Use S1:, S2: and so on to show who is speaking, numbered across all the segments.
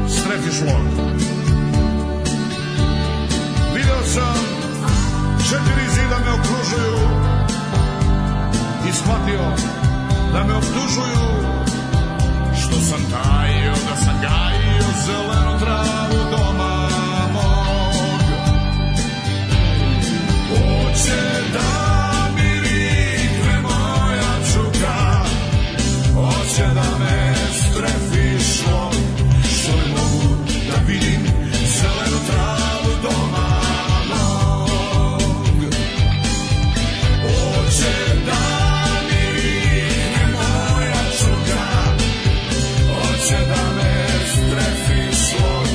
S1: otišlo. Video sam četiri zida me okružuju i shvatio da me optužuju što sam tajio, da sam gajio zelenu travu doma mog. Hoće da mi rikne moja čuka, hoće da me strefi šlom, što ne mogu da vidim zelenu travu doma mog. Hoće da mi rikne moja čuka, hoće da me strefi slon,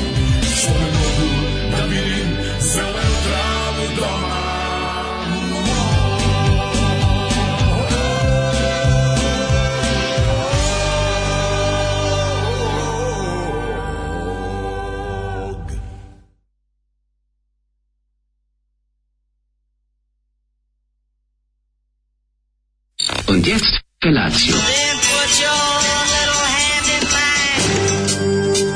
S1: što ne mogu da vidim zelenu travu doma mog.
S2: Und jetzt Felatio.
S3: Then put your little hand in mine.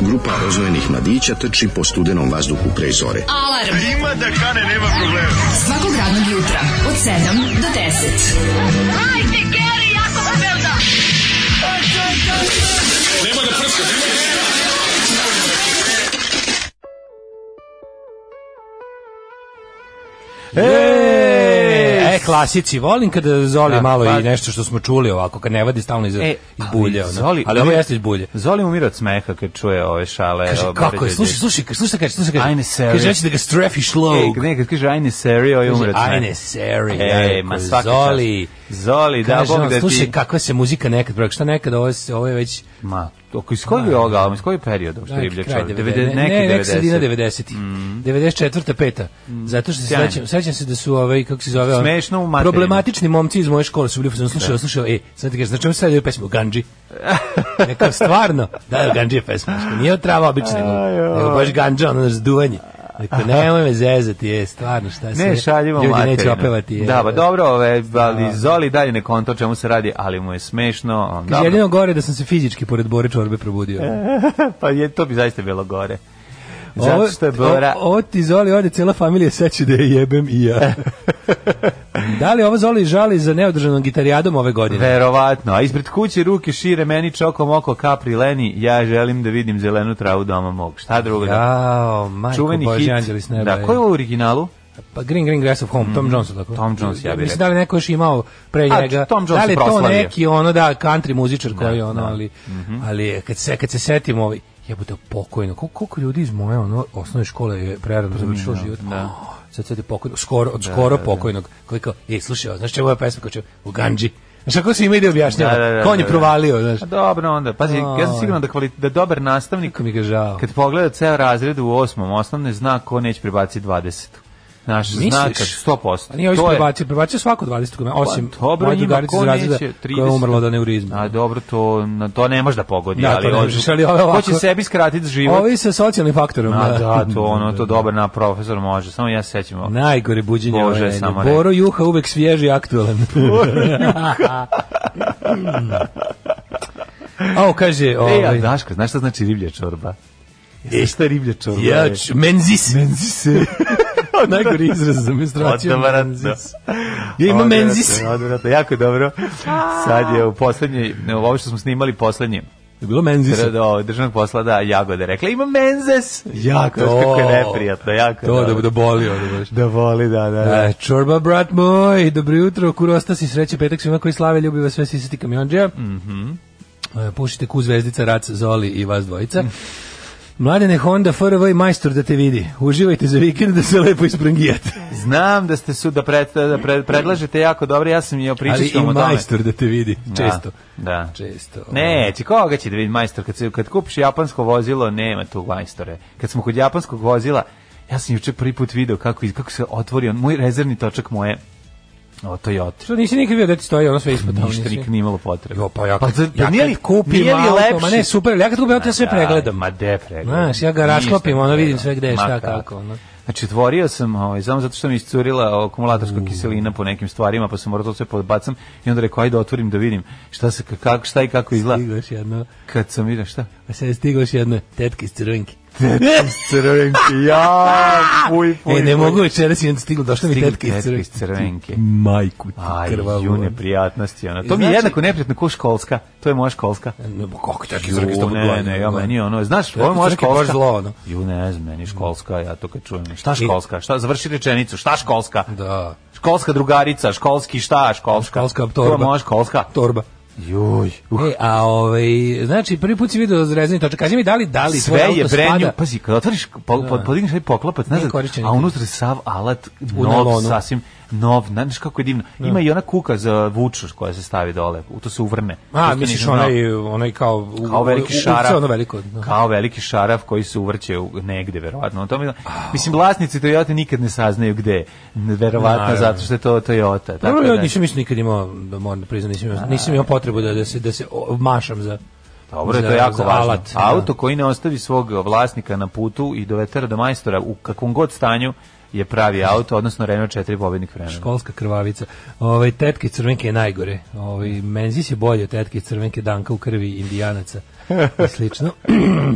S4: Grupa rozvojenih mladića trči po studenom vazduhu pre zore.
S5: Alarm.
S1: Ima da kane, nema problema.
S5: Svakog radnog jutra od 7 do 10. Hajde, Geri, jako se velda.
S6: E, klasici, volim kada Zoli
S7: Da,
S6: malo
S7: pa-
S6: i nešto što smo čuli ovako, kad ne vadi stalno iz,
S7: E,
S6: iz bulje.
S7: ali
S6: ono.
S7: Zoli-
S6: ali ovo jeste iz bulje.
S7: Zoli umira od smeha kad čuje ove šale.
S6: Kaže,
S7: ove
S6: kako je,
S7: Bore
S6: slušaj,
S7: Đorđević.
S6: slušaj, kaže, slušaj, kaže, slušaj,
S7: Ajne,
S6: kaže,
S7: seri.
S6: kaže, ja ću da ga strefi šlog.
S7: E, ne, kad kaže ajne seri, ovo je umira
S6: Kaže,
S7: od smeha.
S6: Ajne, seri,
S7: E,
S6: Jarko,
S7: ma svaka
S6: Zoli.
S7: čast. Zoli, da,
S6: Kaže,
S7: Bog
S6: on,
S7: da ti...
S6: slušaj, kakva se muzika nekad, brak, šta nekad, ovo, se- ovo je već...
S7: Ma, oko iz kojeg je ovoga albuma, iz kojeg perioda što riblja
S6: kraj
S7: čovjek?
S6: 90-ih.
S7: Devede-
S6: Ne,
S7: Neki
S6: nek sredina
S7: 90.
S6: 90-ih. 94. peta. Zato što se
S7: Mm. Sjajno.
S6: sećam, sećam se da su ovaj kako se zove, on-
S7: Smešno u materinu.
S6: problematični momci iz moje škole su bili fazon slušao, slušao, ej, sad ti kažeš, znači sad je pesmu Ganji. Neka stvarno, da Ganji je pesma, što nije od trava obična, nego, nego baš Gandža, ono zduvanje. Rekao, nemoj me zezati, je, stvarno, šta se...
S7: Ne, šaljimo
S6: Ljudi
S7: materinu.
S6: neće opevati, e." je.
S7: Da, ba, dobro, ove, ali Zoli dalje ne konta o čemu se radi, ali mu je smešno.
S6: Kaže,
S7: Dobro,
S6: jedino gore da sam se fizički pored Bore Čorbe probudio.
S7: pa je, to bi zaista bilo gore.
S6: Ovo-
S7: Zato što je Bora...
S6: o- Ovo ti Zoli ode, cijela familija seće da je jebem i ja. da li ovo Zoli žali za neodržanom gitarijadom ove godine?
S7: Verovatno, a ispred kuće ruke šire meni čokom oko kapri leni, ja želim da vidim zelenu travu doma mog. Šta drugo? da-
S6: Jao, majko
S7: Čuveni
S6: Bože,
S7: hit.
S6: Anđeli s neba.
S7: da,
S6: je.
S7: ko je u originalu?
S6: Pa Green Green Grass of Home, Tom Jones, tako?
S7: Mhm. Tom Jones, ja bih
S6: Mislim,
S7: rekao.
S6: da li neko još imao pre
S7: A,
S6: njega?
S7: Tom Jones
S6: da li je
S7: je
S6: to
S7: proslavio.
S6: neki, ono, da, country muzičar koji je ono,
S7: da. Mhm.
S6: ali, ali je, kad, se, kad se setim ovaj, jebote pokojno, koliko, koliko ljudi iz moje ono, osnovne škole je prerano
S7: Mhm,
S6: završilo život? Da. Sad sad je pokojno, skoro, od skoro pokojnog, koji kao, ej, slušaj, ovo, znaš čemu je pesma, kao čemu, u Ganji. Znaš, kako se ima ide objašnjava,
S7: Da, da, da,
S6: kao on je
S7: da, da.
S6: provalio, znaš.
S7: A Pa dobro onda. Pazi, ja sam
S6: Aj.
S7: siguran da, kvali, da dobar nastavnik
S6: Kako mi ga žao.
S7: kad pogleda ceo razred u osmom osnovne zna ko neće prebaciti 20. Naš
S6: Misliš?
S7: znak 100%.
S6: A nije ovi
S7: To je-
S6: prebacio, prebacio svako 20 kome, osim
S7: Pa, dobro,
S6: moje
S7: njima
S6: drugarice
S7: ko
S6: iz razreda
S7: neće,
S6: koja je
S7: 30.
S6: umrla od aneurizma.
S7: A dobro, to, na to ne može da pogodi.
S6: Da, to
S7: ali,
S6: ne
S7: on-
S6: možeš, ali ovo
S7: Ko
S6: ovako-
S7: će sebi skratiti život?
S6: Ovi sa socijalnim faktorom.
S7: A da, to ono, to dobar na profesor može. Samo ja se sećam. ovo.
S6: Najgore buđenje
S7: Bože,
S6: ove nedelje.
S7: samo rekao.
S6: Boro Juha uvek svježi i aktualan. A o, kaže,
S7: E, a
S6: ovaj,
S7: Daško, znaš šta znači riblja čorba? E, šta je riblja čorba?
S6: ja,
S7: je?
S6: ću- menzis. Menzis. Najgori izraz za menstruaciju.
S7: Odvratno.
S6: Menzis. Ja imam menzis.
S7: Odvratno, odvratno, jako je dobro. Sad je u poslednjoj, ne, ovo što smo snimali poslednji,
S6: Je bilo menzis.
S7: do državnog posla da Jagode rekla, ima menzes.
S6: Jako.
S7: Kako je neprijatno, jako. je
S6: To da
S7: dobro.
S6: bude bolio. Da baš.
S7: da voli, da, da, da.
S6: E, čorba, brat moj, dobro jutro, kurosta si sreće, petak svima koji slave, ljubi vas sve sisati kamionđeja. Mm E, Pušite ku zvezdica, rac, zoli i vas dvojica. Mladene Honda, FRV i majstor da te vidi. Uživajte za vikend da se lepo isprangijate.
S7: Znam da ste su da, pred, da pred, predlažete jako dobro, ja sam i
S6: Ali
S7: opričao
S6: i
S7: o tome.
S6: majstor da te vidi, često.
S7: Da.
S6: Često. ovaj.
S7: Ne, će koga će da vidi majstor kad se kad kupiš japansko vozilo, nema tu majstore. Kad smo kod japanskog vozila, ja sam juče prvi put video kako iz- kako se otvori on moj rezervni točak moje o Toyota.
S6: Što nisi nikad vidio da ti stoji ono sve ispod.
S7: Ništa
S6: nisi-
S7: nikad nije imalo potrebe.
S6: Jo, pa ja kad,
S7: za-
S6: ja
S7: nije
S6: kad
S7: li-
S6: kupim
S7: nije li
S6: auto,
S7: lepše?
S6: ma ne, super, ja kad kupim auto, ja sve
S7: Da,
S6: pregledam.
S7: Ma de pregledam.
S6: Znaš, ja ga rasklopim,
S7: Ništa
S6: ono,
S7: ne
S6: vidim
S7: pregledam.
S6: sve gde je,
S7: Ma
S6: šta,
S7: kako.
S6: kako, ono.
S7: Znači, otvorio sam, ovaj, samo zato što mi je iscurila
S6: Mm.
S7: akumulatorska kiselina po nekim stvarima, pa sam morao to sve podbacam i onda rekao, ajde otvorim da vidim šta, se, kako, šta i kako izgleda.
S6: Stigla još jedno,
S7: Kad sam vidio, šta?
S6: a sad je stigla još jedno, tetke iz crvenke.
S7: Crvenki, ja, puj, puj,
S6: E, ne
S7: puj.
S6: mogu večeras, imam stigla, došla mi
S7: Stigla
S6: tetka iz
S7: tetka iz
S6: crvenke.
S7: crvenke.
S6: Majku ti
S7: Aj,
S6: krvavu.
S7: ju, neprijatnosti, ona. To mi je
S6: Znači-
S7: jednako neprijatno ko školska. To je moja školska.
S6: Ne, bo, kako tetka iz
S7: Ju,
S6: crvenke? stavljaju
S7: ne,
S6: glavu?
S7: ne, ja meni je ono, znaš,
S6: Tetka
S7: ovo je
S6: iz
S7: moja
S6: crvenke je baš
S7: školska.
S6: zlo, ono.
S7: Ju, ne znam, meni je školska, ja to kad čujem. Šta školska? Šta, završi rečenicu, šta školska?
S6: Da,
S7: Školska drugarica, školski šta, školska.
S6: Školska
S7: To je
S6: torba.
S7: moja školska.
S6: torba.
S7: Juj. Uh,
S6: E, a ovaj, znači, prvi put si vidio zrezani točak. Kaži mi, da li, da li
S7: sve
S6: tvoje
S7: je
S6: auto
S7: brand new.
S6: spada-
S7: Pazi, kad otvoriš, po, po, podigneš ovaj poklopac, ne
S6: Nije
S7: znam,
S6: korišćen
S7: a
S6: nikad.
S7: unutra je sav alat,
S6: U
S7: nov,
S6: najlonu.
S7: sasvim nov, znaš kako je divno. Ima i ona kuka za vuču koja se stavi dole, u to se uvrne.
S6: A,
S7: Isto
S6: misliš
S7: nisam znao.
S6: onaj, onaj kao... u-
S7: kao veliki
S6: u- u-
S7: šaraf.
S6: sve Ono veliko. da.
S7: Kao veliki šaraf koji se uvrće u, negde, verovatno. O tome, mislim, vlasnici Toyota nikad ne saznaju gde. je. Verovatno
S6: Naravno.
S7: zato što je to Toyota. Tako
S6: Prvo ja
S7: da,
S6: nisam mislim nikad imao, da moram da priznam, nisam imao, nisam imao potrebu da, da se, da se o- mašam za...
S7: dobro, to
S6: za-
S7: je jako
S6: za
S7: važno.
S6: alat, da.
S7: Auto koji ne ostavi svog vlasnika na putu i dovetera do majstora u kakvom god stanju je pravi auto, odnosno Renault 4 pobednik vremena.
S6: Školska krvavica. Ovaj tetke iz crvenke je najgore. Ovaj Menzis je bolje od tetke iz crvenke Danka u krvi Indijanaca i slično.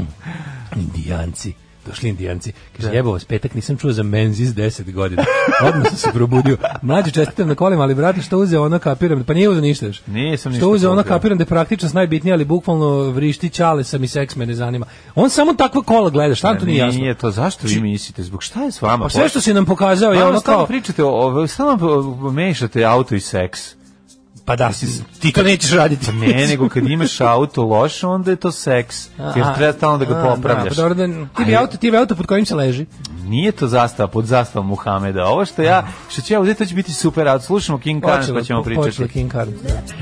S6: Indijanci. Došli indijanci. Kaže, jebo vas, petak nisam čuo za Menzis 10 godina. Odmah sam se probudio. Mlađe čestitam na kolima, ali brate, što uzeo ono kapiram? Pa nije uzeo ništa još.
S7: Nisam ništa
S6: Što uzeo ono
S7: kupio.
S6: kapiram da je praktičnost najbitnija, ali bukvalno vrišti čale sam i seks me ne zanima. On samo takva kola gleda, šta vam to nije jasno? Znači-
S7: Nije to, zašto vi mislite? Zbog šta je s vama?
S6: Pa sve što si nam pokazao je
S7: Stalno-
S6: ono
S7: stalno
S6: kao...
S7: pričate, o, o, stalno o, mešate auto i seks.
S6: Pa da, ti to nećeš raditi.
S7: Pa Ne, nego kad imaš auto loš, onda je to seks. Jer treba stalno da ga
S6: A,
S7: popravljaš.
S6: Da, pa dobro, da, ti bi
S7: Ali
S6: auto, ti bi auto pod kojim se leži.
S7: Nije to zastava pod zastavom Muhameda. Ovo što ja, što ću ja uzeti, to će biti super auto. Slušamo King Khan, pa ćemo
S6: Počelo
S7: pričati.
S6: King Card.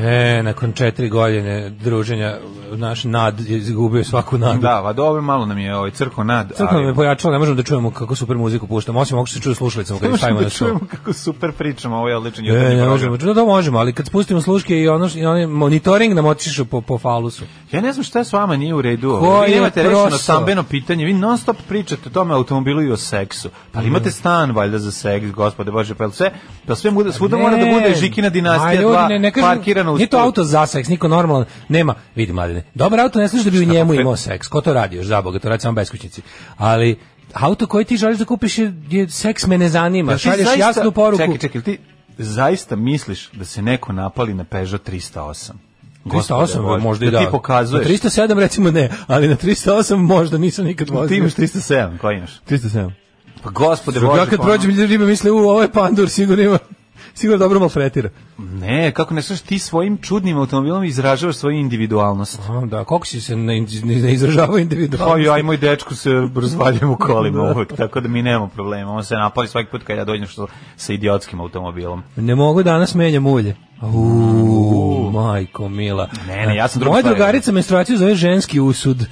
S6: E, nakon četiri godine druženja, naš nad je izgubio svaku nadu. Da.
S7: Da, va dobro, malo nam je ovaj crko nad.
S6: Crkva me pojačala, ne možemo da čujemo kako super muziku puštamo, osim ako se čuje slušalicama
S7: Ne
S6: kada stavimo
S7: možemo
S6: na
S7: da
S6: stol.
S7: čujemo kako super pričamo, ovo je odličan
S6: E,
S7: jutarnji
S6: ne
S7: program.
S6: možemo, da, da možemo, ali kad spustimo sluške i ono, i onaj monitoring nam otišu po, po falusu.
S7: Ja ne znam šta s vama nije u redu.
S6: Ko
S7: vi
S6: je
S7: imate rešeno
S6: prosto?
S7: stambeno pitanje, vi non stop pričate o tome automobilu i o seksu. Pa ali
S6: Mm.
S7: imate stan valjda za seks, gospode Bože, pa jel sve, pa sve muda, svuda mora da bude Žikina
S6: Ma,
S7: dinastija
S6: ljudi,
S7: 2
S6: ne, ne kažem,
S7: parkirano uz
S6: Nije to
S7: put.
S6: auto za seks, niko normalan nema. Vidi, mladine, dobar auto ne služi da bi u njemu imao seks. Ko to radi još, zaboga, to radi samo beskućnici. Ali auto koji ti želiš da kupiš je, je seks me ne zanima.
S7: Jel Pa ti
S6: Šalješ
S7: zaista-
S6: jasnu poruku.
S7: Čekaj, čekaj, jel ti zaista misliš da se neko napali na Peugeot 308? Gospode
S6: 308
S7: Bože,
S6: možda i da.
S7: Ti pokazuješ.
S6: Na 307 recimo ne, ali na 308 možda nisam nikad vozio.
S7: Ti imaš 307, koji imaš?
S6: 307.
S7: Pa gospode Bože.
S6: Ja kad
S7: pa
S6: prođem ljudi ribe misle, u, ovo je pandur, sigurno ima, sigurno dobro maltretira.
S7: Ne, kako ne znaš, ti svojim čudnim automobilom izražavaš svoju individualnost.
S6: A, Da, koliko si se ne, ne izražava individualno.
S7: Pa ja i moj dečko se razvaljujemo u kolima uvek, tako da mi nemamo problema. On se napali svaki put kad ja dođem što sa idiotskim automobilom.
S6: Ne mogu danas menjam ulje. Uuu, majko mila.
S7: Ne, ne, ja sam drugu
S6: Moja
S7: stvar
S6: drugarica menstruaciju zove ženski usud. E,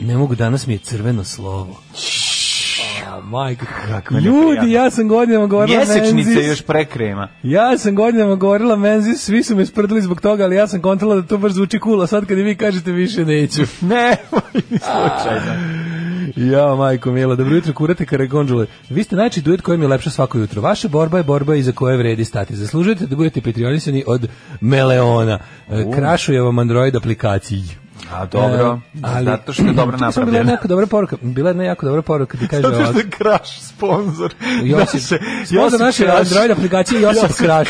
S6: Ne mogu, danas mi je crveno slovo. E, A, Majko,
S7: neprijatno.
S6: ljudi, ja sam godinama govorila
S7: Mjesečnica je
S6: menzis.
S7: još prekrema.
S6: Ja sam godinama govorila menzis, svi su me sprdili zbog toga, ali ja sam kontrola da to baš zvuči kula. Sad kad i vi kažete više neću.
S7: Ne, slučajno.
S6: Ja, majko Mila, dobro jutro, kurate Karagonđule. Vi ste najči duet koji mi je lepša svako jutro. Vaša borba je borba iza koje vredi stati. Zaslužujete da budete patrionisani od Meleona. E, Krašuje vam Android aplikaciji.
S7: A dobro,
S6: E, ali-
S7: zato što je dobro
S6: Čekaj, samo Bila jedna
S7: napravljena.
S6: jako dobra poruka. Bila je jedna jako dobra poruka ti kaže
S7: Zato što
S6: ovako.
S7: je Kraš sponsor.
S6: Josip, Josip naše
S7: Kraš.
S6: Android aplikacije Josip, Kraš.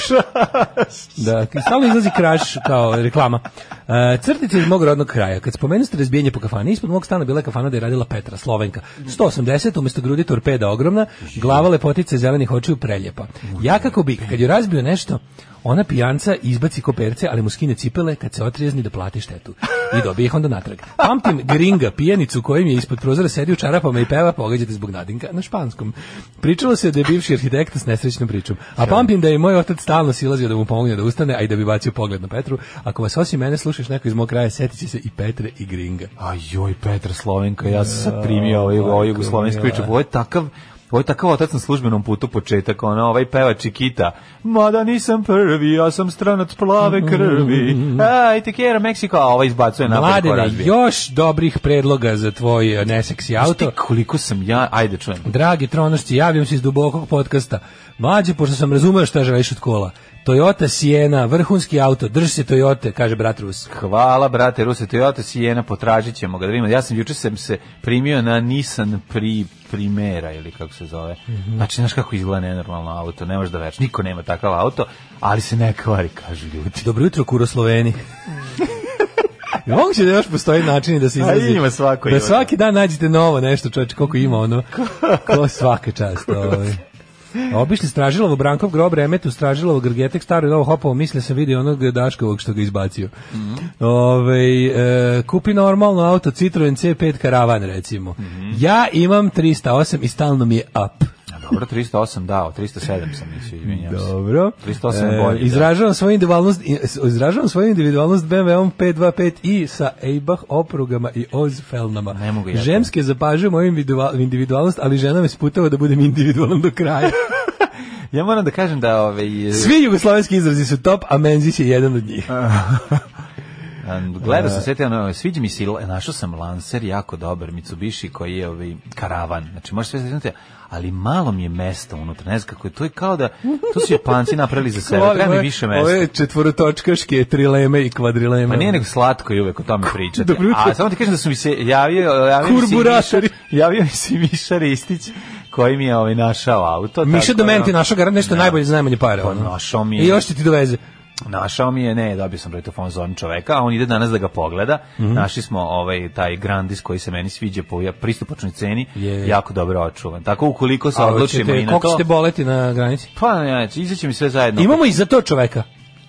S6: Da, stalno izlazi Kraš kao reklama. E, crtica iz mog rodnog kraja. Kad spomenuste razbijanje po kafani, ispod mog stana bila je kafana da je radila Petra, Slovenka. 180, umesto grudi torpeda ogromna, glava lepotice zelenih očiju preljepa. Ja kako bi, kad je razbio nešto, ona pijanca izbaci koperce, ali mu skine cipele kad se otrijezni da plati štetu. I dobije ih onda natrag. Pamtim gringa, pijanicu kojim je ispod prozora sedio u čarapama i peva pogađate zbog nadinka na španskom. Pričalo se da je bivši arhitekta s nesrećnom pričom. A pamtim da je moj otac stalno silazio da mu pomogne da ustane, a i da bi bacio pogled na Petru. Ako vas osim mene slušaš neko iz mog kraja, setit će se i Petre i gringa.
S7: Ajoj, Petra Slovenka, ja sam sad primio ovaj, ovaj jugoslovensku priču. Ovo je takav Ovo je takav otac na službenom putu početak, ono, ovaj peva Čikita. Mada nisam prvi, ja sam stranac plave krvi. Aj, te kjera, Meksiko, a ovaj izbacuje napad ko
S6: Mm. Mladene,
S7: razbije.
S6: još dobrih predloga za tvoj e, neseksi
S7: Znaš ti
S6: auto.
S7: koliko sam ja, ajde čujem.
S6: Dragi tronošci, javljam se iz dubokog podcasta. Mlađe, pošto sam razumeo šta želiš od kola. Toyota Siena, vrhunski auto, drži se Toyote, kaže brat Rus.
S7: Hvala, brate, Ruse Toyota Sijena, potražit ćemo ga da vidimo. Ja sam juče sam se primio na Nissan pri, Primera ili kako se zove. Znači, znaš kako izgleda nenormalno auto, ne možeš da već, niko nema takav auto, ali se ne kvari, kažu ljudi.
S6: Znači, Dobro jutro, Kurosloveni. Ja moguće da još postoji načini da se
S7: A
S6: izrazi.
S7: ima svako,
S6: da
S7: ima.
S6: svaki dan nađete novo nešto, čovječe, koliko ima ono. Ko svaka čast. Ovaj. Obišli Stražilovo Brankov grob remetu, Stražilovo Grgetek, staro i novo hopovo, misle sam vidio onog Daškovog što ga izbacio. Ovaj, e, kupi normalno auto Citroen C5 Karavan, recimo. Ja imam 308 i stalno mi je up.
S7: A dobro, 308 dao, 307 sam mislio, izvinjam se.
S6: Dobro. E,
S7: 308 je bolji, da.
S6: izražavam svoju individualnost, i- izražavam svoju individualnost BMW-om 525i sa Eibach oprugama i Oz felnama.
S7: Ne mogu ja to.
S6: Žemske zapažuju moju individua- individualnost, ali žena me sputava da budem individualan do kraja.
S7: Ja moram da kažem da ovaj, ove,
S6: Svi jugoslovenski izrazi su top, a Menzis je jedan od njih.
S7: gledao sam
S6: E.
S7: sve te, ono, sviđa mi se, i la- našao sam Lancer jako dobar, Mitsubishi koji je ovaj, karavan, znači možeš sve sretnuti, ali malo mi je mesta unutra, ne znam kako je, to je kao da, to su Japanci napravili za sebe,
S6: Volim
S7: treba mi
S6: ove-
S7: više mesta.
S6: Ove četvorotočkaške trileme i kvadrileme.
S7: Pa nije nego slatko je uvek o tome pričati.
S6: Dobro jutro.
S7: A samo ti kažem da su mi se javio, javio mi se i
S6: Kurburašari.
S7: Miša- javio mi se i Miša Ristić koji mi je ovaj našao auto.
S6: Miša
S7: tako ono.
S6: Domen ti
S7: da-
S6: našao garant nešto najbolje za najmanje pare.
S7: Pa
S6: ono.
S7: našao mi je.
S6: I još će ti doveze.
S7: Našao mi je, ne, dobio sam broj telefon zon čoveka, a on ide danas da ga pogleda.
S6: Mhm.
S7: Našli smo ovaj taj Grandis koji se meni sviđa po ja- pristupačnoj ceni,
S6: Je.
S7: jako dobro očuvan. Tako ukoliko se
S6: A
S7: odlučimo
S6: hoćete-
S7: i na
S6: Koliko
S7: to,
S6: ćete boleti na granici?
S7: pa ne, znači, izaći mi sve zajedno.
S6: Imamo i za to čoveka.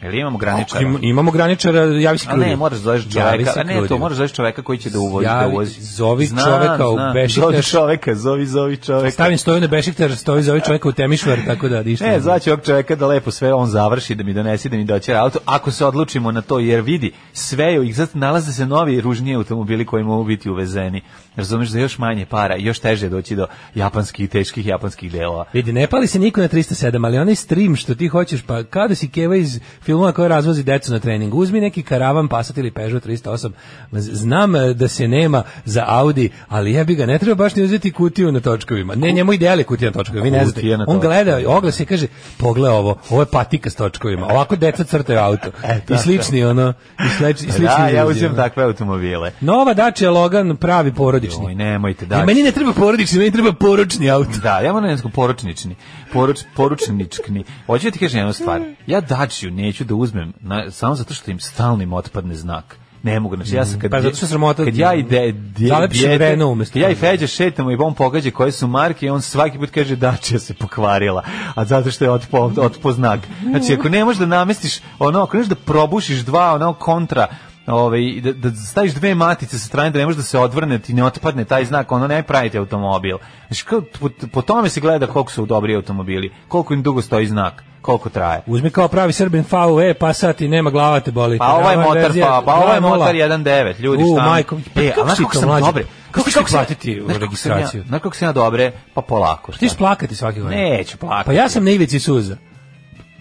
S7: Jel imamo graničara?
S6: Im- imamo graničara, javi se
S7: A ne,
S6: ljudi.
S7: moraš zoveš
S6: Javi
S7: čoveka,
S6: se
S7: a ne, to
S6: ljudima.
S7: moraš zoveš čoveka koji će da uvozi, da
S6: Javi-
S7: uvozi.
S6: zovi
S7: Znam,
S6: čoveka u
S7: znam.
S6: Bešiktaš.
S7: Zovi čoveka, zovi, zovi čoveka.
S6: Stavim stoju na Bešiktar, stoji za ovaj čovjeka u Temišvar, tako da ništa.
S7: Ne, zvaću E, ovog čoveka da lepo sve on završi, da mi donese, da mi doće auto, ako se odlučimo na to, jer vidi, sve je, ih sad nalaze se novi ružniji automobili koji mogu biti uvezeni. Razumeš da još manje para, još teže je doći do japanskih, teških japanskih delova.
S6: Vidi, ne pali se niko na 307, ali onaj stream što ti hoćeš, pa kada si keva iz filmova koja razvozi decu na treningu, uzmi neki karavan, Passat ili Peugeot 308. Ma z- Znam e, da se nema za Audi, ali ja bi ga ne treba baš ni uzeti kutiju na točkovima. Ne, njemu ide ali kutija na točkovima, vi ne znate.
S7: Kutija na
S6: On
S7: točkovima.
S6: gleda oglas i kaže, pogledaj ovo, ovo je patika s točkovima, ovako deca crtaju auto. I slični, ono, i, sleč- i slični
S7: E, Da, ja
S6: izrazi,
S7: uzimam
S6: ono.
S7: takve automobile.
S6: Nova Dacia Logan pravi porodični.
S7: Oj, nemojte, da.
S6: E, meni ne treba porodični, meni treba poročni auto.
S7: Da, ja moram jednostavno poručnični. Poruč, poručničkni. Hoću da ti kažem jednu stvar. Ja dačiju neću da uzmem na, samo zato što im stalnim otpadne znak. Ne mogu, znači ja sam kad...
S6: Pa zato što sramota-
S7: Kad ja i de, dje-
S6: Zalepiš
S7: dijete-
S6: Renault umesto
S7: kad ja i
S6: toga.
S7: Feđa šetamo i on pogađa koje su marke i on svaki put kaže dačija se pokvarila. A zato što je otpo, otpo znak. Znači ako ne možeš da namestiš ono, ako ne možeš da probušiš dva ono kontra Ove, i da, da staviš dve matice sa strane da ne može da se odvrne, ti ne otpadne taj znak, ono ne pravite automobil. Znači, kao, po, po tome se gleda koliko su dobri automobili, koliko im dugo stoji znak, koliko traje.
S6: Uzmi kao pravi Srbin VW, Passat i nema glava te boli.
S7: Pa ovaj
S6: Karavan
S7: motor,
S6: verzija
S7: pa, pa ovaj
S6: 2.0.
S7: motor 1.9, ljudi,
S6: U,
S7: šta?
S6: majko, pa
S7: e, a
S6: kako
S7: znaš
S6: si
S7: kako
S6: to
S7: sam
S6: mlađe?
S7: dobre?
S6: Kako ćeš
S7: kako sam-
S6: platiti u
S7: znaš kako sam ja-
S6: registraciju?
S7: Znaš kako sam ja dobre? Pa polako. šta?
S6: Ti ćeš plakati svake godine.
S7: Neću plakati.
S6: Pa ja sam na ivici suza.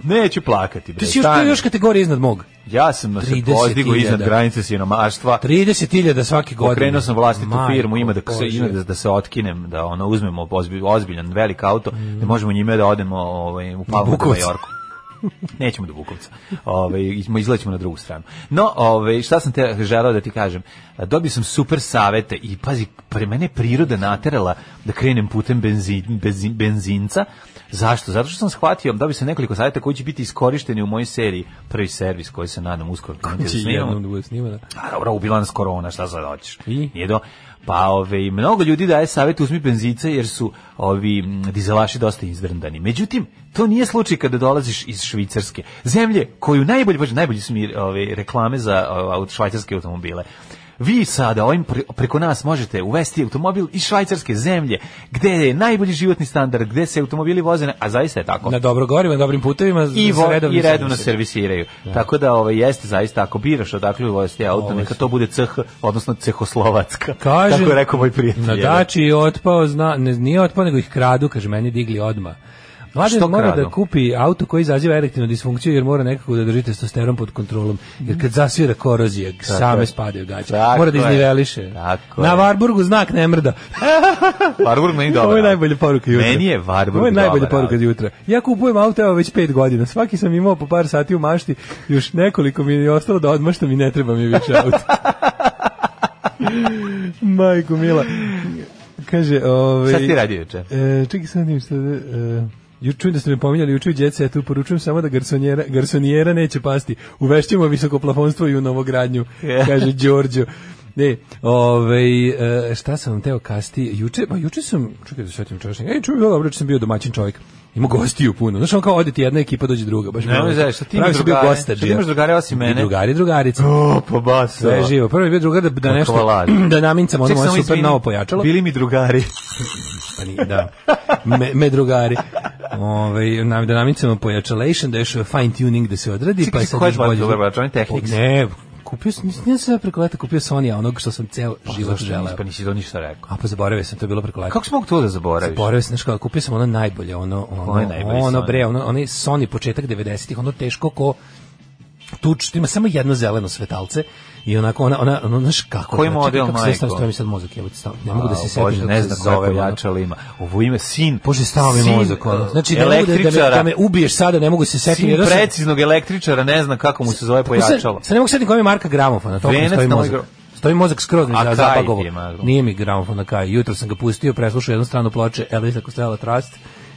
S7: Neću plakati, bre.
S6: Ti si još,
S7: stani.
S6: još kategorija iznad mog.
S7: Ja sam se
S6: 30.000.
S7: pozdigo iznad granice sinomaštva.
S6: 30.000 svake godine.
S7: Okrenuo sam vlastitu
S6: Majko
S7: firmu, ima da se
S6: Božja.
S7: ima da, da se otkinem, da ono uzmemo ozbi- ozbiljan velik auto,
S6: Mhm.
S7: da možemo njime da odemo ovaj u Palmu do
S6: Bukovac.
S7: Majorku. Nećemo do Bukovca. Ovaj izmo- izlećemo na drugu stranu. No, ovaj šta sam te želeo da ti kažem? Dobio sam super savete i pazi, pre mene je priroda naterala da krenem putem benzin, benzin- benzinca. Zašto? Zato što sam shvatio, dobio sam nekoliko saveta koji će biti iskorišteni u mojoj seriji Prvi servis koji se nadam uskoro krenuti da
S6: Znači,
S7: snimamo.
S6: jednom da bude snimana.
S7: A dobro, ubila nas korona, šta sad hoćeš?
S6: I?
S7: Nije do... Pa ove, mnogo ljudi daje savjet uzmi benzice jer su ovi m, dizelaši dosta izvrndani. Međutim, to nije slučaj kada dolaziš iz Švicarske. Zemlje koju najbolje, baš najbolje su mi ove, reklame za o, švajcarske automobile. Vi sada ovim pre- preko nas možete uvesti automobil iz švajcarske zemlje, gde je najbolji životni standard, gde se automobili voze, na- a zaista je tako.
S6: Na dobro gorivo, na dobrim putevima
S7: I,
S6: sa
S7: vo,
S6: redovnim
S7: i redovno
S6: servisom.
S7: servisiraju. Tako da ovaj jeste zaista ako biraš odakle voziti auto,
S6: Ovo
S7: neka
S6: su-
S7: to bude CH, odnosno Cehoslovačka.
S6: Kaže,
S7: Tako je rekao moj prijatelj.
S6: Na dači je otpao, zna, ne, nije otpao, nego ih kradu, kaže, meni digli odma. Mladen
S7: Što
S6: mora
S7: kradu?
S6: da kupi auto koji izaziva erektilnu disfunkciju jer mora nekako da drži testosteron pod kontrolom. Jer kad zasvira korozije, same
S7: je.
S6: spadaju gaće.
S7: Tako
S6: Mora da
S7: je.
S6: izniveliše.
S7: Tako
S6: Na
S7: je.
S6: Varburgu znak ne mrda.
S7: Varburg meni dobro.
S6: Ovo je najbolja poruka jutra.
S7: Meni je Varburg
S6: Ovo je najbolja
S7: dobar
S6: poruka
S7: auto.
S6: jutra. Ja kupujem auto evo već pet godina. Svaki sam imao po par sati u mašti. Još nekoliko mi je ostalo da odmaštam i ne treba mi više auto. Majko mila. Kaže, ovaj...
S7: Šta si ti radio juče?
S6: E, čekaj sad nijem šta da... E, Ju čujem da ste me pominjali juče u djece, ja tu poručujem samo da garsonjera, garsonjera neće pasti. Uvešćemo visokoplafonstvo i u novogradnju, kaže Đorđo. Ne, ovaj e, šta sam vam teo kasti? Juče, pa juče sam, čekaj da se setim čovječnjeg. Ej, čujem, dobro, juče sam bio domaćin čovjek. Ima gostiju puno. Znaš, on kao ode ti jedna ekipa, dođe druga. Baš ono-
S7: Ne, ne, znaš, šta ti imaš
S6: Pravi sam bio
S7: drugare?
S6: gosta
S7: Šta ti
S6: bio.
S7: imaš drugare osim mene?
S6: I drugari, drugarice.
S7: O, pa bas.
S6: Sve je živo. Prvo je bio drugar da, da nešto,
S7: Kvalari.
S6: da namincam ono
S7: Ček,
S6: moje
S7: samo
S6: super
S7: izvini,
S6: novo pojačalo.
S7: Bili mi drugari.
S6: Pa ni, da. Me, me drugari. Ove, nam, da namicamo pojačalation, da još fine tuning da se odradi.
S7: Čekaj,
S6: pa je
S7: koja
S6: sad
S7: je
S6: još
S7: tvoja
S6: bolje.
S7: dobra pojačala? Technics?
S6: Ne, kupio sam, nisam se preko leta kupio Sony, a onog što sam ceo život
S7: Zašto
S6: želeo.
S7: nisi, Pa nisi to ništa rekao.
S6: A pa zaboravio sam, to je bilo preko leta.
S7: Kako si mogu to da zaboraviš?
S6: Zaboravio sam, znaš kao, kupio sam ono najbolje, ono, ono,
S7: Koji je najbolji
S6: ono
S7: Sony?
S6: bre, ono, onaj Sony početak 90-ih, ono teško ko tuč, što ima samo jedno zeleno svetalce i onako ona ona ona znaš kako
S7: Koji
S6: ona, čekaj,
S7: model,
S6: kako se stavio,
S7: majko?
S6: stavio mi sad mozak je stav. Ne mogu da se
S7: A,
S6: setim
S7: Bože,
S6: kako
S7: ne
S6: se
S7: znam
S6: zove,
S7: koje
S6: ono.
S7: pojačalo ima. Ovo ime sin.
S6: Bože, stao mi
S7: sin,
S6: mozak. ono.
S7: e,
S6: Znači, da, ne mogu da, da, me,
S7: električara.
S6: da me ubiješ sada, ne mogu se setiti.
S7: Sin
S6: jer da sam-
S7: preciznog električara, ne znam kako mu se zove pojačalo.
S6: Sad, sad ne mogu setiti koja mi je marka gramofona, to mi
S7: Venac
S6: stoji
S7: na moj
S6: mozak.
S7: gra-
S6: Stoji mozak skroz mi
S7: A
S6: za
S7: kaj
S6: zapagovo.
S7: ti je maglo?
S6: Nije mi gramofon na kaj. Jutro sam ga pustio, preslušao jednu stranu ploče Elisa Costello Trust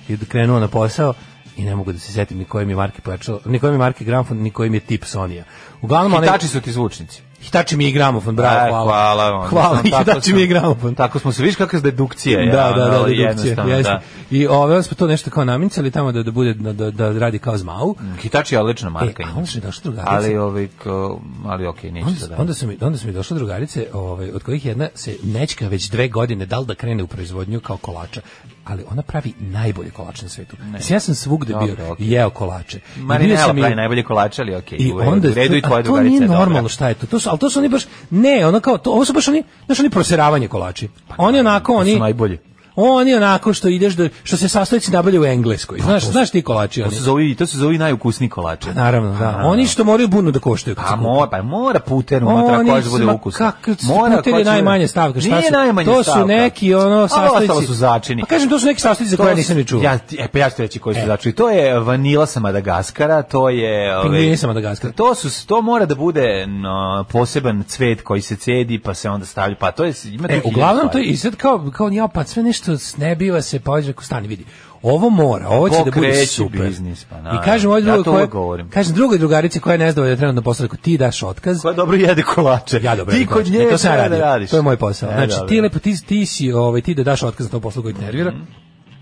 S6: i krenuo na posao i ne mogu da se setim ni koje mi je marke pojačalo, ni koje mi je marke gramofon, ni koje mi je tip Sonija. Uglavnom, onaj...
S7: Tači su ti zvučnici.
S6: Hitachi mi je gramofon, bravo,
S7: E,
S6: hvala.
S7: Hvala, vam.
S6: Hvala,
S7: Tako
S6: Hitachi
S7: smo-
S6: mi je gramofon.
S7: Tako smo se, vidiš kakva je dedukcija. je,
S6: da,
S7: ono,
S6: da, da,
S7: ali
S6: dedukcija,
S7: jednostavno,
S6: jeste.
S7: da.
S6: I ove smo to nešto kao namicali tamo da, da bude da, da, da radi kao zmau.
S7: Hitači je odlična Mm, marka.
S6: E, a
S7: inače.
S6: onda su mi došle drugarice.
S7: ali ovaj ko- ali okej, neću
S6: Onda,
S7: sad.
S6: onda su mi onda su mi došle drugarice, ovaj od kojih jedna se nečka već dve godine dal da krene u proizvodnju kao kolača, ali ona pravi najbolje kolače na svetu. Mislim, ja sam svugde
S7: Dobro,
S6: bio
S7: okej.
S6: i jeo kolače. I bio
S7: Marinela
S6: sam i u-
S7: pravi najbolje kolače, ali okej.
S6: I
S7: u redu,
S6: onda
S7: u redu i
S6: a
S7: tvoje
S6: to
S7: drugarice.
S6: nije
S7: je dobra.
S6: normalno šta je to. To su al to su oni baš ne, ono kao to ovo su baš oni, znači oni proseravanje kolači. Oni onako
S7: Pa to su
S6: oni
S7: najbolji.
S6: Oni onako što ideš do, što se sastojci nabavljaju u Engleskoj. Znaš, znaš ti kolači
S7: Pa To
S6: oni.
S7: se zove, i to se zove i najukusniji kolače.
S6: Pa Naravno, da. Oni što moraju bunu da koštaju. kad se
S7: A
S6: kupe.
S7: mora, pa mora puter unutra
S6: Oni
S7: koja će
S6: su,
S7: bude
S6: ma
S7: ukusna.
S6: Kak, mora
S7: koja
S6: je
S7: će-
S6: najmanje stavka, šta
S7: Nije
S6: su?
S7: najmanje
S6: to
S7: stavka.
S6: su neki ono
S7: A ovo
S6: sastojci.
S7: ostalo su začini.
S6: Pa kažem to su neki sastojci za
S7: To
S6: koje ja
S7: su-
S6: nisam ni čuo.
S7: Ja, ti- e, pa ja ću reći koji su začini. To je vanila sa Madagaskara, to je... ove-
S6: Pingvini Pa sa Madagaskara.
S7: To, su, to mora da bude no, poseban cvet koji se cedi, pa se onda stavlja. Pa to je... Ima tu
S6: E,
S7: hiljadu
S6: uglavnom to
S7: stvari.
S6: je i sad kao, kao ja, pa sve nešto s- ne biva se, pa ovdje rekao, stani, vidi. Ovo mora, ovo će da bude
S7: Pokreći
S6: super.
S7: biznis, pa
S6: I
S7: naravno.
S6: kažem ovoj
S7: Ja
S6: drugoj
S7: to
S6: koja,
S7: uvek govorim.
S6: kažem drugoj drugarici koja je nezadovoljna trenutno posao, rekao, ti daš otkaz.
S7: Koja dobro jede kolače.
S6: Ja dobro.
S7: Ti
S6: radim
S7: kod
S6: posao.
S7: nje
S6: E, to sam ja
S7: treba
S6: radio.
S7: da radiš.
S6: To je moj posao.
S7: E,
S6: znači
S7: dobro. Mhm.
S6: ti lepo ti, ti si ovaj ti da daš otkaz na tom poslu koji te nervira.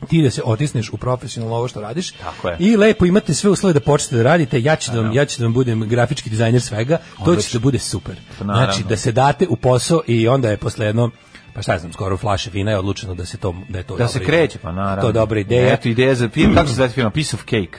S6: Ti da se otisneš u profesionalno ovo što radiš.
S7: Tako je.
S6: I lepo imate sve uslove da počnete da radite. Ja ću da vam ja ću da vam budem grafički dizajner svega. To će da bude super.
S7: Pa, naravno.
S6: Znači da se date u posao i onda je posle jedno pa šta ja znam, skoro flaše vina je odlučeno da se to da je to
S7: Da
S6: dobra
S7: se
S6: ideja.
S7: kreće, pa naravno.
S6: To je dobra ideja.
S7: Eto, ideja za film. Kako se zove film? Piece of cake.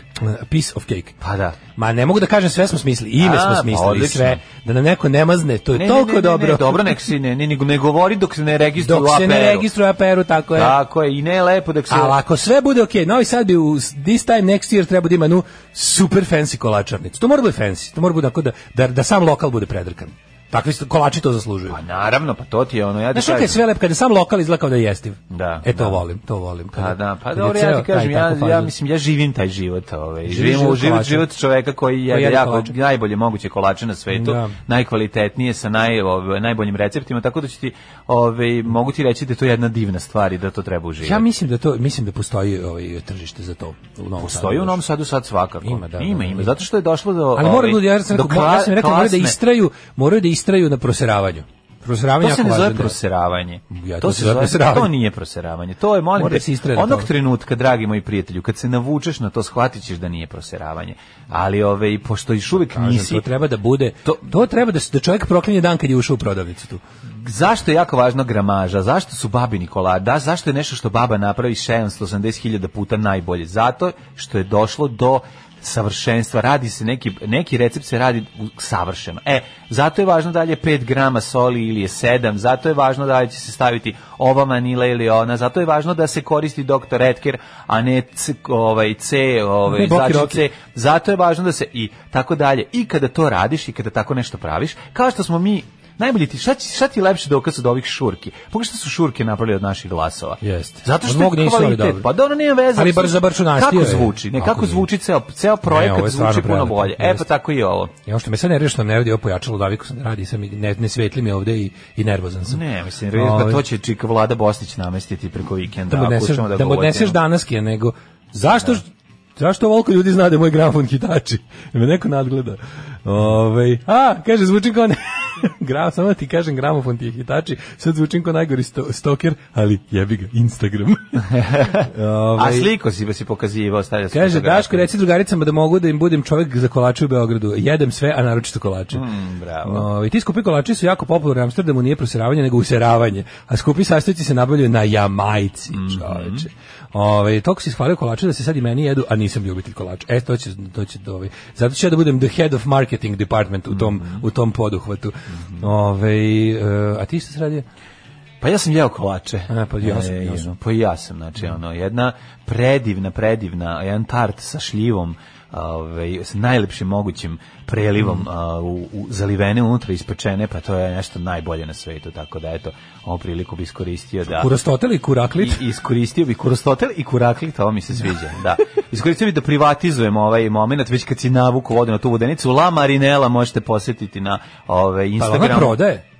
S6: Piece of cake.
S7: Pa da.
S6: Ma ne mogu da kažem sve smo smislili, ime
S7: A,
S6: smo
S7: pa
S6: smislili
S7: odlično.
S6: sve, da nam neko ne mazne, to je toliko dobro.
S7: Ne, dobro, nek se ne, ne, ne, ne govori dok se ne registruje
S6: Dok
S7: u
S6: se
S7: APR-u.
S6: ne registruje APR-u, tako je.
S7: Tako je, i ne je lepo dok se...
S6: Ali ako sve bude ok, Novi Sad bi u this time next year treba da ima nu super fancy kolačarnicu. To mora da bude fancy, to mora da bude tako da, da, da sam lokal bude predrkan. Takvi su- kolači to zaslužuju.
S7: Pa naravno, pa to ti je ono, ja ti
S6: Znaš kako je
S7: kažem.
S6: sve lepo, kada sam lokal izgleda kao da je jestiv.
S7: Da,
S6: E to
S7: da.
S6: volim, to volim. Kada-
S7: Pa da, pa
S6: kada je
S7: dobro,
S6: ceo
S7: ja ti
S6: taj
S7: kažem, ja,
S6: tako
S7: ja
S6: fazon.
S7: mislim, ja živim taj život. Ovaj.
S6: Živiš
S7: Živim
S6: život
S7: u život,
S6: kolača.
S7: život čoveka koji
S6: Koji
S7: je
S6: jede
S7: jako
S6: kolače.
S7: najbolje moguće kolače na svetu,
S6: Da.
S7: najkvalitetnije, sa naj, ovaj, najboljim receptima, tako da ću ti, ovaj, mogu ti reći da je to jedna divna stvar i da to treba uživati.
S6: Ja mislim da to mislim da postoji ovaj tržište za to u Novom Sadu.
S7: Stoji u Novom Sadu sad svakako.
S6: Ima, da,
S7: ima,
S6: da,
S7: ima.
S6: da.
S7: Zato što je došlo do...
S6: Ali mora
S7: ovaj,
S6: ljudi, ja sam
S7: do
S6: rekao, ja sam
S7: kla-
S6: rekao moraju da
S7: klasne-
S6: istraju, moraju da istraju na proseravanju. Proseravanje
S7: To
S6: je
S7: se
S6: jako
S7: ne
S6: važno.
S7: zove
S6: da.
S7: proseravanje.
S6: Ja, to
S7: to,
S6: se
S7: se
S6: zove
S7: zove,
S6: proseravanje.
S7: to nije proseravanje. To je, molim
S6: Mora
S7: te,
S6: se istrena
S7: onog
S6: to.
S7: trenutka, dragi moji prijatelju, kad se navučeš na to, shvatit ćeš da nije proseravanje. Ali, ove, i pošto još uvek
S6: Pa Kažem,
S7: nisi,
S6: To treba da bude, to,
S7: To-
S6: treba da, se- da čovjek proklinje dan kad je ušao u prodavnicu tu.
S7: zašto je jako važna gramaža, zašto su babi Nikola, da, zašto je nešto što baba napravi 780.000 puta najbolje? Zato što je došlo do savršenstva, radi se neki, neki recept se radi u- savršeno. E, zato je važno da li je 5 grama soli ili je 7, zato je važno da li će se staviti ova manila ili ona, zato je važno da se koristi Dr. Edker, a ne c, ovaj, C, ovaj,
S6: Ne, Boki
S7: začin
S6: Roki.
S7: C, zato je važno da se i tako dalje. I kada to radiš i kada tako nešto praviš, kao što smo mi Najbolje ti, šta, ti- šta ti je lepši dokaz od ovih šurki? Pogledaj šta su šurke napravili od naših glasova.
S6: Jeste.
S7: Zato
S6: Od
S7: što
S6: mog
S7: je
S6: nisu, ali
S7: kvalitet.
S6: dobro.
S7: Pa dobro, nema veze.
S6: Ali bar za barčunastio
S7: Kako
S6: je.
S7: zvuči? Ne,
S6: Kako
S7: kako
S6: je.
S7: zvuči ceo, ceo
S6: Ne,
S7: projekat,
S6: ovo je stvarno
S7: zvuči puno
S6: prelepo.
S7: bolje. E pa
S6: Jeste.
S7: tako i ovo.
S6: Ja što me sad nervira što ne vidi ovo pojačalo daviku sam radi sam i ne, ne svetli mi ovde i, i nervozan sam.
S7: Ne, mislim,
S6: Ovaj,
S7: da to će čika Vlada Bosnić namestiti preko vikenda.
S6: da mu
S7: ako
S6: odneseš,
S7: ćemo
S6: da,
S7: ga
S6: mu odneseš
S7: uvodimo.
S6: danaske, nego zašto Zašto ovoliko ljudi zna da je moj gramofon hitači? Da me neko nadgleda. Ove, a, kaže, zvučim kao ne... Gra, samo da ti kažem, gramofon ti je hitači. Sad zvučim kao najgori sto, stoker, ali jebi ga, Instagram. Ovaj,
S7: A sliko si, pa si pokazivao, stavio si
S6: Kaže,
S7: fotografiju.
S6: Daško, reci drugaricama da mogu da im budem čovjek za kolače u Beogradu. Jedem sve, a naročito kolače.
S7: Mm, bravo.
S6: No, I ti skupi kolači su jako popularni u Amsterdamu, nije proseravanje, nego useravanje. A skupi sastojci se nabavljaju na Jamajci,
S7: Mhm.
S6: čoveče. Ovaj, toliko si ishvalio kolače da se sad i meni jedu, a nisam ljubitelj kolača. E, to će, to će, ovaj, zato ću ja da budem the head of marketing department u tom,
S7: Mhm.
S6: u tom poduhvatu. Ovaj, e, a ti što se radio?
S7: Pa ja sam jeo kolače.
S6: A, pa ja sam,
S7: E,
S6: ja sam. Mm.
S7: jedno, Pa i ja sam, znači, ono, jedna predivna, predivna, jedan tart sa šljivom, ovaj, s najlepšim mogućim prelivom
S6: Mm.
S7: a, u, u zalivene unutra ispečene, pa to je nešto najbolje na svetu, tako da, eto, ovu priliku bi iskoristio da...
S6: Kurastotel i kuraklit?
S7: I, iskoristio bi kurostotel i kuraklit, ovo mi se sviđa, da. Iskoristio bi da privatizujem ovaj moment, već kad si navuku vodu na tu vodenicu, La Marinela možete posjetiti na ovaj,
S6: Pa ona
S7: Instagramu.
S6: prodaje?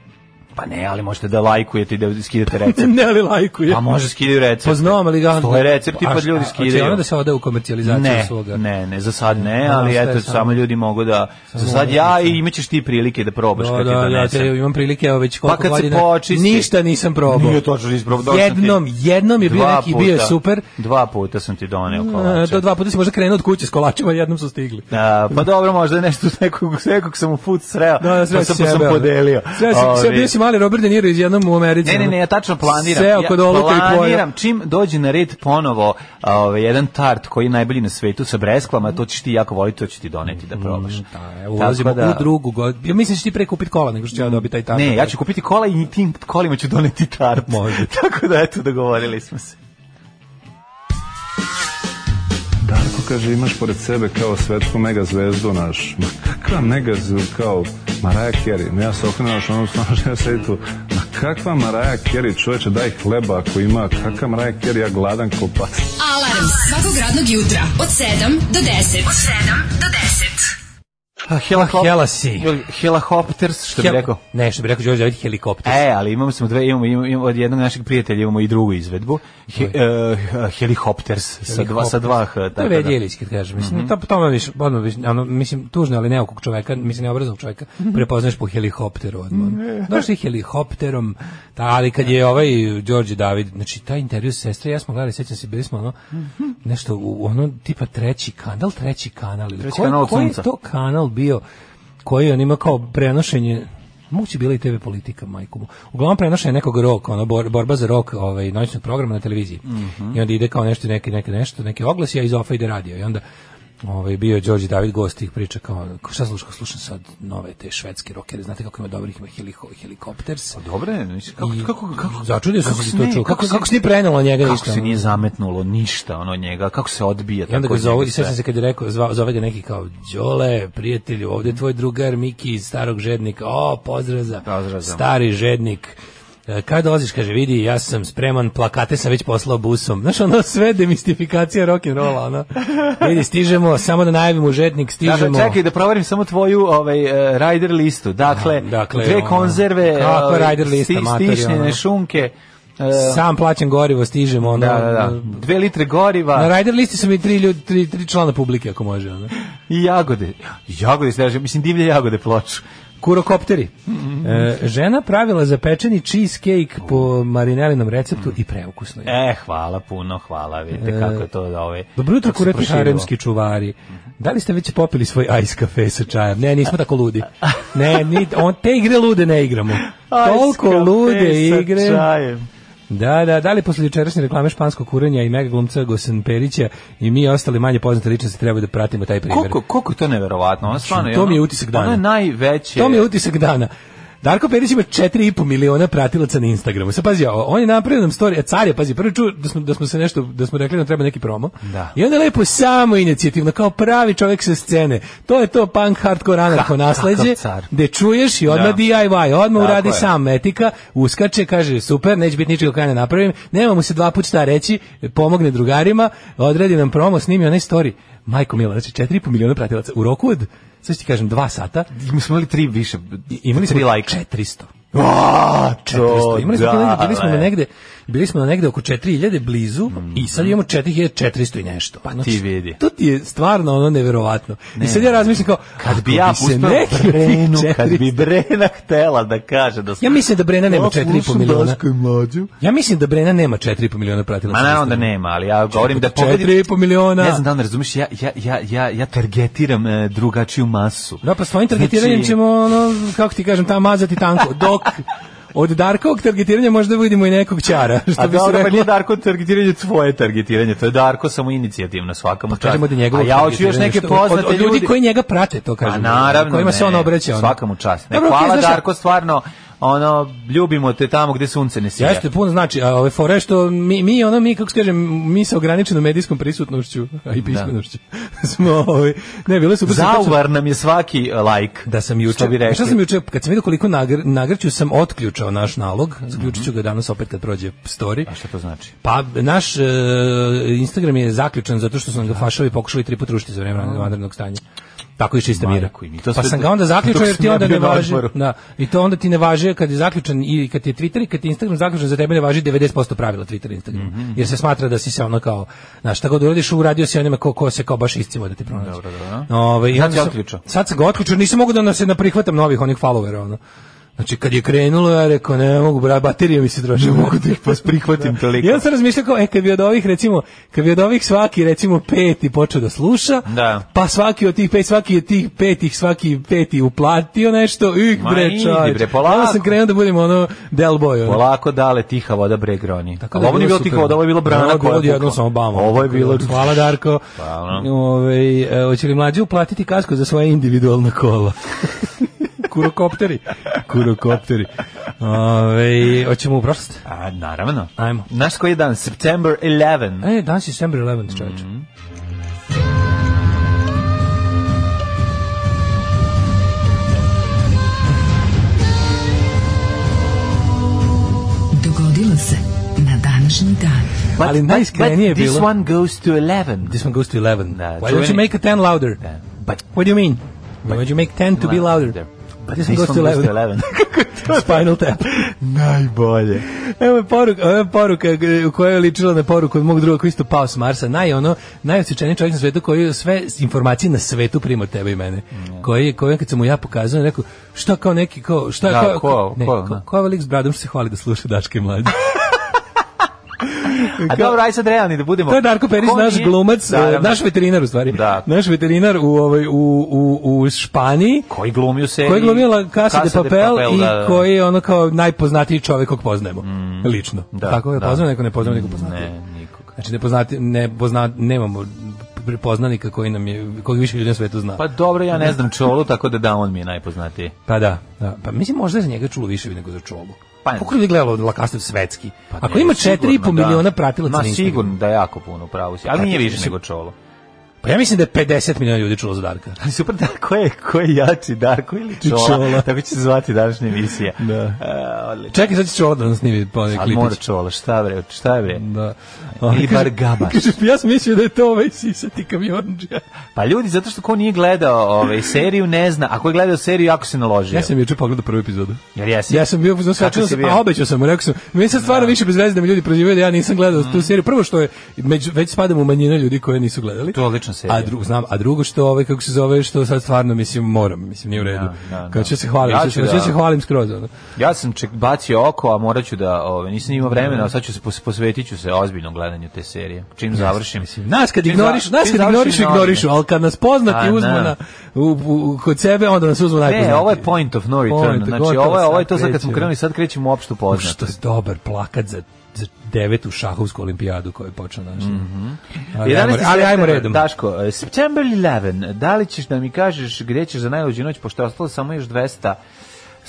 S7: Pa ne, ali možete da lajkujete i da skidete recept.
S6: ne, ali lajkuje.
S7: Pa može skidaju recept.
S6: Pa znam, ali ga...
S7: Stoje recepti,
S6: A
S7: pa
S6: šta,
S7: ljudi
S6: Hoće
S7: skidaju.
S6: ona da se ode u komercijalizaciju
S7: ne,
S6: svoga?
S7: ne, ne, za sad ne,
S6: Da,
S7: ali
S6: sve
S7: eto,
S6: samo-
S7: samo ljudi mogu da, za sad
S6: mogu
S7: ja
S6: da se-
S7: i imaćeš ti prilike da probaš
S6: Da,
S7: kad ti
S6: da, ja te
S7: donesem. Pa
S6: imam prilike, evo već koliko
S7: kad se
S6: godina,
S7: počisti.
S6: ništa nisam probao.
S7: Nije točno, nisi probao, došao sam ti-
S6: Jednom, jednom je bio
S7: Dva
S6: neki, bio je
S7: puta-
S6: super.
S7: Dva puta sam ti doneo
S6: E,
S7: kolače.
S6: Do dva puta si možda krenuo od kuće s kolačima, jednom su stigli.
S7: Da, pa dobro, možda je nešto s nekog, s nekog sam u put sreo,
S6: Da, da, sve
S7: pa sam, pa sam podelio.
S6: Sve, sve, sve
S7: Ovi-
S6: bio si mali Robert De Niro iz jednom u Americi. ono.
S7: Ne, ne, ne, ja tačno planiram.
S6: Seo kod oluka i
S7: ja
S6: pojeo.
S7: planiram čim dođe na red ponovo ovaj jedan tart koji je najbolji na svetu sa breskvama, to ćeš ti jako voliti, to ću ti doneti da probaš.
S6: Mm, Da, evo, ulazimo
S7: Tako da- Mm.
S6: u drugu godinu. Ja mislim da ćeš ti pre kupiti kola, nego što ću ja dobiti taj tata.
S7: Ne, ja ću kupiti kola i tim kolima ću doneti tart.
S6: Može.
S7: Tako da, eto, dogovorili smo se.
S8: Darko kaže imaš pored sebe kao svetsku megazvezdu naš. Ma kakva megazvezdu kao Mariah Carey? Ma ja se okrenuo što ono snažno ja sedi tu. Ma kakva Mariah Carey čoveče daj hleba ako ima. Kakva Mariah Carey ja gladan ko pas.
S5: Alarm svakog radnog jutra od 7 do 10. Od 7 do 10.
S7: Hela,
S6: Pa, Hela si.
S7: Helahopters, što bi rekao.
S6: Ne, što bi rekao Đorđe, zaviti helikopter.
S7: E, ali imamo smo dve, imamo, imamo, imamo od jednog našeg prijatelja imamo i drugu izvedbu. He, e, helikopters, sa dva, sa dva, h,
S6: To
S7: tako
S6: je
S7: da. Mhm.
S6: Red Jelić, kad kažem. Mislim, to, to ono više, odmah više, ono, mislim, tužno, ali neokog čoveka, mislim, neobraznog čoveka,
S7: Mhm.
S6: prepoznaš po helikopteru odmah.
S7: E.
S6: Došli helikopterom, ta, ali kad je ovaj Đorđe David, znači, taj intervju s sestre, ja smo gledali, sećam se, bili smo ono,
S7: Mhm.
S6: nešto, u, ono, tipa treći kanal, treći kanal, ili
S7: Treći
S6: koji,
S7: kanal od
S6: koji je
S7: sunca.
S6: to kanal bio koji on ima kao prenošenje moguće bila i TV politika, majku mu. Uglavnom prenošenje nekog roka, ono, bor- borba za rok ovaj, noćnog programa na televiziji.
S7: Mhm.
S6: I onda ide kao nešto, neke, neke nešto, neke oglasi, a iz ofa ide radio. I onda ovaj, bio je Đorđe David gost tih priča kao, kao, šta slušam, slušam sad nove te švedske rokere, znate kako ima dobrih, ima heliko, helikopters.
S7: Dobre, mislim, kako,
S6: I-
S7: kako, kako,
S6: Začudio sam se
S7: se
S6: to
S7: ne-
S6: čuo. Kako,
S7: kako se-
S6: kako se nije prenelo njega
S7: kako
S6: ništa,
S7: se
S6: ono?
S7: nije zametnulo ništa ono njega, kako se odbija
S6: I onda ga
S7: tako
S6: zove, i
S7: sve.
S6: sećam se kad je rekao, zva, zove ga neki kao, Đole, prijatelju, ovdje je tvoj drugar Miki iz starog žednika, o, pozdrav za
S7: Pozdrav za-
S6: stari žednik. E, Kad dolaziš, kaže, vidi, ja sam spreman, plakate sam već poslao busom. Znaš, ono sve demistifikacija rock'n'rolla, ono. Vidi, stižemo, samo da najavimo žednik,
S7: Dakle,
S6: stižemo.
S7: čekaj da proverim samo tvoju ovaj, e, rider listu. Dakle,
S6: Da, dakle,
S7: dve
S6: ono,
S7: konzerve,
S6: kakva
S7: ovaj,
S6: rider lista,
S7: sti-
S6: mater,
S7: stišljene
S6: ono.
S7: šunke, e,
S6: Sam plaćam gorivo, stižemo, ono.
S7: da, da, da, dve litre goriva
S6: Na rider listi su mi tri, ljudi, tri, tri člana publike, ako može, ono.
S7: i jagode. Jagode, se traže, mislim divlje jagode ploču.
S6: Kurokopteri. E, žena pravila za pečeni cheesecake po marinelinom receptu i preukusno je.
S7: E, hvala puno, hvala, vidite kako je to da ove...
S6: E, Dobro jutro,
S7: kako se
S6: kurati
S7: proširilo.
S6: haremski čuvari. Da li ste već popili svoj ice kafe sa čajem? Ne, nismo tako ludi. Ne, ni, on, te igre lude ne igramo.
S7: Ajs, kafe
S6: Toliko
S7: sa
S6: lude igre.
S7: čajem.
S6: Da, da, da li posle jučerašnje reklame španskog kurenja i mega glumca Gosen Perića i mi ostali manje poznate ličnosti treba da pratimo taj primjer. Znači,
S7: Koliko, koliko je to neverovatno, ono stvarno
S6: to
S7: ono-
S6: mi je utisak dana.
S7: Ono je najveće...
S6: To mi je utisak dana. Darko Perić ima 4,5 miliona pratilaca na Instagramu. Sad pazi, ovo, on je napravio nam story, a car je, pazi, prvo čuo da smo, da smo se nešto, da smo rekli da nam treba neki promo.
S7: Da.
S6: I onda lepo samo inicijativno, kao pravi čovjek sa scene. To je to punk hardcore anarcho nasleđe,
S7: kakav car.
S6: gde čuješ i odmah
S7: Da.
S6: DIY, odmah
S7: Tako
S6: uradi
S7: je.
S6: sam etika, uskače, kaže super, neće biti ničega kada ne napravim, nema mu se dva puta šta reći, pomogne drugarima, odredi nam promo, snimi onaj story. Majko Mila, znači 4,5 miliona pratilaca u roku od, sad ću ti kažem, dva sata,
S7: Mi smo imali tri više,
S6: i- imali smo
S7: tri lajka.
S6: 400.
S7: A,
S6: 400. Imali smo,
S7: da,
S6: negde, bili smo na
S7: le.
S6: negde, bili smo na negde oko 4000 blizu i sad imamo 4400 i nešto. Pa
S7: Mm. ti vidi.
S6: To ti je stvarno ono neverovatno. I sad ja razmišljam kao,
S7: Kad
S6: ako
S7: bi ja
S6: se neki
S7: pustio
S6: od
S7: Brenu,
S6: tih
S7: kad bi
S6: 400
S7: Brena htela da kaže da...
S6: Ja mislim da Brena nema 4,5 miliona.
S7: i mlađu.
S6: Ja mislim da Brena nema 4,5 miliona pratilaca.
S7: Ma
S6: na
S7: naravno da
S6: Instagramu.
S7: nema, ali ja govorim da pobedi...
S6: 4,5 miliona.
S7: Ne znam da li ne razumeš, ja, ja, ja, ja, ja targetiram e, drugačiju masu.
S6: Da, pa svojim targetiranjem
S7: Znači-
S6: ćemo, ono, kako ti kažem, ta mazati tanko. Dok od Darkovog targetiranja možda vidimo i nekog čara, što
S7: A
S6: bi se
S7: dobro, pa
S6: reklo.
S7: nije Darko targetiranje tvoje targetiranje, to je Darko samo inicijativno svakom čast.
S6: Pa Kažemo da
S7: A
S6: njegovo
S7: ja hoću još
S6: targetiranje,
S7: neke
S6: što- od-
S7: poznate
S6: od, od ljudi koji njega prate, to
S7: Pa
S6: kažem.
S7: naravno,
S6: Kojima se
S7: ne,
S6: on obraća. Ono.
S7: Svakamu čast. Ne,
S6: Dobro, okej,
S7: hvala
S6: znaš šta?
S7: Darko, stvarno, ono, ljubimo te tamo gde sunce ne sija.
S6: Jeste puno znači, a ove fore što mi mi ono mi kako se kaže mi sa ograničenom medijskom prisutnošću a i pismenošću. smo ovaj ne bile su
S7: Zauvar nam je svaki e, lajk.
S6: da sam juče,
S7: Što bi rekli.
S6: šta sam juče, kad sam vidio koliko nagr, nagrću sam otključao naš nalog, zaključit ću ga danas opet kad prođe story.
S7: A šta to znači?
S6: Pa naš e, Instagram je zaključan zato što su nam ga fašovi pokušali tri puta rušiti za vreme vanrednog stanja. Tako i čista mira.
S7: Majko mi, to
S6: Pa
S7: sve-
S6: sam ga onda zaključao
S7: dok
S6: jer ti
S7: sam ja
S6: onda ne
S7: bio na
S6: važi.
S7: odmoru.
S6: Da, I to onda ti ne važi kad je zaključan i kad je Twitter i kad je Instagram zaključan za tebe ne važi 90% pravila Twitter i Instagram.
S7: Mhm.
S6: Jer se smatra da si se ono kao, znaš, šta god uradiš, uradio si onima ko, ko se kao baš iscivo da ti pronađe.
S7: Dobro, da.
S6: Ovaj, i
S7: Sad
S6: onda
S7: si
S6: sam-
S7: otključao?
S6: Sad sam ga otključao, nisam mogao da na- se naprihvatam novih onih followera, ono. Znači, kad je krenulo, ja rekao, ne mogu, bra, baterija mi se troši. Ne mogu da ih
S7: Pa prihvatim toliko.
S6: i onda sam razmišljao kao, e, kad bi od ovih, recimo, kad bi od ovih svaki, recimo, peti počeo da sluša,
S7: Da.
S6: pa svaki od tih pet, svaki od tih petih, svaki peti uplatio nešto, ih
S7: Ma
S6: bre,
S7: idi,
S6: čovječ.
S7: bre, polako.
S6: Onda sam krenuo da budem, ono, del boy, ono.
S7: Polako dale tiha voda bre groni.
S6: Tako
S7: Ali
S6: je
S7: ovo nije
S6: bilo
S7: bilo tiha
S6: super.
S7: voda, ovo je bilo brana
S6: Ovo je
S7: koja
S6: bilo
S7: je
S6: odjednom
S7: pukla.
S6: samo bam.
S7: Ovo je bilo...
S6: Hvala Darko.
S7: Hvala.
S6: Ove, e, hoće li mlađi uplatiti kasko za svoje individualna kola? Kurokopteri. Kurokopteri. Ove, hoćemo u prošlost?
S7: A, naravno.
S6: Ajmo.
S7: Znaš koji je dan? September 11.
S6: E, danas je December 11, čovječ.
S5: Dogodilo se na današnji dan.
S7: But-
S6: ali
S7: but-
S6: najiskrenije je
S7: but This
S6: bilo-
S7: one goes to 11.
S6: This one goes to 11.
S7: Da,
S6: Why don't you
S7: čuveni-
S6: make a 10 louder?
S7: Da. But
S6: What do you mean? Why don't you make 10 to be louder?
S7: But
S6: This one goes to 11.
S7: 11.
S6: Spinal tap.
S7: Najbolje.
S6: Evo je poruka, evo je poruka g- koja je ličila na poruku od mog druga koji je isto pao s Marsa. Naj, ono, najosjećaniji čovjek na svetu koji sve informacije na svetu prima od tebe i mene. Koji, je- koji je kad sam mu ja pokazao, rekao, šta kao neki, kao, šta,
S7: Da,
S6: kao,
S7: ko-
S6: ne,
S7: ko,
S6: ko,
S7: da.
S6: ko je ovaj lik s bradom što se hvali da sluša Daške mlađe.
S7: A dobro, aj sad realni da budemo.
S6: To je Darko Perić,
S7: Ko
S6: naš
S7: nije-
S6: glumac, e,
S7: Naravno.
S6: naš veterinar u stvari.
S7: Da.
S6: Naš veterinar u, ovaj, u, u, u Španiji.
S7: Koji glumi u seriji?
S6: Koji je glumila Casa de Papel i
S7: da, da.
S6: koji je ono kao najpoznatiji čovjek kog poznajemo, lično.
S7: Da,
S6: Tako je
S7: da.
S6: poznajemo, neko ne poznajemo, neko poznati.
S7: Ne, nikog.
S6: Znači ne poznati, ne pozna, nemamo prepoznanika koji nam je, koji više ljudi na svetu zna.
S7: Pa
S6: Pa,
S7: dobro, ja ne znam Čolu, tako da da, on mi je najpoznatiji.
S6: da, da. Pa mislim možda je za njega čulo više nego za čolu.
S7: Pa
S6: Pa,
S7: ne.
S6: Kako ljudi gledalo La Casa svetski?
S7: Pa
S6: Ako
S7: ne,
S6: ima
S7: sigurno,
S6: 4,5
S7: da.
S6: miliona pratilaca na
S7: Ma
S6: Instagramu.
S7: sigurno da je jako puno, pravo si. Ali
S6: Pa,
S7: nije više
S6: mislim-
S7: nego Čolo.
S6: Pa ja mislim da je 50 miliona ljudi čulo za Darka.
S7: Ali super, da, ko je, ko je jači, Darko ili Čola?
S6: Čola.
S7: Tako će se zvati današnja emisija.
S6: Da.
S7: E, odlično.
S6: Čekaj, sad će Čola da nas snimi po neki
S7: Ali
S6: klitić.
S7: mora čola, šta bre, šta bre?
S6: Da.
S7: Ili bar gabaš.
S6: Kaže, ja sam mislio da je to ovaj sisati kamionđija.
S7: Pa ljudi, zato što ko nije gledao ovaj, seriju, ne zna. Ako je gledao seriju, jako se naložio.
S6: Ja sam juče pogledao prvu epizodu.
S7: Jer jesi?
S6: Ja sam bio
S7: Kako
S6: zasačio
S7: si
S6: sam,
S7: bio?
S6: a obećao sam, mu, rekao sam, meni se stvarno više bez veze da mi ljudi prozivaju da ja nisam gledao
S7: Mm.
S6: tu seriju. Prvo što je među, već spadam u manjinu ljudi koje nisu gledali.
S7: To je odlična serija.
S6: A drugo znam, a drugo što ovaj kako se zove što sad stvarno mislim moram, mislim nije u redu.
S7: Da, da, da.
S6: Kao ću se hvalim,
S7: Ja
S6: ja
S7: ću
S6: ću
S7: da-
S6: se hvalim skroz ono.
S7: Ja sam ček bacio oko, a morat ću da, ove, nisam imao vremena, a sad ću se pos, posvetit ću se ozbiljnom gledanju te serije. Čim završim.
S6: Nas kad
S7: Čim za-
S6: ignoriš, nas
S7: čim
S6: kad
S7: završim
S6: ignoriš,
S7: novine.
S6: ignorišu, ali kad nas poznati
S7: A,
S6: uzmu
S7: da.
S6: na, u, u- kod sebe, onda nas uzmu najpoznati.
S7: Ne, ovo je point of no return.
S6: Point,
S7: znači,
S6: gotovo,
S7: ovo je, ovo je
S6: sad
S7: to sad kad smo
S6: krećemo.
S7: krenuli, sad krećemo u opštu poznat.
S6: Što je dobar plakat za, za devetu šahovsku olimpijadu koja je počela naša.
S7: Mhm.
S6: ali, ajmo,
S7: 11.
S6: ali ajmo
S7: septembar,
S6: redom.
S7: Daško, eh, September 11, da li ćeš da mi kažeš gdje ćeš za najluđu noć, pošto je ostalo samo još 200,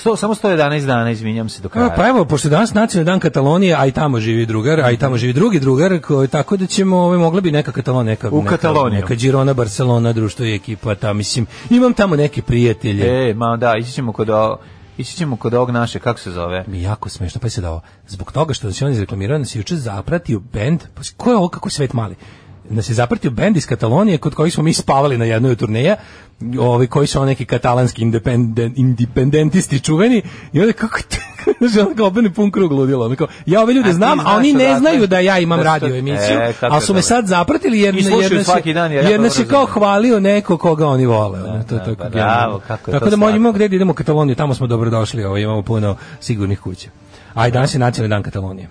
S7: 100, samo 111 dana, izvinjam se do kraja.
S6: A, pa evo, pošto je danas nacionalni dan Katalonije, a i tamo živi drugar, a i tamo živi drugi drugar, ko, tako da ćemo, ovaj, mogla bi neka Katalon, neka,
S7: U
S6: neka,
S7: Kataloniju.
S6: neka Girona, Barcelona, društvo i ekipa, ta, mislim, imam tamo neke prijatelje.
S7: E, ma da, ići ćemo kod, o- ići ćemo kod ovog naše, kako se zove?
S6: mi je jako smešno, pa se dao. Zbog toga što se on izreklamirao, nas je juče zapratio bend, pa si- ko je ovo, kako je svet mali? nas je zapratio bend iz Katalonije kod kojih smo mi spavali na jednoj od turneja, ovi koji su oni neki katalanski independen- independentisti čuveni, i onda kako te, znaš, ono kao opet pun krug ludilo, ono kao, ja ove ljude
S7: ti
S6: znam, a
S7: znaš
S6: oni ne
S7: odakle-
S6: znaju da ja imam
S7: da su to-
S6: radio emisiju,
S7: E, kako
S6: ali su me
S7: dobro.
S6: sad zapratili, jer,
S7: I slušaju
S6: jer nas,
S7: svaki dan,
S6: je,
S7: jer ja
S6: jer nas
S7: dobro
S6: je kao
S7: razumem.
S6: hvalio neko koga oni vole. ono, to je
S7: da, pa
S6: tako
S7: bravo,
S6: genijalno. tako
S7: kako je to
S6: da
S7: slatko.
S6: možemo gde da idemo u Kataloniju, tamo smo dobrodošli, ovaj, imamo puno sigurnih kuća. A i danas je nacionalni dan Katalonije.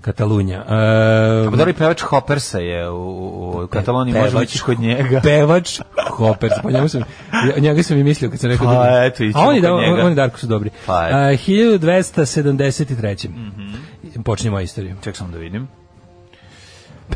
S6: Katalunja. E,
S7: Mhm. Pa dobro, i pevač Hoppersa je u, u, u Kataloniji, možemo
S6: pevač-
S7: ići kod njega.
S6: pevač Hopper, po njemu sam, ja- njega sam i mislio kad sam rekao
S7: Pa,
S6: drugi.
S7: eto, ićemo
S6: a oni, da,
S7: kod njega.
S6: oni Darko su dobri.
S7: Pa, eto.
S6: E, 1273.
S7: Mhm.
S6: Počinjemo istoriju.
S7: Ček sam da vidim.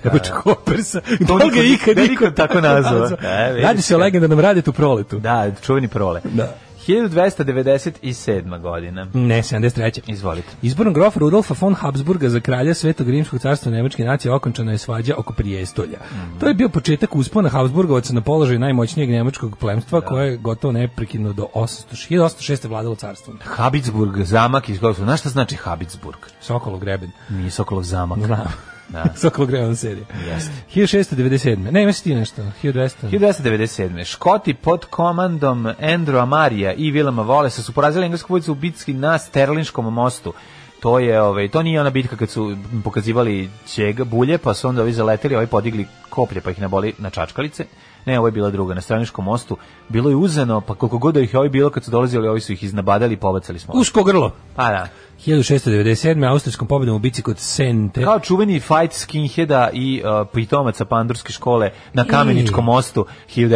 S6: Pevač Hoppersa. Da
S7: Pa niko-
S6: li ga je ikad
S7: da
S6: niko,
S7: niko tako nazvao. E, vidiš
S6: Radi se o
S7: ga.
S6: legendarnom radetu proletu.
S7: Da, čuveni prole.
S6: Da.
S7: 1297. godina.
S6: Ne, 73.
S7: Izvolite.
S6: Izborom grofa Rudolfa von Habsburga za kralja Svetog rimskog carstva Nemačke nacije okončana je svađa oko prijestolja.
S7: Mhm.
S6: To je bio početak uspona Habsburgovaca na položaju najmoćnijeg nemačkog plemstva koje je gotovo neprekidno do 800, 1806. vladalo carstvom.
S7: Habitsburg, zamak iz kojeg su. Znaš šta znači Habitsburg?
S6: Sokolov greben.
S7: Nije Sokolov zamak.
S6: Znam.
S7: Da.
S6: Sokolov greben serija.
S7: Jeste.
S6: 1697. Ne, imaš ti nešto. 1200.
S7: 1997. Škoti pod komandom Andrewa Marija i Willema Wallace su porazili englesku vojsku u bitci na Sterlinškom mostu. To je, ovaj, to nije ona bitka kad su pokazivali ćega bulje, pa su onda ovi zaleteli, ovi podigli koplje, pa ih naboli na čačkalice. Ne, ovo je bila druga, na Sterlinškom mostu. Bilo je uzeno, pa koliko god da ih je ovi bilo kad su dolazili, ovi su ih iznabadali i pobacali smo.
S6: Usko grlo.
S7: Pa da.
S6: 1697. Austrijskom pobedom u bici kod Sente.
S7: Kao čuveni fight skinheada i uh, pitomaca pandurske škole na Kameničkom
S6: I-
S7: mostu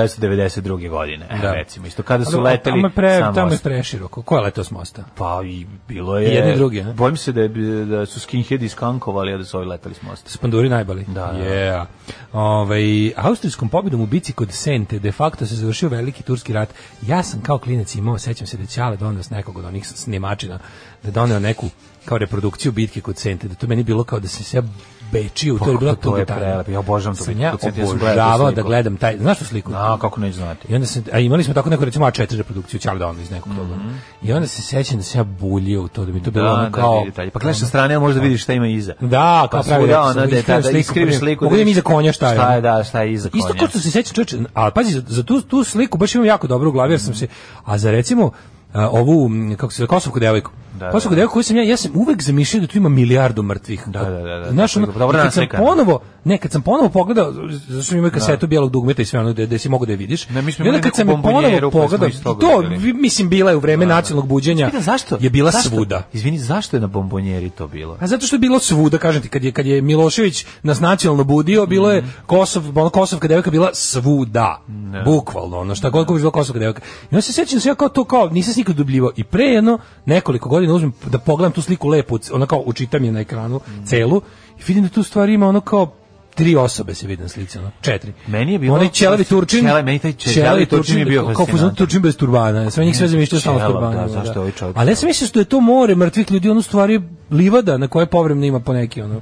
S7: 1992. godine. Evo,
S6: Da.
S7: recimo, isto kada su
S6: Ali,
S7: leteli
S6: tamo je pre,
S7: sa
S6: tamo je
S7: mosta.
S6: preširoko. Ko je letao s mosta?
S7: Pa i bilo je...
S6: I jedni i drugi, a?
S7: Bojim se da, je, bi- da su skinheadi iskankovali, a da su ovi letali s mosta.
S6: Spanduri najbali.
S7: Da, da.
S6: Yeah. Ovaj, austrijskom pobjedom u bici kod Sente de facto se završio veliki turski rat. Ja sam kao klinac imao, sećam se da je Ćale donio s nekog od onih snimačina, da je donio neku kao reprodukciju bitke kod Sente, da to meni bilo kao da sam se ja bečio, to je bilo
S7: Kako Pa, to je
S6: totalitarno.
S7: prelepo, ja obožavam tu
S6: Sam
S7: bitku
S6: ja
S7: kod Sente, ja sam gledao tu
S6: obožavao da
S7: sliku.
S6: gledam taj, znaš tu sliku?
S7: A, kako neću znati.
S6: I onda se, a imali smo tako neku recimo A4 reprodukciju Ćale donio iz nekog toga. I onda se sećam da sam ja buljio u to, da mi to bilo ono
S7: Mhm. Da, da,
S6: kao...
S7: vidi dalje. Pa gledaš sa strane, ali možda vidiš šta ima iza.
S6: Da, kao
S7: Pa
S6: pravi
S7: svuda
S6: rekao
S7: ono
S6: sam,
S7: da je
S6: iskriviš
S7: tada-
S6: sliku,
S7: iskriviš sliku,
S6: pogledam
S7: vidiš
S6: iza konja šta je. ono.
S7: šta je, da, šta je iza
S6: Isto
S7: konja.
S6: kao što se seća čoveče, ali pazi, za- za tu, tu sliku baš imam jako dobro u glavi, jer sam se, a za recimo a, ovu, m, kako se zove, Kosovku devojku,
S7: Da, da,
S6: Kosovku
S7: da.
S6: devojku koju sam ja, ja sam uvek zamišljao da tu ima milijardu mrtvih.
S7: Da, da, da, da,
S6: Znaš,
S7: tako
S6: ono,
S7: je, dobro
S6: i kad sam
S7: naslikano.
S6: ponovo, ne, kad sam ponovo pogledao, zašto sam imao kasetu bijelog dugmeta i sve ono, da, da si mogu da je vidiš.
S7: Ne, mi smo
S6: I onda
S7: imali
S6: kad
S7: neku
S6: sam je ponovo
S7: bombonjeru koju smo
S6: pogledao,
S7: iz toga
S6: to,
S7: videli.
S6: vi- mislim, bila je u vreme nacionalnog buđenja,
S7: Pitam, zašto?
S6: je bila
S7: zašto?
S6: svuda.
S7: Izvini, zašto je na bombonjeri to bilo?
S6: A zato što je bilo svuda, kažem ti, kad je, kad je Milošević nas nacionalno budio, bilo
S7: Mhm.
S6: je Kosov, ono, Kosovka devojka bila svuda. Bukvalno, ono, šta god ko bi bila Kosovka devojka. I onda se sjećam da sam ja kao to, kao, nisam se nikad udubljivao. I pre jedno, nekoliko godina uzmem da pogledam tu sliku lepo, ona kao učitam je na ekranu
S7: Mhm.
S6: celu, i vidim da tu stvar ima ono kao tri osobe se vidi na slici, ono, četiri.
S7: Meni je bilo-
S6: Onaj Ćelavi Turčin,
S7: Ćelavi, meni taj Ćelavi Turčin je bio
S6: kao fuzon
S7: fascinantan.
S6: Turčin bez turbana, sve njih sve zamišljaju samo s
S7: Ćelav,
S6: turbanima.
S7: da, zašto je ovaj čovjek
S6: Ali ja sam mislio da je to more mrtvih ljudi, ono u stvari je livada na koje povremeno ima poneki ono.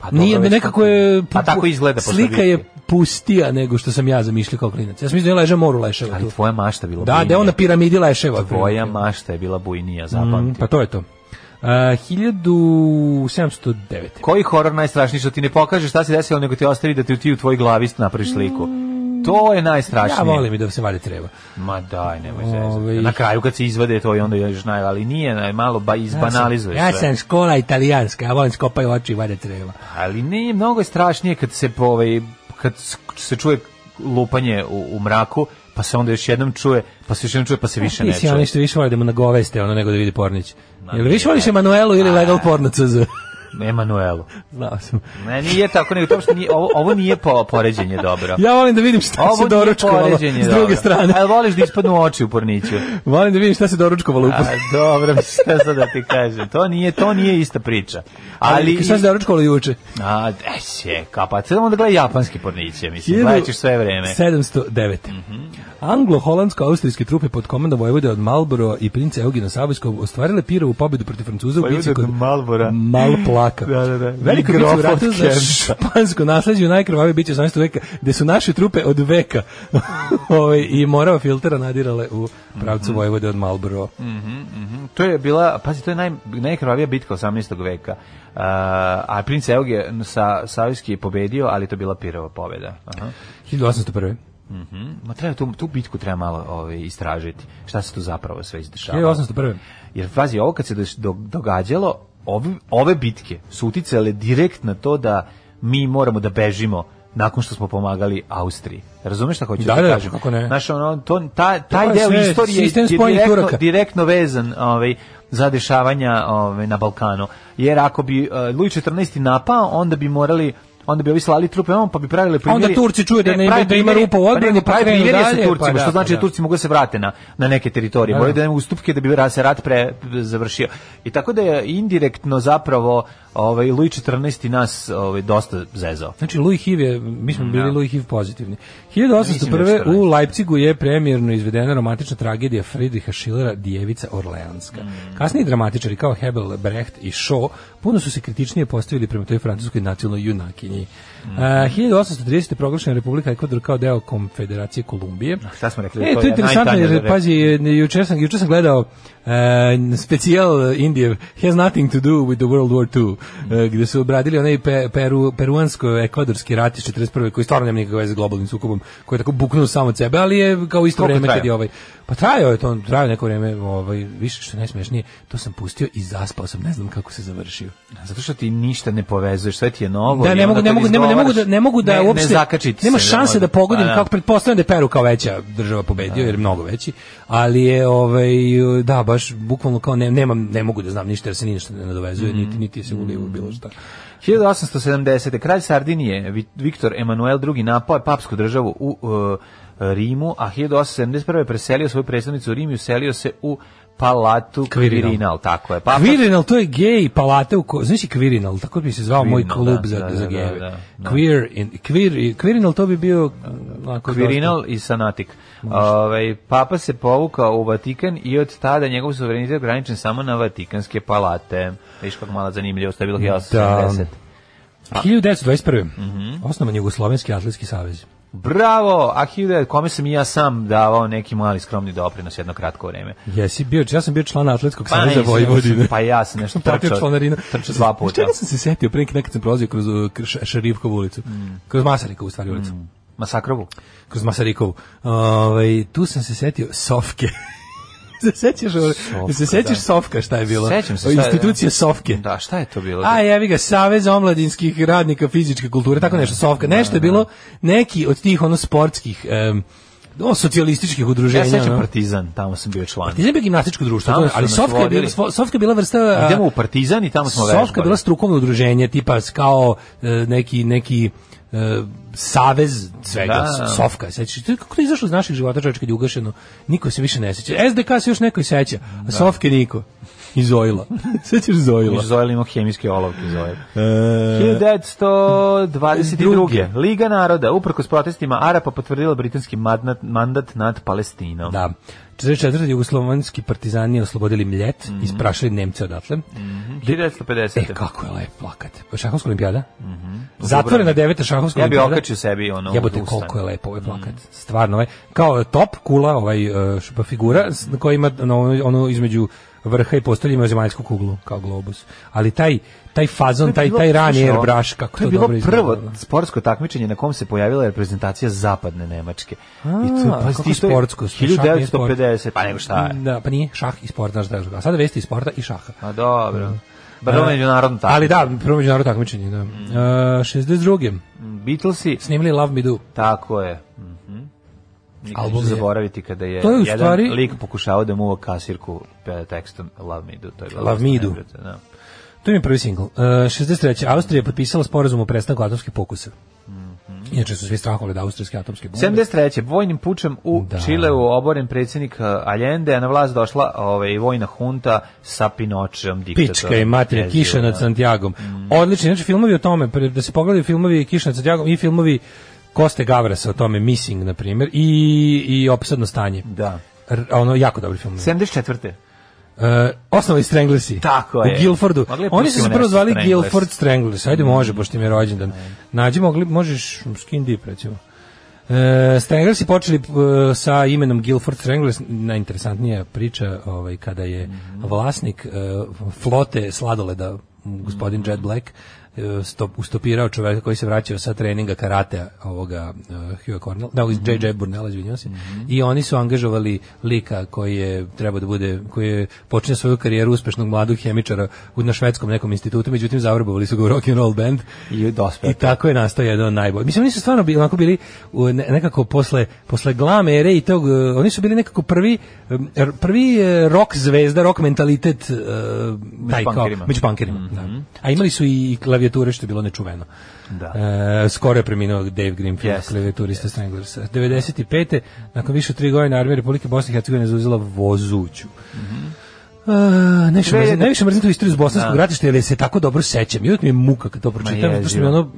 S7: Pa dobro,
S6: Nije,
S7: već
S6: nekako
S7: kako-
S6: je...
S7: Pa tako izgleda posle
S6: Slika je
S7: bitke.
S6: pustija nego što sam ja zamišljao kao klinac. Ja sam mislio da je ležao moru leševa tu.
S7: Ali tvoja mašta je bila
S6: Da, da je
S7: bujnija.
S6: on na piramidi leševa.
S7: Tvoja
S6: otprilike. Mm,
S7: mašta je bila bujnija, zapamti.
S6: Pa to je to. Uh, 1709.
S7: Koji horor najstrašniji što ti ne pokaže šta se desilo, nego ti ostavi da ti, ti u tvoj glavi napraviš sliku. To je najstrašnije.
S6: Mm. Ja volim i da se valja treba.
S7: Ma daj, nemoj
S6: Ovaj.
S7: zezati. Na kraju kad se izvade to i onda još naj, ali nije, naj, malo ba, izbanalizuješ
S6: Ja
S7: Pa sve.
S6: sam škola italijanska, ja volim skopaju oči i valja treba.
S7: Ali ne, mnogo je strašnije kad se po ovaj, kad s- se čuje lupanje u, u mraku, pa se onda još jednom čuje, pa se još jednom čuje, pa se više
S6: Ti
S7: ne
S6: si ono
S7: čuje.
S6: što više voli da mu nagoveste, ono nego da vidi Pornić. Jel
S7: nije.
S6: više voliš Emanuelu ili Legal Porno CZ?
S7: Emanuelu.
S6: Znao sam.
S7: Ne, nije tako, nego to uopšte nije, ovo, ovo nije po, poređenje dobro.
S6: Ja volim da vidim šta
S7: Pa Ovo
S6: se
S7: nije
S6: doručkovalo
S7: poređenje
S6: ono, s druge
S7: dobro.
S6: strane.
S7: A jel voliš da ispadnu oči u porniću?
S6: Volim da vidim šta se doručkovalo u
S7: A, dobro, mislim, šta sad da ti kažem. To nije, to nije ista priča. Ali,
S6: šta se doručkovalo juče?
S7: a, e, sjeka, pa sad onda gledaj japanski porniće, mislim, gledat ćeš sve vreme.
S6: 709. Anglo-holandsko-austrijske trupe pod komandom Vojvode od Malboro i princa Eugena Savojskog ostvarile pirovu pobedu protiv Francuza u
S7: Vojvode
S6: bici
S7: od
S6: kod
S7: Marlbora.
S6: Malplaka.
S7: Da, da, da.
S6: Veliko
S7: I
S6: biće u
S7: grofa
S6: ratu
S7: od
S6: za
S7: Kempa.
S6: špansko nasledđe u najkrvavije biće 18. veka, gde su naše trupe od veka ovaj, i morava filtera nadirale u pravcu
S7: Mhm.
S6: Vojvode od Malboro.
S7: To je bila, pazi, to je naj, najkrvavija bitka 18. veka. Uh, a princ Euge sa Savijski je pobedio, ali to je bila pirova pobeda. Aha.
S6: 1801.
S7: Ma treba tu, tu bitku treba malo ovaj, istražiti. Šta se tu zapravo sve izdešavalo?
S6: 1801.
S7: Jer, pazi, ovo kad se deš- do- događalo, ove, ove bitke su uticale direkt na to da mi moramo da bežimo nakon što smo pomagali Austriji. Razumeš šta hoću
S6: Da,
S7: da,
S6: da,
S7: kažem?
S6: kako ne.
S7: Znaš, ono, to, ta, taj
S6: je
S7: deo
S6: sve
S7: istorije je
S6: sistem spojenih
S7: direktno,
S6: Turaka.
S7: direktno vezan ovaj, za dešavanja ovaj, na Balkanu. Jer ako bi uh, Luj 14. napao, onda bi morali onda bi ovi slali trupe on pa bi pravili
S6: onda
S7: primirje-
S6: Turci čuju da
S7: Ne,
S6: ne ima-
S7: prave
S6: da ima
S7: primirje-
S6: rupa u odbrani,
S7: nego
S6: pa
S7: prave
S6: krenu
S7: primirje
S6: dalje,
S7: sa Turcima,
S6: pa da,
S7: što znači
S6: pa
S7: da
S6: da.
S7: Turci mogu da se vrate na, na neke teritorije.
S6: Da,
S7: Moraju
S6: da.
S7: da nema ustupke da bi ra- se rat pre, završio. I tako da je indirektno zapravo ovaj, Luj 14. nas ovaj, dosta zezao.
S6: Znači, Louis Hiv je, mi smo bili Louis Hiv pozitivni.
S7: Mislim da
S6: 1801.
S7: je
S6: u Leipcigu je premijerno izvedena romantična tragedija Friedricha Schillera Djevica Orleanska. Kasniji dramatičari kao Hebel, Brecht i Shaw puno su se kritičnije postavili prema toj francuskoj nacionalnoj junakinji. A, 1830. je proglašena Republika Ekvador kao deo Konfederacije Kolumbije.
S7: Šta smo rekli?
S6: E, to je interesantno,
S7: najtanje da
S6: jer,
S7: reći.
S6: pazi, e, jučer sam, jučer sam gledao uh, specijal Indije Has nothing to do with the World War II, uh, gde su obradili onaj pe, peru, peruansko-ekvadorski rat iz 41. koji stvarno nema nikakve veze s globalnim sukobom, koji je tako buknuo samo od sebe, ali je kao isto
S7: Koliko
S6: vreme kad je
S7: traje?
S6: ovaj... Pa trajao je to, trajao je neko vreme, ovaj, više što je najsmešnije, to sam pustio i zaspao sam, ne znam kako se završio.
S7: Zato što ti ništa ne povezuješ, sve ti je novo.
S6: Da,
S7: i
S6: ne
S7: onda
S6: mogu, ne
S7: kad
S6: mogu, ne, ne mogu da
S7: izgovaraš,
S6: ne mogu da
S7: ne,
S6: uopšte
S7: ne zakačiti
S6: nema
S7: se,
S6: šanse da
S7: onda.
S6: pogodim
S7: Pa da.
S6: kako pretpostavljam da je Peru kao veća država pobedio jer je mnogo veći, ali je ovaj da baš bukvalno kao ne, nemam ne mogu da znam ništa jer se ništa ne nadovezuje
S7: Mhm.
S6: niti niti se uliva u bilo šta.
S7: 1870. kralj Sardinije Vi- Viktor Emanuel II napao je papsku državu u uh, Rimu, a 1871. je preselio svoju predstavnicu u Rim i uselio se u palatu
S6: Kvirinal.
S7: Kvirinal, tako je. Papa
S6: Kvirinal, to je gej palate u ko... Znaš i Kvirinal, tako bi se zvao moj
S7: Kvirinal,
S6: klub
S7: da,
S6: za,
S7: da,
S6: za
S7: da,
S6: gejeve.
S7: da, da.
S6: Queer in, queer, Kvirinal to bi bio... uh, onako
S7: Kvirinal i Sanatik. Ovaj papa se povukao u Vatikan i od tada njegov suverenitet je ograničen samo na Vatikanske palate. Viš kako mala zanimljivost, to je bilo 1870.
S6: dosta- 1921.
S7: Mhm.
S6: Osnovan je Jugoslovenski atletski savez.
S7: Bravo! A 1000, kome sam i ja sam davao neki mali skromni doprinos jedno kratko vreme.
S6: Jesi bio, ja sam bio član Atletskog saveza
S7: Pa nisam,
S6: Vojvodine.
S7: Pa ja sam nešto
S6: sam platio
S7: trčao-
S6: članarinu.
S7: Trčao dva puta.
S6: Čega sam se setio pre neki dan kad sam prolazio kroz uh, kr- Ša- Šarifkovu ulicu.
S7: Mm.
S6: Kroz Masarikovu u stvari ulicu.
S7: Masakrovu.
S6: Kroz Masarikovu. Ovaj, tu sam se setio Sofke. se sećaš, Sofka, se sećaš
S7: da.
S6: Sofka šta je bilo?
S7: Sećam se,
S6: O,
S7: šta je-
S6: Institucije Sofke.
S7: Da, šta je to bilo?
S6: A jevi ga, Savez omladinskih radnika fizičke kulture, tako nešto, Sofka, nešto je bilo, neki od tih ono sportskih, em, o, socijalističkih udruženja.
S7: ja sećam
S6: ono.
S7: Partizan, tamo sam bio član.
S6: Partizan je bio gimnastičko društvo,
S7: Tamo
S6: to je-
S7: su
S6: ali
S7: nas
S6: Sofka je, bila,
S7: vodili.
S6: svo- Sofka je bila vrsta... a,
S7: Idemo u Partizan i tamo smo
S6: Sofka je bila
S7: vežbali.
S6: strukovno udruženje, tipa s- kao e, neki, neki e, savez svega,
S7: Da.
S6: s- Sofka, sećaš, to je- kako to je izašlo iz naših života čovječe kad je ugašeno, niko se više ne seća, SDK se još neko i seća, a Sofke niko, i Zojla, sećaš Zojla?
S7: Mi Zoel imao hemijske olovke, Zoel.
S6: E,
S7: 1922. Liga naroda, uprkos protestima Arapa, potvrdila britanski mandat, mandat nad Palestinom.
S6: Da. 44. jugoslovanski partizani oslobodili Mljet,
S7: Mhm.
S6: isprašili Nemce odatle.
S7: 1950.
S6: E, kako je lep plakat. Šahovska olimpijada? Zatvorena deveta šahovska
S7: Mhm. ja bi
S6: olimpijada.
S7: okačio sebi ono Mm.
S6: Jebote
S7: u
S6: koliko
S7: stan.
S6: je lepo ovaj plakat. e, Stvarno ovaj kao top kula ovaj e, š- pa figura s- koja ima ono, ono između vrha i postolje ima zemaljsku kuglu, kao globus. Ali taj, taj fazon, taj, taj rani
S7: slušaj, ovo,
S6: airbrush, kako to,
S7: je bilo
S6: dobro izgleda.
S7: prvo sportsko takmičenje na kom se pojavila reprezentacija zapadne Nemačke.
S6: A,
S7: pazi,
S6: kako
S7: ti, to je
S6: sportsko, šah nije sport.
S7: 1950, pa nego šta je.
S6: Da, pa nije šah i sport, znaš da je. A sada vesti iz sporta i šaha. E,
S7: Pa dobro. Pa Prvo međunarodno Mm. tako.
S6: Mm. Ali da, prvo međunarodno takmičenje, da. Uh, 62.
S7: Beatlesi,
S6: Snimili Love Me Do.
S7: tako je. Mhm. Nikad
S6: Album
S7: Album
S6: je-
S7: zaboraviti kada je,
S6: To je u
S7: jedan
S6: stvari-
S7: lik pokušavao da mu uva kasirku pe- tekstom Love Me Do. To je bila
S6: Love Me Do.
S7: nevjerojatno, Da.
S6: To im je prvi singl. Uh, 63. Austrija je potpisala sporazum o prestanku atomskih pokusa.
S7: Mhm.
S6: Inače su svi strahovali da austrijske atomske bombe.
S7: 73. vojnim pučem u
S6: Da.
S7: Čileu oboren predsjednik eh, Allende, a na vlast došla ovaj, vojna hunta sa Pinočeom diktatorom.
S6: Pička i materija,
S7: Jezivo,
S6: Kiša nad
S7: da. Mm.
S6: Santiagom. Odlični, znači filmovi o tome, pre- da se pogledaju filmovi Kiša nad Santiagom i filmovi Koste Gavrasa o tome, Missing, na primjer, i, i Opsadno stanje.
S7: Da.
S6: R- ono, jako dobri film.
S7: 74.
S6: E, osnovali Stranglersi.
S7: Tako je.
S6: U Guilfordu.
S7: Mogli je
S6: Oni su se
S7: pustimo
S6: prvo
S7: nešto Mm.
S6: zvali
S7: Stranglers.
S6: Guilford Stranglers. Ajde može, pošto im je rođendan. Nađi, mogli, možeš Skin Deep, recimo. E, Stranglers je počeli e, sa imenom Guilford Stranglers, najinteresantnija priča ovaj, kada je vlasnik e, flote sladoleda, gospodin Jet Black, e, stop, ustopirao čoveka koji se vraćao sa treninga karatea ovoga uh, Hugha Cornell, ne, ovog J.J. Burnella, izvinjavam se, i oni su angažovali lika koji je trebao da bude, koji je počinio svoju karijeru uspešnog mladog hemičara u, na švedskom nekom institutu, međutim zavrbovali su ga u rock and roll band
S7: I dospeo.
S6: i tako je nastao jedan od najboljih. Mislim, oni su stvarno bili, onako bili u, ne- nekako posle, posle glam ere i tog, e, oni su bili nekako prvi, em, r- prvi e, rock zvezda, rock mentalitet e, taj kao,
S7: punkerima. Mhm.
S6: među punkerima. da. A imali su i klavijature što je bilo nečuveno.
S7: Da.
S6: E, skoro je preminuo Dave Greenfield,
S7: Jeste.
S6: klavijaturista Stranglers. 95. nakon više od tri godine armija Republike Bosne i Hercegovine zauzela vozuću. Uh, najviše mrzim, najviše mrzim tu istoriju iz bosanskog
S7: Mhm. Da.
S6: ratišta, jer je se tako dobro sećam. I uvijek mi je muka kad to pročitam, zato što mi
S7: jezivo.
S6: ono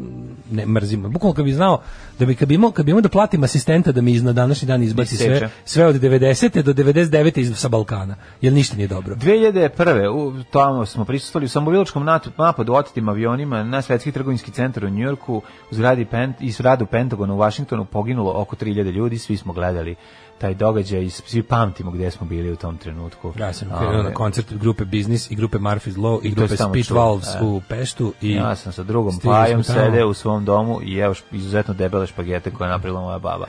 S6: ne mrzim. Bukvalno kad bi znao da bi kad bi imao, kad bi imao da platim asistenta da mi iz na današnji dan izbaci
S7: Da iseče.
S6: sve, sve od 90. do 99. iz sa Balkana, jer ništa nije dobro.
S7: 2001. U, tamo smo prisustvali u samobiločkom natu- napadu otetim avionima na svetski trgovinski centar u Njujorku u zgradi Pent, i zgradu Pentagona u Vašingtonu poginulo oko 3000 ljudi, svi smo gledali taj događaj i svi pamtimo gdje smo bili u tom trenutku.
S6: Ja sam
S7: A,
S6: krenuo na
S7: e,
S6: koncert grupe Business i grupe Murphy's Law i
S7: to je
S6: grupe
S7: samo
S6: Speed
S7: čuo,
S6: Valves
S7: da.
S6: u Peštu i
S7: Ja sam sa drugom
S6: stigli smo
S7: pajom
S6: tamo.
S7: sedeo u svom domu i jeo š- izuzetno debele špagete koje je napravila moja baba.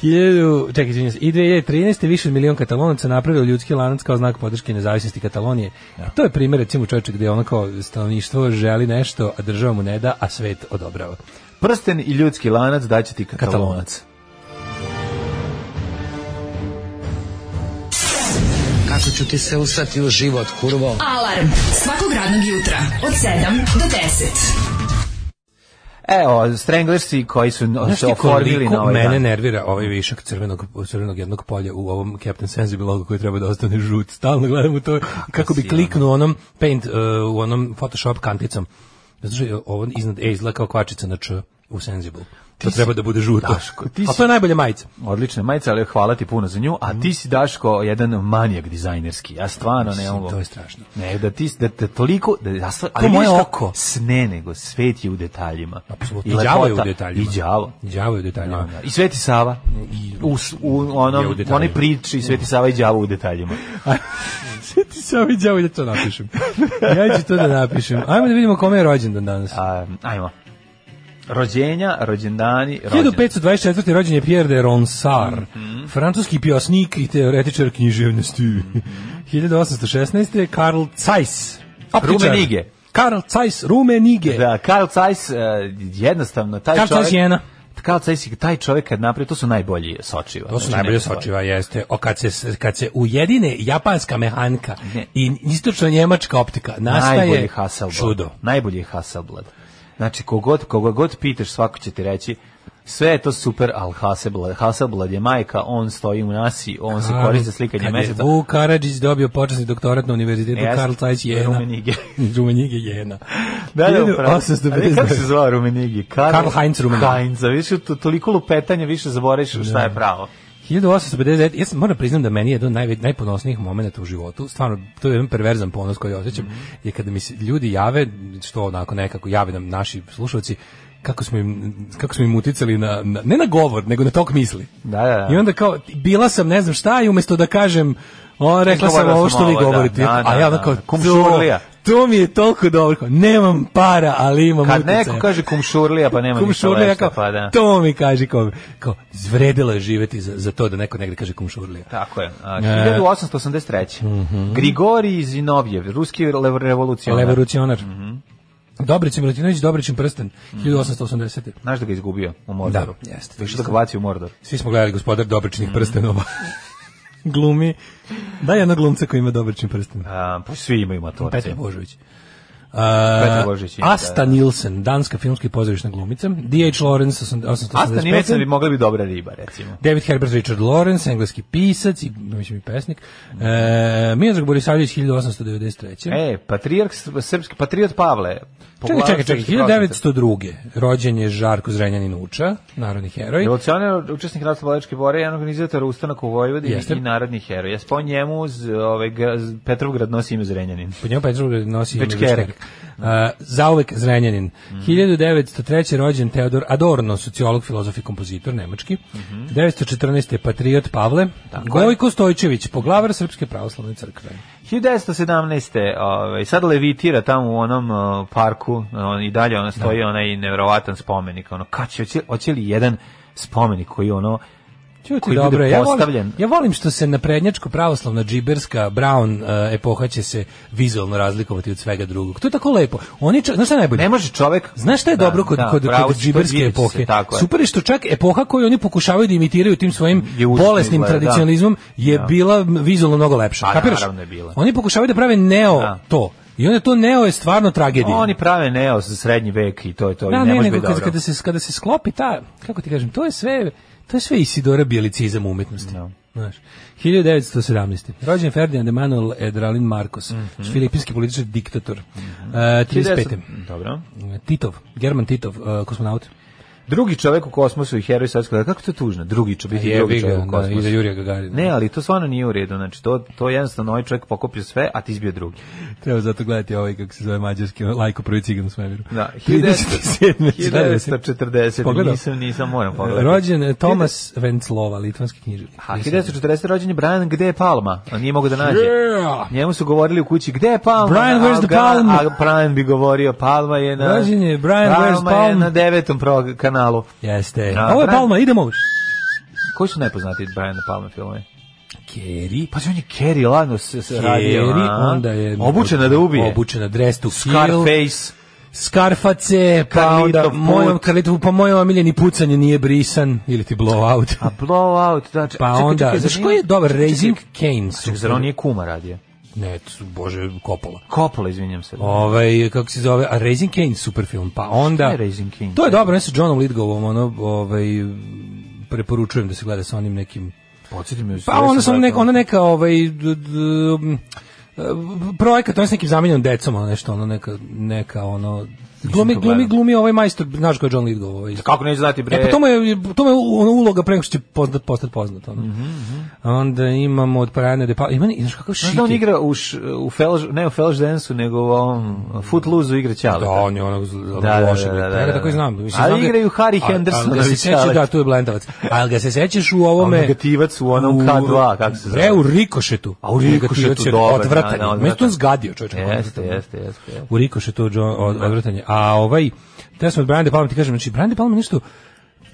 S6: Hiljadu, čekaj, izvinjam se, i 2013. više od milion katalonaca napravio ljudski lanac kao znak podrške nezavisnosti Katalonije. To je primjer, recimo, čovječe gdje ono kao stanovništvo želi nešto, a država mu ne da, a svet odobrava.
S7: Prsten i ljudski lanac daće ti katalonac.
S6: Katalonac.
S9: Kako ću ti se usrati u život, kurvo?
S5: Alarm svakog radnog jutra od 7 do 10.
S7: Evo, Stranglersi E, koji su no,
S6: Znaš
S7: Pa se
S6: ti
S7: oformili na
S6: koliko
S7: ovaj
S6: mene
S7: dan.
S6: nervira ovaj višak crvenog, crvenog jednog polja u ovom Captain Sensible logo koji treba da ostane žut. Stalno gledam u
S7: Pa
S6: to kako bi
S7: si,
S6: kliknuo onom paint, uh, u onom Photoshop kanticom. Znaš, ovo iznad E izgleda kao kvačica na Č u Sensible. To treba da bude žuto.
S7: Daško, ti
S6: A
S7: si-
S6: to je najbolja majica.
S7: Odlična majica, ali hvala ti puno za nju. A ti si Daško jedan manijak dizajnerski. Ja stvarno ne mogu.
S6: to je strašno.
S7: Ne, da ti da, da toliko da ja stvar-
S6: To je moje
S7: vidiš
S6: oko.
S7: s ne nego svet je u detaljima.
S6: Apsolutno.
S7: I
S6: I đavo je u
S7: lepota,
S6: detaljima.
S7: I đavo.
S6: Đavo je u detaljima.
S7: Da, da. I Sveti Sava u, s- u onom
S6: Je u
S7: u
S6: detaljima.
S7: onoj priči Sveti Sava i đavo u detaljima.
S6: Sjeti se ovaj đavo i da to napišem. Ja ću to da napišem. Ajmo da vidimo kome je rođendan danas.
S7: A, ajmo. Rođenja, rođendani, rođendani.
S6: 1524. rođen je Pierre de Ronsard,
S7: Mhm.
S6: francuski pjosnik i teoretičar književnosti. 1816. Karl Zeiss, optičar.
S7: Rumenige.
S6: Karl Zeiss Rumenige.
S7: Da, Karl Zeiss, eh, jednostavno, taj
S6: Karl
S7: čovjek...
S6: Zeiss Jena.
S7: Karl Zeiss, je taj čovjek kad napravi, to su najbolji sočiva.
S6: To su
S7: Znači,
S6: najbolje
S7: nema stvari.
S6: sočiva, jeste. O, kad, se, kad se ujedine japanska mehanika
S7: Ne.
S6: i istočno-njemačka optika,
S7: Najbolji
S6: nastaje
S7: Hasselblad.
S6: čudo.
S7: Najbolji je Hasselblad. Znači, kogod, koga god pitaš, svako će ti reći sve je to super, ali Hasselblad, Hasselblad je majka, on stoji u nasi, on se koristi za slikanje
S6: Kad
S7: meseca.
S6: je Vuk Karadžić dobio počasni doktorat na univerzitetu
S7: Jeste.
S6: Karl Zeiss Jena.
S7: Rumenige.
S6: Rumenige Jena.
S7: Da, da, upravo. Ali Kako se
S6: 1852.
S7: zvao Rumenigi?
S6: Karl Heinz Rummenigge.
S7: Heinz, a više to, toliko lupetanja, više zaboraviš šta je pravo.
S6: 1859, ja sam, moram priznam da meni je jedan od najve- najponosnijih momenata u životu, stvarno, to je jedan perverzan
S7: Mhm.
S6: ponos koji osjećam, je kada mi se ljudi jave, što onako nekako jave nam naši slušalci, kako smo im, kako smo im uticali na, na- ne na govor, nego na tok misli.
S7: Da, da, da.
S6: I onda kao, bila sam ne znam šta i umjesto da kažem, o, rekla sam
S7: Izgovorila
S6: ovo
S7: sam
S6: što vi
S7: ovo, da,
S6: govorite.
S7: da,
S6: a
S7: da,
S6: ja onda
S7: da,
S6: kao,
S7: da. Kumšurlija.
S6: to, to mi je toliko dobro. Kao, nemam para, ali imam
S7: Kad
S6: uticaja.
S7: neko kaže kumšurlija, pa nema ništa
S6: Kumšurlija,
S7: lepše,
S6: kao,
S7: pa da.
S6: to mi kaže, kao, kao, zvredilo je živeti za, za to da neko negde kaže kumšurlija.
S7: Tako je. A, 1883.
S6: Mhm.
S7: Grigori Zinovjev, ruski lev- revolucionar.
S6: Levorucionar.
S7: Mhm.
S6: Dobrićem Milutinović, Dobrićem prsten, 1880.
S7: Znaš Mhm. da ga izgubio u Mordoru?
S6: Da, jeste.
S7: Više da ga baci u Mordor.
S6: Svi smo gledali gospodar Dobričnih
S7: Mhm.
S6: prstenova. Glumi. Daj jednog glumca koji ima Dobrični prsten.
S7: A, pa svi imaju matorce.
S6: Petar Božović.
S7: Petar Božović, ima, da,
S6: Asta
S7: da.
S6: Nilsen, danska filmska i pozorišna glumica. D.H. Lawrence, 885.
S7: Asta Nilsen bi mogla bi dobra riba, recimo.
S6: David Herbert Richard Lawrence, engleski pisac i mislim i pesnik. E, Miodrag Borisavljević 1893.
S7: E, patrijarh sr- srpski, patriot Pavle.
S6: čekaj,
S7: Poglavnik
S6: čekaj, čekaj,
S7: srpske prosvete.
S6: 1902. Rođen je Žarko Zrenjanin Uča, narodni heroj.
S7: Revolucionar, učesnik Narodno-Bolečke bore, jedan organizator ustanaka u Vojvodini
S6: Jeste.
S7: i narodni heroj. Ja po njemu z, ove, ga- z- Petrovgrad nosi ime Zrenjanin.
S6: Po njemu Petrograd nosi ime
S7: Bećkerek.
S6: Bećkerek. A, E, zauvek Zrenjanin. 1903. rođen Teodor Adorno, sociolog, filozof i kompozitor nemački. 914. je patriot Pavle. Gojko Stojčević, poglavar Srpske pravoslavne crkve.
S7: 1917. Ovaj, sad levitira tamo u onom o, parku on, i dalje ono stoji onaj nevjerovatan spomenik. Ono, kad će, hoće, hoće li jedan spomenik koji ono
S6: Ćuti,
S7: Koji
S6: dobro,
S7: bude
S6: ja volim,
S7: postavljen.
S6: ja volim što se na prednjačko pravoslavna džiberska Brown e, epoha će se vizualno razlikovati od svega drugog. To je tako lepo. Oni čak, znaš šta je najbolje?
S7: ne može čovek
S6: Znaš šta je
S7: Da,
S6: dobro kod,
S7: da,
S6: kod,
S7: pravo
S6: kod
S7: si,
S6: džiberske
S7: vidi se,
S6: epohe?
S7: tako je.
S6: Super je što čak epoha koju oni pokušavaju da imitiraju tim svojim
S7: Je užasno
S6: bolesnim
S7: izgleda, da.
S6: tradicionalizmom je
S7: Da.
S6: bila vizualno mnogo lepša.
S7: Pa,
S6: Kapiraš?
S7: naravno je bila.
S6: Oni pokušavaju da prave neo
S7: Da.
S6: to. I onda to neo je stvarno tragedija.
S7: Oni prave neo za srednji vek i to je to. i
S6: Da,
S7: Pa ne
S6: ne,
S7: može
S6: nego
S7: biti
S6: kada,
S7: dobro.
S6: kada, se, kada se sklopi ta, kako ti kažem, to je sve, to je sve Isidora Bjelicizam umetnosti.
S7: Da.
S6: Znaš, 1917. Rođen Ferdinand Emanuel Edralin Marcos,
S7: Mhm.
S6: filipinski političar diktator. Uh, 35.
S7: 1910. Dobro.
S6: Titov, German Titov, uh, kosmonaut.
S7: Drugi čovek u kosmosu i heroj svetskog rata. Kako to je tužno? Drugi čovek, biti drugi
S6: Jebi ga,
S7: čovek u
S6: Eh, da,
S7: kosmosu.
S6: iza Jurija Gagarina.
S7: Ne, ali to stvarno nije u redu. Znači, to, to jednostavno ovaj čovjek pokupio sve, a ti izbio drugi.
S6: Treba zato gledati ovaj, kako se zove mađarski, lajko prvi cigan u svemiru.
S7: Da,
S6: 1947.
S7: 1940.
S6: Pogledao?
S7: Nisam, nisam, moram pogledati.
S6: Rođen je Tomas Venclova, litvanski književnik.
S7: A 1940. rođen je Brian, gde je Palma? On nije mogao da nađe.
S6: Yeah!
S7: Njemu su govorili u kući, gde je Palma?
S6: Brian, where's
S7: A
S6: the
S7: ga-
S6: Palma?
S7: A Brian bi govorio, Palma je na...
S6: Rođen je Brian, where's
S7: Palma je
S6: Palma?
S7: na devetom prog- kanalu.
S6: Jeste.
S7: A,
S6: Ovo je
S7: Brian-
S6: Palma, idemo.
S7: Koji su najpoznatiji Brian de Palma filmove?
S6: Keri.
S7: Pa on je Kerry, ladno se, se radio.
S6: Keri,
S7: a?
S6: onda je...
S7: Obučena da ubije.
S6: Obučena, dress to kill.
S7: Scarface.
S6: Skarface, pa
S7: Karlitov
S6: onda
S7: put.
S6: mojom, Karlitov, pa moj omiljeni pucanje nije brisan, ili ti blowout.
S7: A Blowout, znači...
S6: Pa
S7: čekaj,
S6: onda,
S7: čekaj,
S6: znaš
S7: zar
S6: koji
S7: nije-
S6: je dobar
S7: čekaj,
S6: Raising Kane?
S7: Čekaj, zar on nije kuma radio?
S6: Ne, su, bože, Coppola.
S7: Coppola, izvinjam se.
S6: Ovaj kako se zove, a Raising Kane super film. Pa onda
S7: Šta je Raising Kane?
S6: To je dobro, ja sa Johnom Lithgowom, ono, ovaj preporučujem da se gleda sa onim nekim
S7: Podsjeti me.
S6: Pa onda sam neka,
S7: neko,
S6: ona neka ovaj d- d- m, e, projekat, on je s nekim zamenjenom decom, ono nešto, ono neka, neka ono, glumi,
S7: to
S6: glumi,
S7: gledao.
S6: glumi ovaj majstor, znaš ko je John Lithgow, ovaj.
S7: Kako neću znati, bre?
S6: E, pa to mu je, to mu je ono uloga pre nego što će poznat, postat poznat. Ono.
S7: Mhm,
S6: Onda imamo od Parajana de Pa... Ima, ni- znaš kakav
S7: Znaš
S6: šiki.
S7: da on igra u, š, u felž, ne u Felž Dance-u, nego u ovom Footloose-u igra Ćaleta.
S6: Da, on je onog
S7: Da, da, da,
S6: loše.
S7: da, da,
S6: Ja ga
S7: da.
S6: tako i znam. Mislim,
S7: Ali
S6: znam ga-
S7: igraju Harry
S6: A- ali
S7: Hendersona
S6: ga se
S7: i
S6: sećaš,
S7: Čalet.
S6: Da, tu je Blendavac. Ali ga se sećaš u ovome...
S7: A negativac u onom K2, kako se zove?
S6: Bre, u Rikošetu.
S7: A u Rikošetu,
S6: Negativac je
S7: dobar, da,
S6: Odvratan.
S7: da, odvratan.
S6: Meni je to zgadio, čovječe.
S7: Jeste, jeste, jeste. jeste.
S6: U Rikošetu od, od, odvratan je. A ovaj, te sam od Brian De Palma ti kažem, znači, Brian De Palma je nešto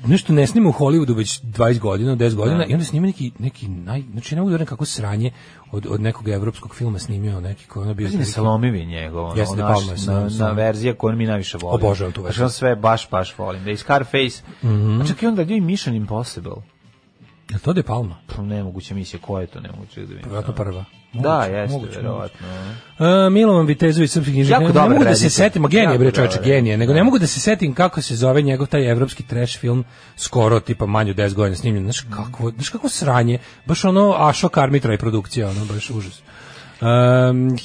S6: nešto ne snima u Hollywoodu već 20 godina, 10 godina i onda snima neki, neki naj, znači ne mogu da verujem kako sranje od, od nekog evropskog filma snimio neki koji je ono bio...
S7: Mislim,
S6: otprilike-
S7: Salomivi njegov, ono,
S6: Jeste,
S7: naš,
S6: Palma je
S7: na,
S6: Salom-
S7: na
S6: Salom.
S7: verzija koju mi najviše volim.
S6: Obožavam tu
S7: Znači,
S6: verziju. Mhm.
S7: on sve baš, baš volim. Da je i Scarface, a čak i onda gdje i Mission Impossible.
S6: Je li to De Palma?
S7: Pa, Nemoguće misije, ko je to nemoguće da vidim.
S6: Vjerojatno prva.
S7: Da,
S6: Moguće,
S7: jeste,
S6: moguće,
S7: verovatno.
S6: E, Milovan Vitezović srpski knjižnik.
S7: Jako
S6: Ne, ne
S7: dobar
S6: mogu da se
S7: reditelj.
S6: setim, a genije
S7: Jako
S6: bre čoveče,
S7: dobar.
S6: genije, nego ne mogu da se setim kako se zove njegov taj evropski trash film skoro tipa manje od 10 godina snimljen. Znaš kako, znaš kako sranje, baš ono Ašo Karmitra i produkcija, ono baš užas. Um,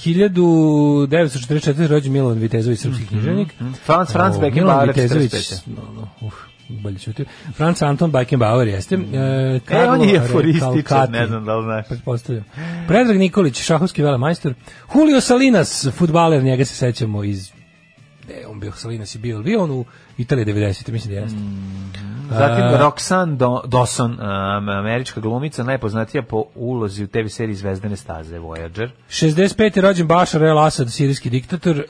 S6: 1944. rođen Milovan Vitezović, srpski književnik.
S7: Franz- Mhm, Franz
S6: O,
S7: Beckenbauer,
S6: Milovan Vitezović,
S7: 45..
S6: no, no, uf, bolje ćutim. Franz Anton Beckenbauer jeste. E,
S7: E,
S6: Karlo
S7: on je
S6: Re-
S7: aforističan,
S6: Kalkati
S7: ne znam da li znaš.
S6: pretpostavljam. Predrag Nikolić, šahovski velemajstor. Julio Salinas, futbaler, njega se sećamo iz gde je on bio, Salinas je bio, ili bio on u Italiji 90. mislim da
S7: Mm.
S6: jeste.
S7: Zatim
S6: A-
S7: Roxanne Do- Dawson, um, američka glumica, najpoznatija po ulozi u TV seriji Zvezdane staze Voyager.
S6: 65. je rođen Bashar el-Assad, sirijski diktator. Uh,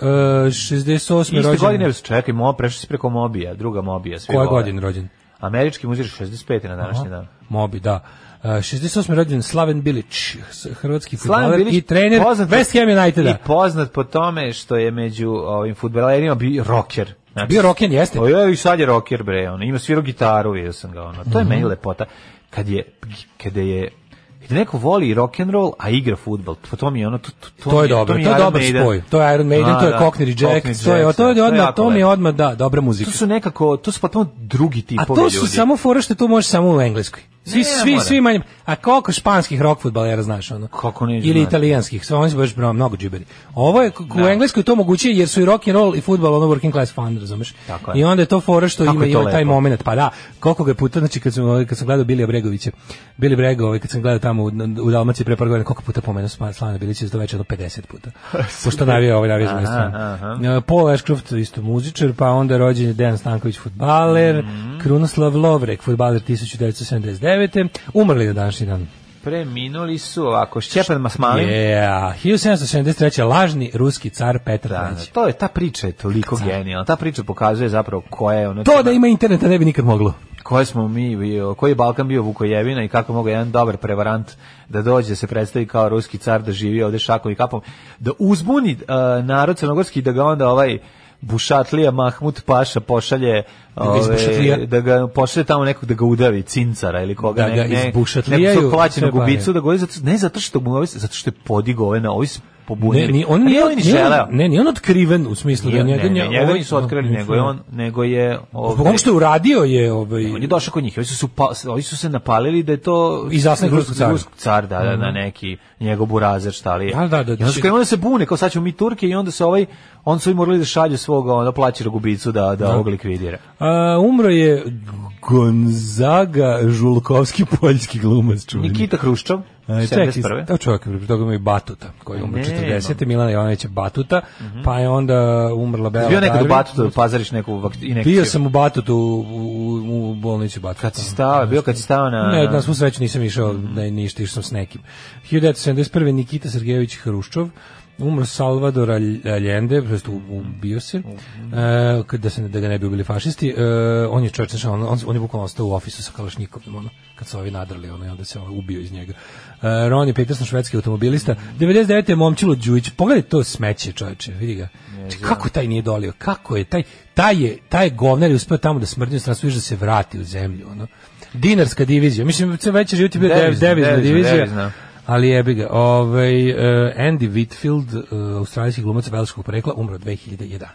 S6: 68. je
S7: Iste
S6: rođen...
S7: godine, čekaj, mo, prešli si preko Mobija, druga Mobija. Svi
S6: Koje
S7: vole.
S6: godine rođen?
S7: Američki muzir 65. na današnji dan.
S6: Mobi, da. Uh, 68. rođen Slaven Bilić, s- hrvatski
S7: Slaven
S6: fudbaler
S7: Bilić,
S6: i trener
S7: poznat po-
S6: West Ham Uniteda.
S7: I poznat po tome što je među ovim fudbalerima bio rocker. Znači,
S6: Bio roken jeste.
S7: O ja i sad je rocker bre, on ima svirao gitaru, vidio sam ga ono. To je
S6: Mhm.
S7: meni lepota kad je kada je kada neko voli rock and roll a igra fudbal. To, to mi je ono to to,
S6: To
S7: mi
S6: je dobro,
S7: mi
S6: to je
S7: Iron
S6: dobar
S7: Maiden.
S6: spoj. To je Iron Maiden,
S7: A,
S6: to je
S7: da,
S6: Cockney Jack,
S7: Jack,
S6: to je to je
S7: da,
S6: odmah,
S7: jako
S6: to mi je
S7: lepo.
S6: odmah da, dobra muzika.
S7: To su nekako, to su potpuno drugi
S6: A
S7: tipovi ljudi.
S6: to su samo fore što tu možeš samo u engleskoj. Svi
S7: Ne
S6: svi
S7: mora.
S6: svi manje. A koliko španskih rock fudbalera znaš ono?
S7: Kako ne
S6: Ili
S7: znam.
S6: italijanskih, sve oni su baš bro, mnogo džiberi. Ovo je k- u engleskoj to moguće jer su i rock and roll i fudbal ono working class fun, razumeš?
S7: Tako je.
S6: I onda je to fore što
S7: Kako
S6: ima
S7: je
S6: i
S7: to
S6: ovaj taj
S7: lepo.
S6: momenat. Pa da, koliko ga je puta znači kad sam ovaj, kad sam gledao Bilija Bregovića, Bili Brego, ovaj, kad sam gledao tamo u, u Dalmaciji pre par godina, koliko puta pomenuo Sma- Slana Bilića za to večer jedno 50 puta. Pošto navija ovaj navija s moje
S7: Aha,
S6: strane.
S7: aha.
S6: E, Paul Ashcroft isto muzičar, pa onda je rođen je Dejan Stanković fudbaler,
S7: Mhm.
S6: Krunoslav Lovrek fudbaler 1979. Umrli na današnji dan.
S7: Preminuli su ovako, Šćepan Masmalin.
S6: Yeah, 1773. lažni ruski car Petar
S7: Da,
S6: III.
S7: to je, ta priča je toliko genijalna. Ta priča pokazuje zapravo koja je ono...
S6: To da ima interneta ne bi nikad moglo.
S7: koje smo mi bio, koji je Balkan bio Vukojevina i kako mogu jedan dobar prevarant da dođe da se predstavi kao ruski car da živi ovde šakom i kapom, da uzbuni e, narod crnogorski da ga onda ovaj Bušatlija Mahmut Paša pošalje
S6: Da ga
S7: ove,
S6: izbušatlija?
S7: da ga pošalje tamo nekog da ga udavi cincara ili koga
S6: Da ga
S7: ne, ne,
S6: izbušatlijaju
S7: nekog svog plaćenog
S6: sve pare.
S7: ubicu da goli zato, ne zato što mu je ovi- zato što je podigo ove na ovi su
S6: Ne,
S7: pobunili.
S6: ni, on
S7: A
S6: nije,
S7: on ni
S6: nije,
S7: želeo.
S6: on- ne, nije on otkriven u smislu
S7: Nije,
S6: da njega...
S7: ne, ne,
S6: nje-
S7: njega
S6: ovaj-
S7: nisu otkrili, nego je on, nego je...
S6: Zbog
S7: ovaj-
S6: onog što je uradio je... Ovaj,
S7: on je došao kod njih, ovi su, su pa, ovi su se napalili da je to
S6: I zasnik ruskog cara. Mhm.
S7: ruskog cara, da, da, da, neki njegov burazer šta li je.
S6: Da, da, da,
S7: I onda su krenuli da se bune, kao sad ćemo mi Turke i onda se ovaj, on su i morali da šalju svoga, onda plaći rogubicu da, da, ovog likvidira.
S6: A, umro je Gonzaga Žulkovski, poljski glumac čuveni.
S7: Nikita Hruščov,
S6: Mhm. E, čekaj,
S7: 71.
S6: to čovjek je toga ima i Batuta, koji je umro
S7: Ne,
S6: 40. Milana Jovanovića Batuta, pa je onda umrla Bela
S7: Mhm. Bio nekad u
S6: Darwin.
S7: Batutu da pazariš neku vak- inekciju.
S6: Bio sam u Batutu, u, u, u bolnici Batuta.
S7: Kad si stao, bio kad si stao na...
S6: Ne, na svu sreću nisam išao da je ništa, išao sam s nekim. 1971. Nikita Sergejević Hruščov, umro Salvador Alj- Allende, prosto u- ubio se, e, kad- da, se, ne- da ga ne bi ubili fašisti. E, on je čovječ, znaš, on, on, on je bukvalno ostao u ofisu sa kalašnjikovim, ono, kad su ovi nadrali, ono, i onda se ono, ubio iz njega. E, Ronnie Peterson, švedski automobilista. 99. je momčilo Đujić. Pogledaj to smeće, čovječe, vidi ga. Znači, kako taj nije dolio? Kako je taj, taj je, taj je govnar je uspeo tamo da smrdi u stranstvu, još da se vrati u zemlju, ono. Dinarska divizija. Mislim, sve veće život je bio dev,
S7: Devizna,
S6: devizna
S7: devizna,
S6: divizija.
S7: devizna.
S6: Ali jebi ga. Ovaj, eh, Andy Whitfield, eh, australijski glumac velškog porekla, umro 2011.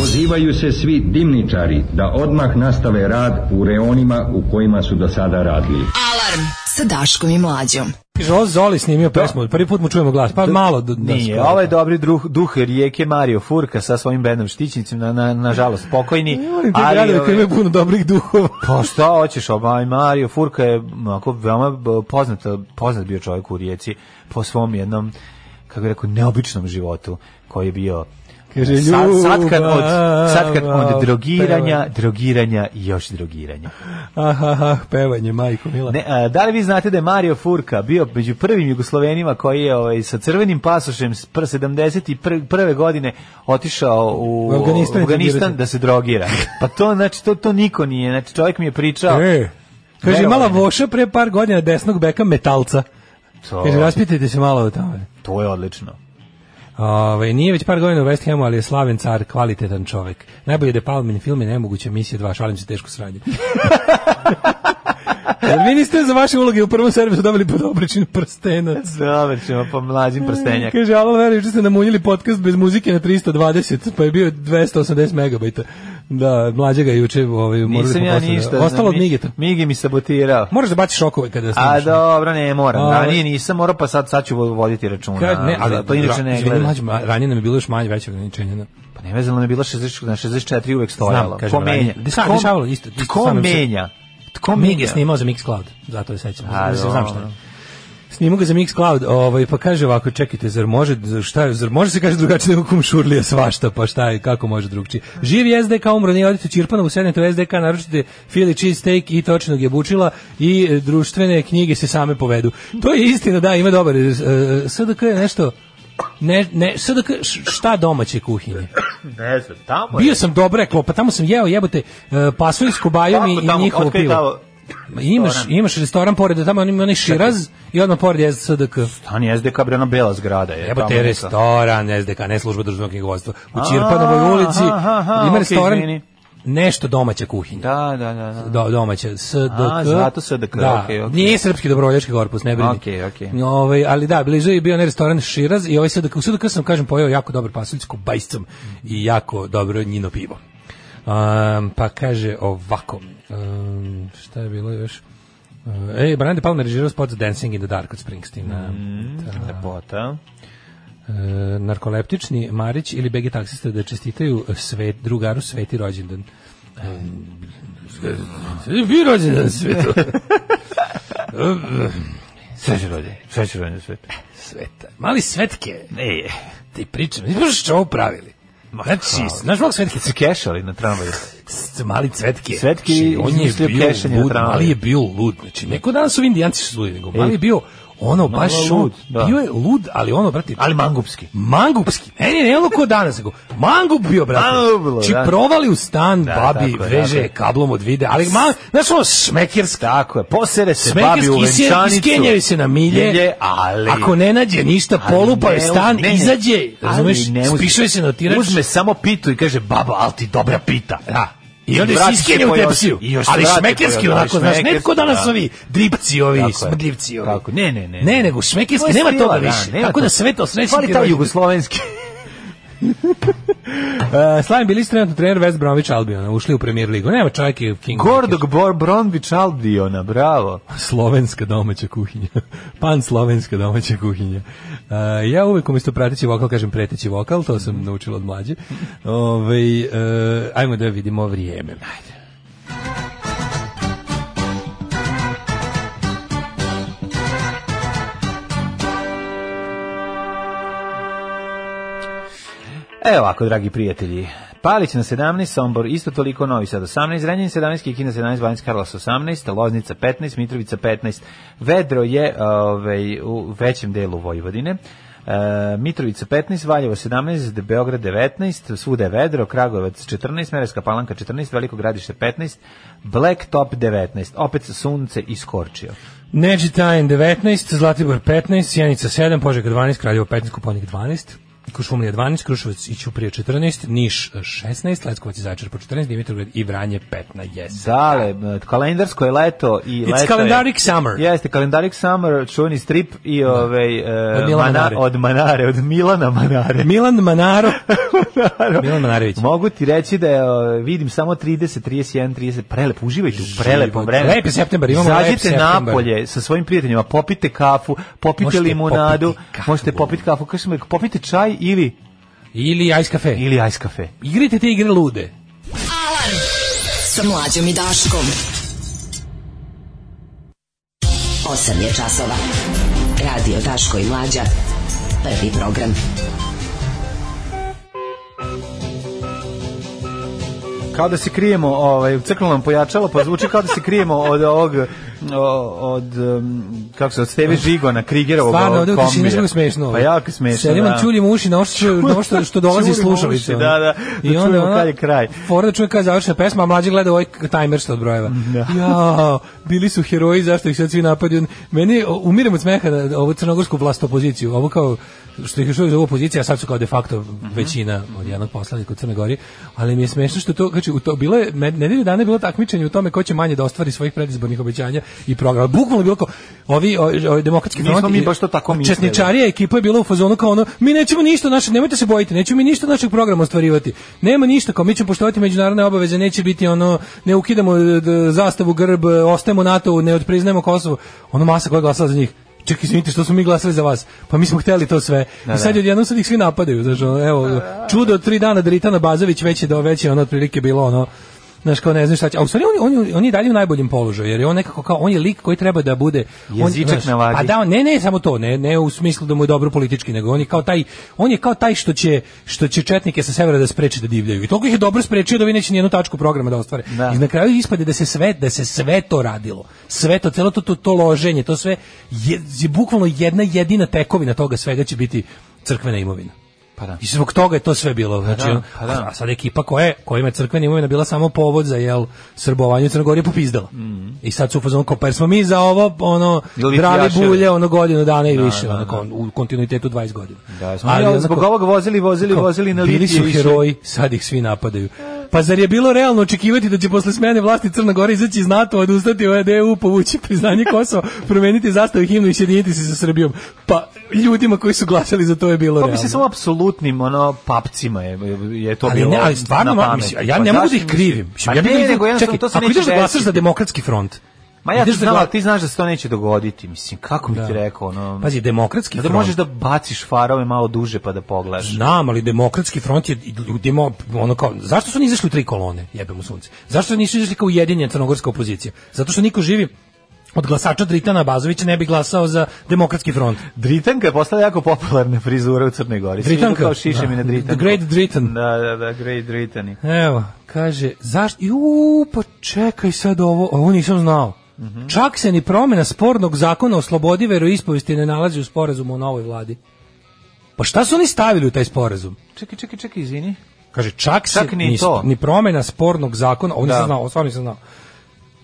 S10: Pozivaju se svi dimničari da odmah nastave rad u reonima u kojima su do sada radili.
S5: Alarm sa Daškom i Mlađom.
S6: Žo Zoli snimio pesmu, prvi put mu čujemo glas, pa malo da, da
S7: Nije,
S6: skoro.
S7: ovaj dobri druh, duh rijeke Mario Furka sa svojim bendom Štićnicim, na, na, nažalost, pokojni.
S6: Volim te gradove koji
S7: ovaj,
S6: imaju puno dobrih duhova.
S7: Pa šta hoćeš, ovaj Mario Furka je onako veoma b- poznat, poznat bio čovjek u Rijeci po svom jednom, kako bih rekao, neobičnom životu koji je bio
S6: Kaže,
S7: sad, satkan od, satkan
S6: ljubav,
S7: od drogiranja,
S6: peva.
S7: drogiranja i još drogiranja.
S6: Aha, aha, pevanje, majko mila. E.
S7: Ne, a, da li vi znate da je Mario Furka bio među prvim Jugoslovenima koji je ovaj, sa crvenim pasošem s pr 71. godine otišao u,
S6: U Afganistan i drogira se.
S7: da se drogira. Pa to, znači, to, to niko nije. Znači, čovjek mi je pričao...
S6: E, kaže,
S7: Verovali
S6: imala
S7: ne.
S6: voša pre par godina desnog beka metalca.
S7: To-
S6: Kaže, raspitajte se malo o tome.
S7: To je odlično.
S6: Ove, Ovaj, nije već par godina u West Hamu, ali je slaven car, kvalitetan čovek. Najbolje De Palmin film je nemoguće misije 2, šalim se teško sranje. Jer vi niste za vaše uloge u prvom servisu dobili pod obličinu prstenac.
S7: Dobar ćemo po mlađim prstenjak.
S6: Kaže, alo, veri, juče ste namunjili podcast bez muzike na 320, pa je bio 280 megabajta. Da, mlađega je juče ovaj, morali
S7: Nisam
S6: smo
S7: ja
S6: posle da-
S7: ništa.
S6: Ostalo od
S7: znam,
S6: Migeta.
S7: Migi mi sabotirao.
S6: Moraš da baciš šokove kada snimaš.
S7: A dobro, ne moram.
S6: A,
S7: Ranije nisam morao, pa sad, sad ću voditi računa.
S6: Kad, ne, ali,
S7: to inače ne
S6: izvini,
S7: gledam.
S6: mlađe, ma- ranije nam je bilo još manje veće ograničenje. Da.
S7: Pa ne vezano, ono je bila 60, na 64 uvek stojalo.
S6: kažem,
S7: Ko menja?
S6: ranije. Sa-
S7: Tko-
S6: dešavalo isto, isto
S7: Tko
S6: samim se-
S7: menja? Tko
S6: Mig
S7: menja?
S6: je snimao za Mixcloud, zato je sećam.
S7: A,
S6: Mislim, znam
S7: dobro.
S6: šta je. Snimao ga za Mixcloud, ovaj, pa kaže ovako, čekajte, zar može, zar šta, zar može se kaže drugačije nego kumšurlija svašta, pa šta je, kako može drugčije. Živ je SDK, umro, nije odite u Čirpanovu, sednete u SDK, naručite Philly cheese steak i točnog je bučila i e, društvene knjige se same povedu. To je istina, da, ima dobar. e, SDK je nešto, ne, ne, SDK, š- šta domaće kuhinje?
S7: Ne znam, tamo
S6: Bio sam dobra klopa, tamo sam jeo, jebote, e, pasulj s kobajom i,
S7: Kako
S6: i njihovo
S7: Otkad je
S6: pivo.
S7: tamo-
S6: Ma Imaš, imaš restoran pored, tamo ima onaj širaz i odmah pored je SDK.
S7: Stani SDK bre, ona bela zgrada je.
S6: Evo
S7: tamo
S6: te
S7: neka.
S6: restoran SDK, ne služba državnog knjigovodstva. U Čirpanovoj
S7: aha,
S6: ulici
S7: aha,
S6: ima
S7: okej,
S6: restoran
S7: izvini.
S6: nešto domaća kuhinja.
S7: Da, da, da. da.
S6: Do, domaća, SDK.
S7: A, zato SDK,
S6: da.
S7: okej, okej.
S6: Nije srpski dobrovoljački korpus, ne brini.
S7: Okej, okej.
S6: Ovaj, ali da, blizu je bio onaj restoran Širaz i ovaj SDK, u SDK sam, kažem, pojeo jako dobar pasulj s kobajscom i jako dobro njino pivo. Um, pa kaže ovako, um, šta je bilo još? Uh, Ej, Brande Palmer režirao spot za Dancing in the Dark od Springsteena.
S7: Mm.
S6: Da.
S7: Lepota.
S6: E, narkoleptični Marić ili BG taksista da čestitaju svet, drugaru sveti rođendan. E, Vi rođendan svetu.
S7: Sve će rodje, sve će rodje sve.
S6: Sveta. Mali svetke,
S7: Ne,
S6: ti pričam, ti znaš što ovo pravili. Znači, znaš mali svetke,
S7: se kešali na tramvaju.
S6: s- mali cvetke.
S7: Cvetke
S6: Znači,
S7: i izmislio plešanje na
S6: lud,
S7: tramvaju.
S6: mali je bio lud. Znači, neko danas su indijanci su ludi, nego mali je bio ono, baš
S7: malo
S6: lud.
S7: lud, da.
S6: Bio je lud, ali ono, brate,
S7: Ali mangupski.
S6: Mangupski. Ne, ne, ne, ono ko danas. Nego, mangup bio, brate.
S7: Mangup bilo,
S6: Či
S7: da.
S6: provali u stan
S7: Da,
S6: babi,
S7: tako je,
S6: veže
S7: tako
S6: je
S7: je.
S6: kablom od vide. Ali, man, znaš ono, šmekerski.
S7: Tako je, posere se babi
S6: Smekerski
S7: u venčanicu.
S6: iskenjavi se na milje,
S7: Milje, ali...
S6: Ako ne nađe ništa,
S7: ali
S6: polupa je
S7: ne uz-
S6: stan,
S7: ne, ne.
S6: izađe,
S7: Ali
S6: razumeš,
S7: ne uzme.
S6: spišuje se na otirač.
S7: Uzme samo pitu i kaže, baba, ali ti dobra pita.
S6: Da. I onda
S7: I
S6: se
S7: vrati se
S6: iskenja u
S7: po još-
S6: tepsiju.
S7: i još
S6: Ali
S7: vrati po
S6: šmekerski
S7: još-
S6: onako, znaš,
S7: šmekerski,
S6: netko danas
S7: da.
S6: ovi dripci ovi,
S7: Tako je.
S6: smrdljivci ovi.
S7: Tako, ne, ne, ne.
S6: Ne, nego šmekerski,
S7: To je
S6: nema
S7: stila,
S6: toga
S7: da,
S6: više.
S7: nema
S6: Tako
S7: toga.
S6: da sve to srećni
S7: Fali
S6: ti
S7: taj
S6: rođendan.
S7: jugoslovenski.
S6: Uh, Slaven Bilić trenutno trener West Bromwich Albiona, ušli u Premier ligu. Nema čovjek je King.
S7: Gordog Bor Bronvić Albiona, bravo.
S6: Slovenska domaća kuhinja. Pan slovenska domaća kuhinja. Uh, ja uvek umjesto prateći vokal kažem preteći vokal, to
S7: Mhm.
S6: sam naučila od mlađe. Ovaj, uh, ajmo da vidimo vrijeme. Ajde.
S7: Evo E, ovako, dragi prijatelji. Palić na 17, Sombor isto toliko, Novi Sad 18, Renjanin 17, Kikina 17, Banjs Karlas 18, Loznica 15, Mitrovica 15. Vedro je ovaj, u većem delu Vojvodine. E, Mitrovica 15, Valjevo 17, Beograd 19, svuda je vedro, Kragujevac 14, Mereska palanka 14, Veliko gradište 15, Blacktop 19, opet sunce iskorčio.
S6: Neđi Tajn 19, Zlatibor 15, Sjenica 7, Požega 12, Kraljevo 15, Kuponik 12, Kušumlija 12, Kruševac i Ćuprije 14, Niš 16, Leskovac i Zaječar po 14, Dimitrovgrad i Vranje 15.
S7: Dale, e, kalendarsko je leto i
S6: It's
S7: leto je-
S6: calendaric summer.
S7: Jeste, kalendaric summer, čuveni strip i ovaj e,
S6: Od Milana
S7: Mana-
S6: Manare.
S7: od Manare, od Milana Manare.
S6: Milan Manaro. Milan Manarević.
S7: Mogu ti reći da je, e, vidim samo 30, 31, 30, prelepo, uživajte u prelepom
S6: Život.
S7: vremenu.
S6: Lep je septembar, imamo lep
S7: Izađite
S6: septembar.
S7: napolje sa svojim prijateljima, popite kafu, popite
S6: Možete
S7: limunadu,
S6: popiti kafu.
S7: možete popiti kafu, kažem, popite čaj ili,
S6: Ili Ice Cafe.
S7: ili ice kafe.
S6: Igrajte te igre lude.
S5: Alarm sa mlađom i Daškom. 8 je časova. Radio Daško i Mlađa. Prvi program.
S7: Kao da se krijemo, ovaj, crknulo nam pojačalo, pa zvuči kao da se krijemo od ovog, o- od, um, kako se, od Steve Žigona, Krigerovog
S6: Stvarno,
S7: ovog
S6: ovdje u
S7: kombija.
S6: tišini izgleda smešno. ovaj.
S7: Pa jako smešno,
S6: Sedim
S7: da.
S6: da. čuljem u uši na ovo što, na ovo što, što dolazi iz
S7: Čuljim u uši,
S6: slušalice. ono.
S7: da, da, da čujemo
S6: ona-
S7: kad je kraj.
S6: Fora da čuje kada je završena pesma, a mlađi gleda ovaj k- timer što odbrojeva. Jao, bili su heroji, zašto ih sad svi napadaju. Meni, o, umirem od smeha na ovu crnogorsku vlast opoziciju. Ovo kao, što ih još uvijek zove opozicija, a sad su kao de facto
S7: Mhm.
S6: većina od jednog poslanika u Crnoj Gori, ali mi je smešno što to, znači, u to bilo je, med- nedelju dana je bilo takmičenje u tome ko će manje da ostvari svojih predizbornih obećanja i programa. Bukvalno je bilo kao, ovi, ovi, ovi demokratski
S7: Nismo
S6: front
S7: mi
S6: i-
S7: baš to tako mislili.
S6: Četničari Starija ekipa je bila u fazonu kao ono, mi nećemo ništa naše, nemojte se bojiti, nećemo mi ništa od našeg programa ostvarivati. Nema ništa, kao mi ćemo poštovati međunarodne obaveze, neće biti ono, ne ukidamo e, d- zastavu grb, e, ostajemo NATO, ne odpriznajemo Kosovo. Ono masa koja je glasala za njih. Čekaj, izvinite, što smo mi glasali za vas? Pa mi smo hteli to sve. I sad odjednom sad ih svi napadaju. Znači, ono, evo, čudo od tri dana Dritana Bazović već je, do, već je ono otprilike bilo ono, znaš kao ne znaš šta će. A u stvari on, je- on, je- on je i dalje u najboljem položaju, jer je on nekako kao, on je lik koji treba da bude... on-
S7: Jezičak
S6: znaš,
S7: na vagi.
S6: Pa da, on- ne, ne, samo to, ne, ne u smislu da mu je dobro politički, nego on je kao taj, on je kao taj što će, što će četnike sa severa da spreči da divljaju. I toliko ih je dobro sprečio da vi neće nijednu tačku programa da ostvare.
S7: Da.
S6: I na kraju ispade da se sve, da se sve to radilo. Sve to, celo to, to, to loženje, to sve je, je bukvalno jedna jedina tekovina toga svega će biti crkvena imovina.
S7: Pa da.
S6: I zbog toga je to sve bilo. Znači,
S7: da,
S6: ono,
S7: pa da.
S6: A sad ekipa koja je, kojima je crkvena imovina bila samo povod za jel srbovanje u Crnogorije popizdala. I sad su u fazonu kao, pa jer smo mi za ovo ono
S7: Mhm. Ili
S6: dravi
S7: pijaševi.
S6: bulje ono godinu dana i više, ono, kao, u kontinuitetu 20 godina. ono
S7: Da, smo mi ono, zbog ovog vozili, vozili,
S6: kao,
S7: vozili na
S6: Bili
S7: litije
S6: su
S7: i išli.
S6: heroji, sad ih svi napadaju. Pa zar je bilo realno očekivati da će posle smene vlasti Crna Gora izaći iz NATO, odustati od EU, povući priznanje Kosova, promeniti zastavu i himnu i sjediniti se sa Srbijom? Pa ljudima koji su glasali za to je bilo
S7: Pa
S6: realno.
S7: mislim samo apsolutnim ono papcima je je to
S6: ali
S7: bilo.
S6: ne, ali stvarno,
S7: na
S6: ma,
S7: pamet.
S6: mislim, ja
S7: Pa
S6: ne mogu da ih
S7: zašto
S6: krivim.
S7: mislim?
S6: Mislim,
S7: Pa
S6: ja
S7: ne,
S6: bih da-
S7: nego jednostavno
S6: čekaj,
S7: to se
S6: Ako
S7: neće
S6: ideš da glasaš
S7: desiti.
S6: za demokratski front,
S7: Ma ja ti
S6: ideš da
S7: znam,
S6: gla-
S7: ali ti znaš da se to neće dogoditi, mislim, kako bi ti rekao, ono...
S6: Pazi, demokratski
S7: da
S6: front.
S7: možeš da baciš farove malo duže pa da pogledaš.
S6: Znam, ali demokratski front je ljudima ono kao zašto su oni izašli u tri kolone, jebe mu sunce. Zašto nisu izašli kao ujedinjena crnogorska opozicija? Zato što niko živi od glasača Dritana Bazovića ne bi glasao za demokratski front.
S7: Dritanka je postala jako popularna frizura u Crnoj Gori. Svi idu
S6: Dritanka?
S7: Kao šiše
S6: Da.
S7: mi na Dritanku.
S6: The Great Dritan.
S7: Da, da, da, Great Dritani.
S6: Evo, kaže, zašto? Ju, pa čekaj sad ovo, ovo nisam znao.
S7: Mhm.
S6: Čak se ni promjena spornog zakona o slobodi veroispovesti ne nalazi u sporazumu o novoj vladi. Pa šta su oni stavili u taj sporazum?
S7: Čekaj, čekaj, čekaj, izvini.
S6: Kaže, čak,
S7: Čak
S6: se
S7: ni
S6: ni,
S7: to.
S6: ni promjena spornog zakona, ovo nisam
S7: Da.
S6: znao, ovo stvarno nisam znao.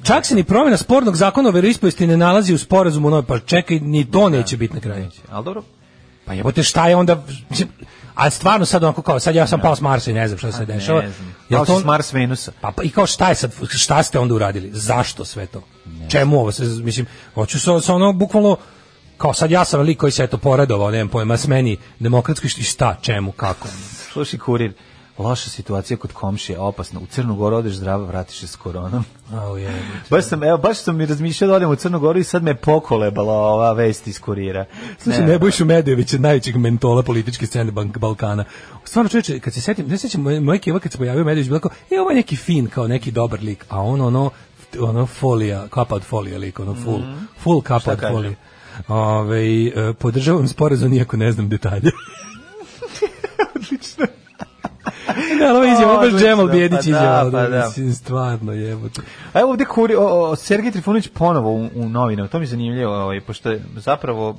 S6: Čak se ni promjena spornog zakona o veroispovesti ne nalazi u sporazumu o novoj, pa čekaj, ni to neće biti na kraju.
S7: Ali dobro,
S6: Pa jebote, šta je onda... A stvarno sad onako kao, sad ja sam pao s Marsa i ne znam šta se
S7: Pa ne
S6: dešava.
S7: znam.
S6: Jel
S7: Kao
S6: to-
S7: si s Mars Venusa.
S6: pa, pa i kao šta je sad, šta ste onda uradili? Zašto sve to? Čemu ovo? se- Mislim, hoću sa, sa ono bukvalno kao sad ja sam lik koji se eto poradovao, nemam pojma, s meni demokratski šti- šta, čemu, kako.
S7: Slušaj, kurir, loša situacija kod komšije, opasna. U Crnu Goru odeš zdrava, vratiš se s koronom.
S6: Au, jebote.
S7: Baš sam, evo, baš sam mi razmišljao da odem u Crnu Goru i sad me pokolebala ova vest iz kurira.
S6: Slušaj,
S7: Ne,
S6: Nebojšu Medojevića, najvećeg mentola političke scene Bank Balkana. Stvarno, čovječe, kad se setim, ne sećam, moja moja keva kad se pojavio Medojević, bila kao, e, ovo je neki fin, kao neki dobar lik, a on, ono, ono folija, kapa od folija lik, ono full, full kapa od
S7: Mhm. kaže?
S6: folije. Ove, e, podržavam sporazum, iako ne znam detalje. Odlično. E, Da, ali ovo je izjava, baš
S7: Odlično,
S6: Džemal Bjedić
S7: pa da,
S6: izjava,
S7: pa da.
S6: mislim, stvarno jebote.
S7: A Evo ovde kuri, o, o, Sergej Trifunović ponovo u, u novinama, to mi je zanimljivo, ovaj, pošto je zapravo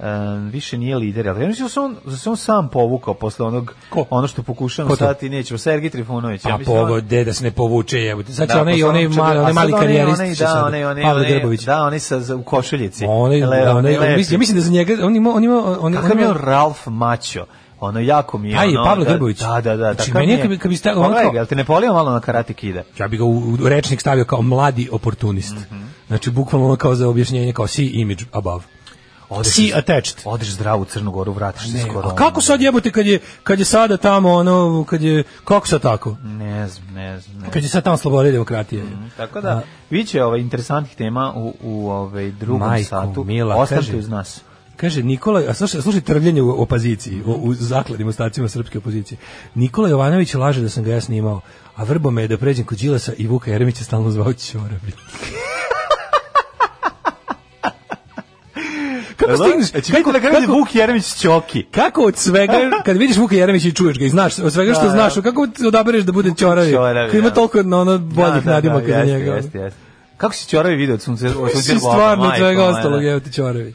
S7: em, više nije lider, ali ja mislim da se on, da se on sam povukao posle onog,
S6: Ko?
S7: ono što pokušamo
S6: Ko to?
S7: sad i nećemo, Sergej Trifunović.
S6: Pa
S7: mislim da on-
S6: povod, de da se ne povuče, jebote. Sad će
S7: Da,
S6: onaj,
S7: posle
S6: onaj
S7: onog što je
S6: mali,
S7: bilo-
S6: onaj
S7: a
S6: mali
S7: sad onaj-
S6: karijerist
S7: onaj-
S6: će sad,
S7: da, onaj, onaj,
S6: Pavle
S7: onaj-
S6: Grbović.
S7: Da, onaj sa, za- u košuljici.
S6: Onaj,
S7: Le-
S6: da, onaj,
S7: lepi.
S6: mislim, ja mislim da za njega, on ima, on ima, on, on,
S7: Kakav
S6: on
S7: je
S6: ima,
S7: on Ralf Macho? Ono jako mi je
S6: Taj je
S7: ono...
S6: Pa Pavle
S7: da-
S6: Grbović.
S7: Da, da, da.
S6: Znači,
S7: takav
S6: meni
S7: mi
S6: je kad bi- kad bi stavio- ono
S7: Pogledaj
S6: kao-
S7: ga, jel te ne polio malo na karate kida?
S6: ja bi ga u, u rečnik stavio kao mladi oportunist.
S7: Mhm.
S6: Znači, bukvalno ono kao za objašnjenje, kao see image above.
S7: Odeš,
S6: See attached.
S7: odeš zdravu u Crnu Goru, vratiš se
S6: Ne,
S7: skoro. ono.
S6: a kako sad jebote kad je, kad je sada tamo ono, kad je, kako sad tako?
S7: Ne znam, ne znam. Ne.
S6: Kad je sad tamo sloboda i demokratija.
S7: Tako da, bit će ovaj, interesantnih tema u, u ovaj drugom
S6: Majko
S7: satu.
S6: mila,
S7: Ostanite
S6: kaže.
S7: uz nas.
S6: Kaže Nikola, a slušaj, slušaj trvljenje u opoziciji, u, u zakladnim ostacima srpske opozicije. Nikola Jovanović laže da sam ga ja snimao, a vrbo me je da pređem kod Đilasa i Vuka Jeremića stalno zvao Ćorabi. Pa Kako stigneš?
S7: Znači, kako da kaže Vuk Jeremić Ćoki?
S6: kako od svega, kad vidiš Vuka Jeremića i čuješ ga i znaš, od svega što
S7: Da,
S6: znaš, kako odabereš da bude Ćoravi?
S7: Ćoravi,
S6: Kad ima
S7: da.
S6: toliko na ono boljih nadimaka za
S7: jeste,
S6: njega. ono.
S7: Jeste, jeste. Kako si Ćoravi video od sunce? od sunce
S6: Mislim,
S7: Boga,
S6: stvarno od
S7: majko
S6: svega
S7: moja,
S6: ostalog,
S7: da.
S6: evo ti Ćoravi.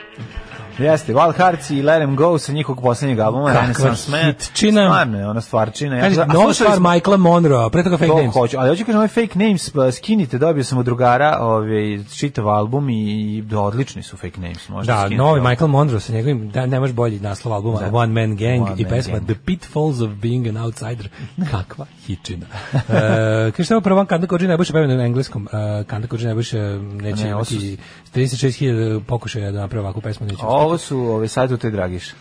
S7: Jeste, Wild Hearts i Let 'em Go sa njihovog poslednjeg albuma
S6: Kakva
S7: Renaissance Man.
S6: hitčina.
S7: Stvarno je ona stvarčina. Ja,
S6: Kaže,
S7: a
S6: nova
S7: slušali
S6: stvar
S7: smo-
S6: Michaela Monroe, pre toga fake
S7: To
S6: names.
S7: hoću, ali hoću kažem ovaj fake names pa, skinite, dobio sam od drugara ovaj čitav album i, i odlični su fake names, možda
S6: Da,
S7: skinite.
S6: novi Michael Monroe sa njegovim, da, nemaš bolji naslov albuma,
S7: Da.
S6: One Man Gang
S7: One
S6: i
S7: Man
S6: pesma
S7: Gang.
S6: The Pitfalls of Being an Outsider. Kakva hičina. e, kaže, ovo prvan Kanda Kođi najbolje pevena na engleskom. E, Kanda Kođi najbolje neće
S7: Ne,
S6: ne,
S7: ovo su-
S6: imati 36.000 pokušaja da napravi ovakvu pesmu. Neće
S7: Ovo ovo su ove sad u te dragiš.
S6: E,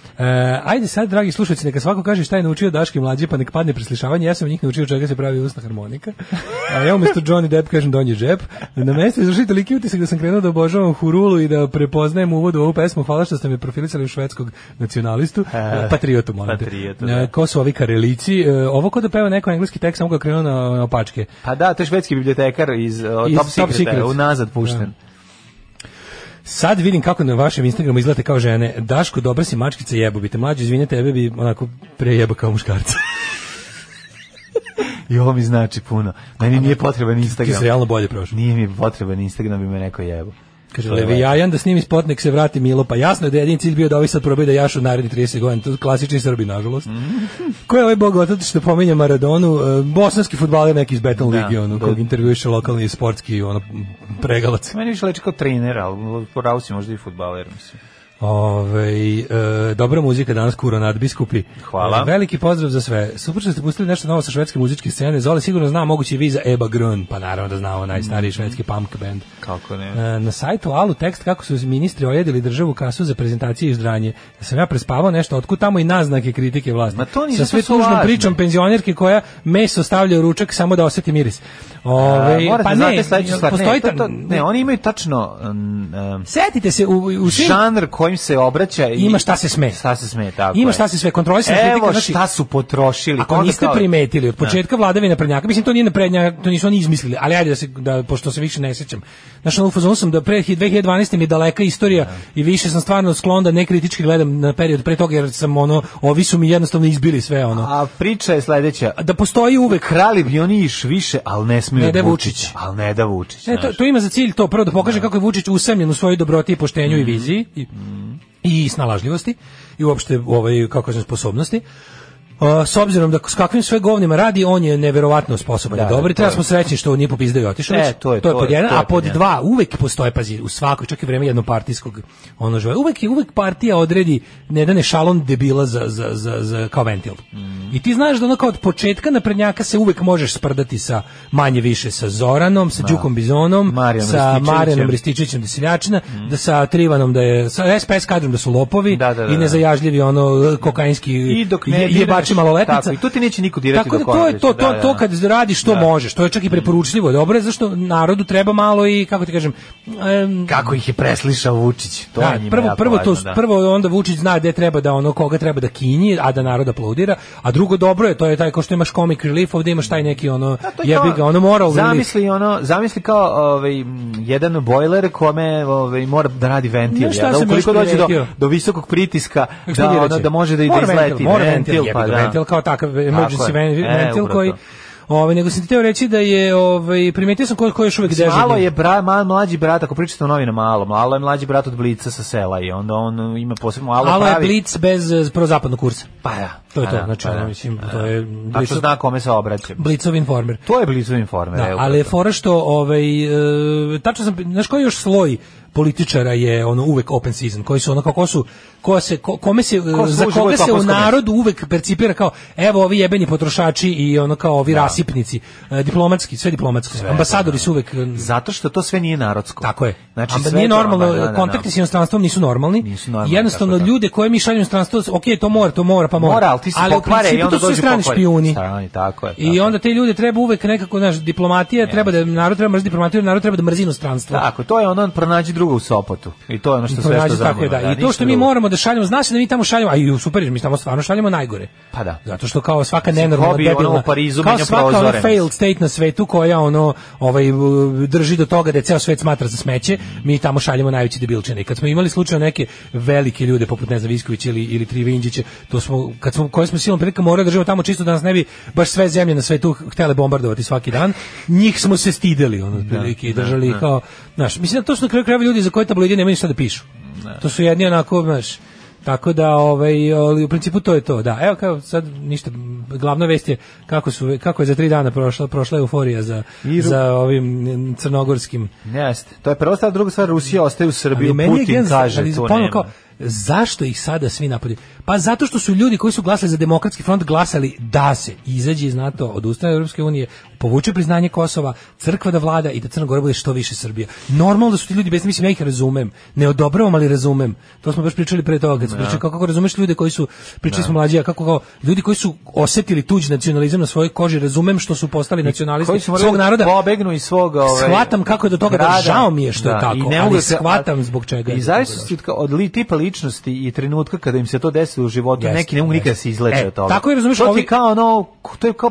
S6: ajde sad, dragi slušalci, neka svako kaže šta je naučio Daški mlađe, pa nek padne preslišavanje. Ja sam od njih naučio čega se pravi usna harmonika. A ja umjesto Johnny Depp kažem donji džep. Na mesto izvršite toliki utisak da sam krenuo da obožavam Hurulu i da prepoznajem uvod u ovu pesmu. Hvala što ste me profilisali u švedskog nacionalistu. E, patriotu, molim te.
S7: Eh, patriotu, da.
S6: E, ko su ovi karelici? E, ovo ko da peva neko engleski tekst, samo ga krenuo na, na opačke.
S7: Pa da, to je švedski bibliotekar iz, o,
S6: Iz
S7: Top,
S6: Top
S7: Secreta,
S6: Secret.
S7: unazad pušten.
S6: Sad vidim kako na vašem Instagramu izgledate kao žene. Daško, dobra si mačkica, jebo bi te. Mlađe, izvini, tebe bi onako prejeba kao muškarca.
S7: I ovo mi znači puno. Meni nije potreban
S6: Ti si
S7: Instagram.
S6: realno bolje prošao.
S7: Nije mi potreban Instagram, bi me neko jebo.
S6: Kaže, levi jajan da snimi spot, nek se vrati Milo. Pa jasno je da je jedin cilj bio da ovi sad probaju da jašu naredni 30 godina. To su klasični Srbi, nažalost.
S7: Mhm.
S6: Ko je ovaj bog otac što pominja Maradonu? E, Bosanski futbaler neki iz Beton Ligi, ono,
S7: da.
S6: kog intervjuiše lokalni sportski ono, pregalac.
S7: Meni više leči kao trener, ali po pravu si možda i futbaler, mislim.
S6: Ove, e, dobra muzika danas, kuro nadbiskupi.
S7: Hvala.
S6: E, veliki pozdrav za sve. Super što ste pustili nešto novo sa švedske muzičke scene. Zoli sigurno zna mogući vi za Eba Grön, pa naravno da zna ovo
S7: Mhm.
S6: najstariji švedski punk band.
S7: Kako ne?
S6: E, Na sajtu Alu tekst kako su ministri ojedili državu kasu za prezentacije i ždranje. Da sam ja prespavao nešto, otkud tamo i naznake kritike vlasti.
S7: Ma to ni
S6: Sa
S7: zato
S6: sve
S7: su
S6: tužnom
S7: lažne.
S6: pričom penzionerke koja meso stavlja u ručak samo da osjeti miris. Ove,
S7: A, morate
S6: pa
S7: znate
S6: ne,
S7: sledeću stvar.
S6: postoji
S7: ne, to- to-
S6: tam-
S7: ne, oni imaju tačno um, um,
S6: Setite se u, u svim
S7: žanr kojim se obraća i
S6: Ima šta se sme.
S7: Šta se sme, tako.
S6: Ima
S7: je.
S6: šta se sve kontrolisana
S7: Evo
S6: kritika, znači-
S7: šta su potrošili.
S6: Ako
S7: onda
S6: niste
S7: kao-
S6: primetili od početka vladavine prednjaka, mislim to nije naprednja, to nisu oni izmislili, ali ajde da se da pošto se više ne sećam. Znaš, ono, u fazonu sam da pre 2012 mi je daleka istorija i više sam stvarno sklon da nekritički gledam na period pre toga jer sam ono ovi su mi jednostavno izbili sve ono.
S7: A priča je sledeća.
S6: Da postoji uvek
S7: Krali bi oni iš više, ali ne smiju
S6: Ne da
S7: od
S6: Vučića.
S7: Ali ne da Vučić.
S6: E, to,
S7: znaš.
S6: to ima za cilj to, prvo da pokaže kako je Vučić usamljen u svojoj dobroti i poštenju i viziji i, i snalažljivosti i uopšte ovaj, kako kažem, sposobnosti. A, s obzirom da s kakvim sve govnima radi, on je neverovatno sposoban
S7: Da,
S6: i dobar i
S7: to
S6: treba
S7: je.
S6: smo srećni što nije popizdeo i otišao.
S7: E, to je-
S6: to je
S7: to
S6: pod
S7: je-
S6: jedan,
S7: to je
S6: a pod
S7: pod
S6: dva, uvek postoje, pazi, u svakoj, čak i vreme jednopartijskog ono živa. Uvek, je- uvek partija odredi ne da ne šalon debila za, za, za, za kao ventil. I ti znaš da ono kao od početka naprednjaka se uvek možeš sprdati sa manje više sa Zoranom, sa Đukom Bizonom,
S7: Marijanom
S6: sa
S7: Rističevićem.
S6: Marijanom Rističevićem da je seljačina, da sa Trivanom da je, sa SPS kadrom da su lopovi
S7: Da, da, da,
S6: i
S7: da.
S6: nezajažljivi ono kokainski
S7: I dok ne
S6: je-
S7: diraš,
S6: jebači maloletnica.
S7: tako, i tu ti neće niko dirati
S6: Tako da
S7: dok
S6: to je
S7: odradiš,
S6: to, to,
S7: da, da.
S6: to kad radi što
S7: Da.
S6: možeš, to je čak i preporučljivo, dobro je, zašto narodu treba malo i, kako ti kažem, em,
S7: Kako ih je preslišao Vučić. To
S6: da,
S7: je njima
S6: prvo,
S7: jako
S6: prvo, to,
S7: važno, da.
S6: prvo onda Vučić zna gde treba da ono koga treba da kinji, a da narod aplaudira, a drugo dobro je, to je taj ko što imaš comic relief, ovdje imaš taj neki ono
S7: To je
S6: jebi
S7: kao-
S6: ga, ono moral relief.
S7: Zamisli ono, zamisli kao ovaj m, jedan bojler kome ovaj mora da radi ventil,
S6: Znaš šta
S7: ja, da
S6: sam
S7: ukoliko
S6: još
S7: dođe do
S6: primetio?
S7: do visokog pritiska da
S6: Eksplodiraće.
S7: ono, da može da i da
S6: Mora ventil,
S7: izleti
S6: mora ventil, jebi
S7: pa
S6: ga,
S7: da.
S6: ventil kao takav emergency
S7: je.
S6: ven-
S7: E,
S6: ventil
S7: upravo
S6: koji
S7: to.
S6: Ovaj nego sam ti teo reći da je ovaj primetio sam ko, ko još uvek dežurni.
S7: Malo je bra, mal, mlađi brat, ako pričate o novinama, malo, malo je mlađi brat od Blica sa sela i onda on ima posebno malo
S6: Alo je
S7: pravi.
S6: blic bez eh, prozapadnog kursa.
S7: Pa da,
S6: To je
S7: pa
S6: to,
S7: da,
S6: znači,
S7: pa
S6: ono,
S7: da,
S6: mislim,
S7: pa
S6: to
S7: da.
S6: je
S7: Tačno
S6: blizu-
S7: zna kome se obraćam.
S6: Blicov informer.
S7: To je blizu informer.
S6: Da, ali je fora što ovaj e, tačno sam znaš koji još sloj političara je ono uvek open season koji su ono kako su ko se ko, kome se e, za
S7: služi
S6: koga
S7: uvek
S6: se u
S7: topovsko mesto.
S6: narodu uvek percipira kao evo ovi jebeni potrošači i ono kao ovi rasipnici e, diplomatski sve diplomatsko ambasadori su uvek e,
S7: Zato što to sve nije narodsko.
S6: Tako je. Znači,
S7: sve
S6: nije
S7: to-
S6: normalno,
S7: da, da, da, da.
S6: kontakti s inostranstvom nisu normalni.
S7: Nisu normalni,
S6: Jednostavno,
S7: tako da.
S6: ljude koje mi šaljemo u inostranstvo, ok, to mora, to mora, pa mora.
S7: Mora, ali ti se
S6: u
S7: pokvare i
S6: principu
S7: onda
S6: to su sve
S7: dođu
S6: strani
S7: pokvari.
S6: špijuni.
S7: Strani, tako je, tako
S6: I
S7: je.
S6: onda te ljude treba uvek nekako, znaš, diplomatija, treba da, narod treba mrziti diplomatiju, narod treba da mrzi inostranstvo.
S7: Tako, to je ono pronađi druga u Sopotu. I to je ono što
S6: To
S7: sve što
S6: nađe,
S7: zanima.
S6: tako je, da. I to
S7: ništa
S6: što mi
S7: drugo.
S6: moramo da šaljemo, zna se da mi tamo šaljemo, a i u super, mi tamo stvarno šaljemo najgore.
S7: Pa da.
S6: Zato što kao svaka nenormalna
S7: ko bi ono
S6: debilna,
S7: u Parizu
S6: kao
S7: menjao
S6: svaka ona
S7: prozore?
S6: failed state na svetu koja ono ovaj u- drži do toga da je ceo svet smatra za smeće, mi tamo šaljemo najveće debilčine. I Kad smo imali slučajno neke velike ljude poput ne znam Visković ili ili Trivinđića, to smo kad smo koje smo silom prilika morali da držimo tamo čisto da nas ne bi baš sve zemlje na svetu htele bombardovati svaki dan. Njih smo se stideli ono otprilike i držali ih kao, znaš, mislim da to su na kraju krajeva ljudi za koje tabloidi nemaju ništa da pišu. To su jedni onako, znaš, tako da ovaj ali u principu to je to, da. Evo kao sad ništa glavna vest je kako su kako je za tri dana prošla prošla euforija za
S7: Iru.
S6: za ovim m, crnogorskim.
S7: Jeste. To je prva stvar, druga stvar, Rusija ostaje u Srbiji,
S6: meni je
S7: Putin
S6: gen-
S7: kaže
S6: ali
S7: to
S6: ponovo
S7: nema.
S6: kao, zašto ih sada svi napadaju? Pa zato što su ljudi koji su glasali za demokratski front glasali da se izađe iz NATO, odustane od Europske unije, povuče priznanje Kosova, crkva da vlada i da Crna Gora bude što više Srbija. Normalno da su ti ljudi bez mislim ja ih razumem, ne odobravam, ali razumem. To smo baš pričali pre toga, kad smo pričali kako, kako razumeš ljude koji su pričali smo mlađi, a kako kao ljudi koji su osetili tuđ nacionalizam na svojoj koži, razumem što su postali nacionalisti
S7: koji su morali
S6: svog naroda.
S7: pobegnu iz svog ovaj
S6: Shvatam kako je do toga došlo,
S7: grada.
S6: žao mi je što je tako,
S7: i ne
S6: ali
S7: mogu da se-
S6: shvatam zbog čega je
S7: I
S6: do toga
S7: zavisnosti od, ka- od li, tipa ličnosti i trenutka kada im se to desilo u životu,
S6: Jeste,
S7: neki ne mogu nikada
S6: jeste.
S7: se izleče
S6: E,
S7: od toga.
S6: tako je, razumeš,
S7: to ti
S6: ovi-
S7: kao ono, to je kao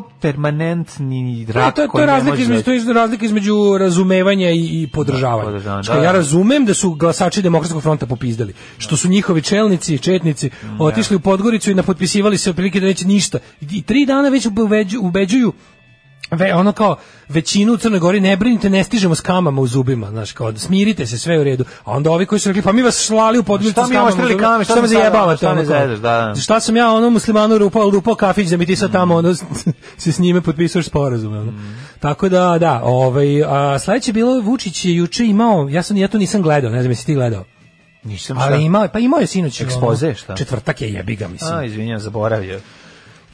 S7: permanentni
S6: Da,
S7: rak
S6: to je, to
S7: koji
S6: je
S7: ne
S6: razlika
S7: može
S6: između,
S7: da-
S6: to je razlika između razumevanja i, i podržavanja.
S7: Da, podržavanja,
S6: što
S7: da,
S6: ja
S7: da.
S6: razumem da su glasači demokratskog fronta popizdali, što su njihovi čelnici i četnici
S7: Mm,
S6: otišli u Podgoricu i napotpisivali se otprilike da neće ništa. I, i tri dana već ubeđu- ubeđuju ve, ono kao većinu u Crnoj Gori ne brinite, ne stižemo s kamama u zubima, znaš, kao smirite se, sve je u redu. A onda ovi koji su rekli, pa mi vas slali u podgoricu
S7: Šta
S6: s
S7: mi
S6: kamama, u
S7: oštrili
S6: zubima,
S7: kame, šta
S6: šta me
S7: mi sada,
S6: zajebavate,
S7: šta
S6: ono
S7: me
S6: kao.
S7: zajebeš, da, da.
S6: Šta sam ja onom muslimanu lupao, lupao kafić da mi ti sad tamo ono, se s njime potpisuješ sporazum. Ono. Tako da, da, ovaj, a sledeće je bilo, Vučić je juče imao, ja, sam, ja to nisam gledao, ne znam jesi ti gledao.
S7: Nisam šta.
S6: Ali imao, je- pa imao je sinoć. ono,
S7: Ekspoze, šta?
S6: Četvrtak je jebiga, mislim.
S7: A, izvinjam, zaboravio.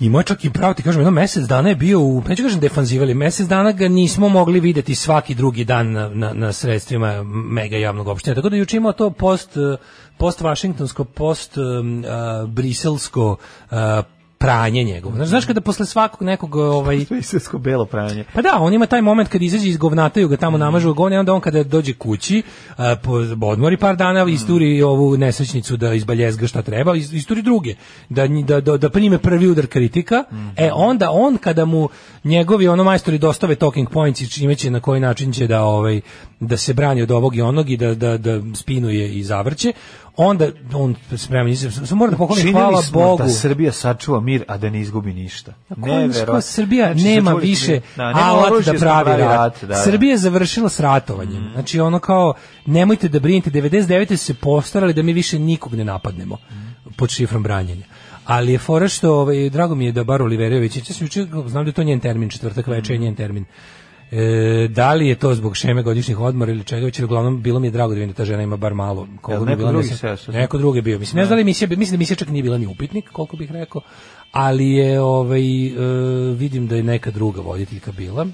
S6: I moj čak i pravo ti kažem, jedno mesec dana je bio u, neću kažem defanzivali, mesec dana ga nismo mogli videti svaki drugi dan na, na, na sredstvima mega javnog opštenja. Tako da juče imao to post, eh, post vašingtonsko, post em, a, briselsko a, pranje njegovo. Znaš, znaš kada posle svakog nekog ovaj,
S7: To je istinsko belo pranje.
S6: pa da, on ima taj moment kad izađe iz govnataju ga
S7: Mm.
S6: tamo namažu u govne, onda on kada dođe kući, a, po, odmori par
S7: Mm.
S6: dana, isturi ovu nesrećnicu da izbaljezga šta treba, is- isturi druge, da, nji- da, da, da prime prvi udar kritika,
S7: Mhm.
S6: e onda on kada mu njegovi ono majstori dostave talking points i čime će na koji način će da ovaj da se brani od ovog i onog i da, da, da spinuje i zavrće, onda on spremni, samo moram da pohvalim, hvala
S7: Činili smo
S6: Bogu.
S7: da Srbija sačuva mir, a da ne izgubi ništa.
S6: Koja
S7: Neverovatno.
S6: kao Srbija
S7: Znači,
S6: nema
S7: sačuvali smo
S6: više
S7: mir. Da, nema
S6: alat
S7: oružja
S6: da pravi rat.
S7: da, Mhm. da.
S6: Srbija je završila s ratovanjem. Znači ono kao, nemojte da brinete, 99. su se postarali da mi više nikog ne napadnemo
S7: Mhm.
S6: pod šifrom branjenja. Ali je fora što, ovaj, drago mi je da bar Oliverović, ja sam juče, znam da je to njen termin, četvrtak veče
S7: Mhm.
S6: je njen termin. E, da li je to zbog šeme godišnjih odmora ili čega već, ali uglavnom bilo mi je drago da vidim da ta žena ima bar malo. koliko
S7: Jel
S6: bi
S7: neko
S6: bila, ne
S7: drugi
S6: znam-
S7: se jaša?
S6: Neko drugi je bio. Mislim, ne znam da li emisija, mislim da emisija čak nije bila ni upitnik, koliko bih rekao, ali je, ovaj, e, vidim da je neka druga voditeljka bila.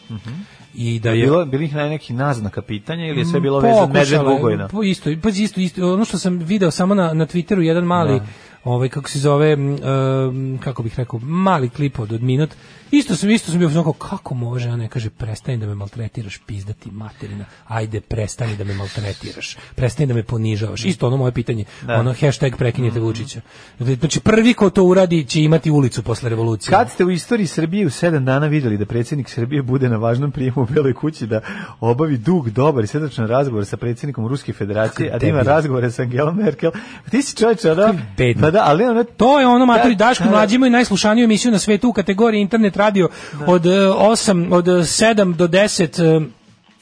S6: I Mhm. da je
S7: Bilo, bili ih na neki naznaka pitanja ili Mm, je sve bilo vezano
S6: Pokušala
S7: Medved
S6: je,
S7: Bogojna?
S6: po- isto, pa isto, isto, ono što sam video samo na, na Twitteru, jedan mali, ovaj, kako se zove, m, em, kako bih rekao, mali klip od, od minut. Isto sam, isto sam bio znao kako može, a ne kaže, prestani da me maltretiraš, pizdati materina, ajde, prestani da me maltretiraš, prestani da me ponižavaš. Isto ono moje pitanje, ono hashtag prekinjete
S7: Mhm.
S6: Vučića. Znači, prvi ko to uradi će imati ulicu posle revolucije.
S7: Kad ste u istoriji Srbije u sedam dana vidjeli da predsjednik Srbije bude na važnom prijemu u Beloj kući da obavi dug, dobar i sredočan razgovor sa predsjednikom Ruske federacije, a da ima
S6: debil.
S7: razgovore sa Angelom Merkel? Ti si čovječ, ono...
S6: bedno.
S7: Pa da, ali ono...
S6: To je ono matori
S7: Da,
S6: Daško
S7: da, da.
S6: mlađi imaju najslušaniju emisiju na svetu u kategoriji internet radio od e, 8 od e, 7 do 10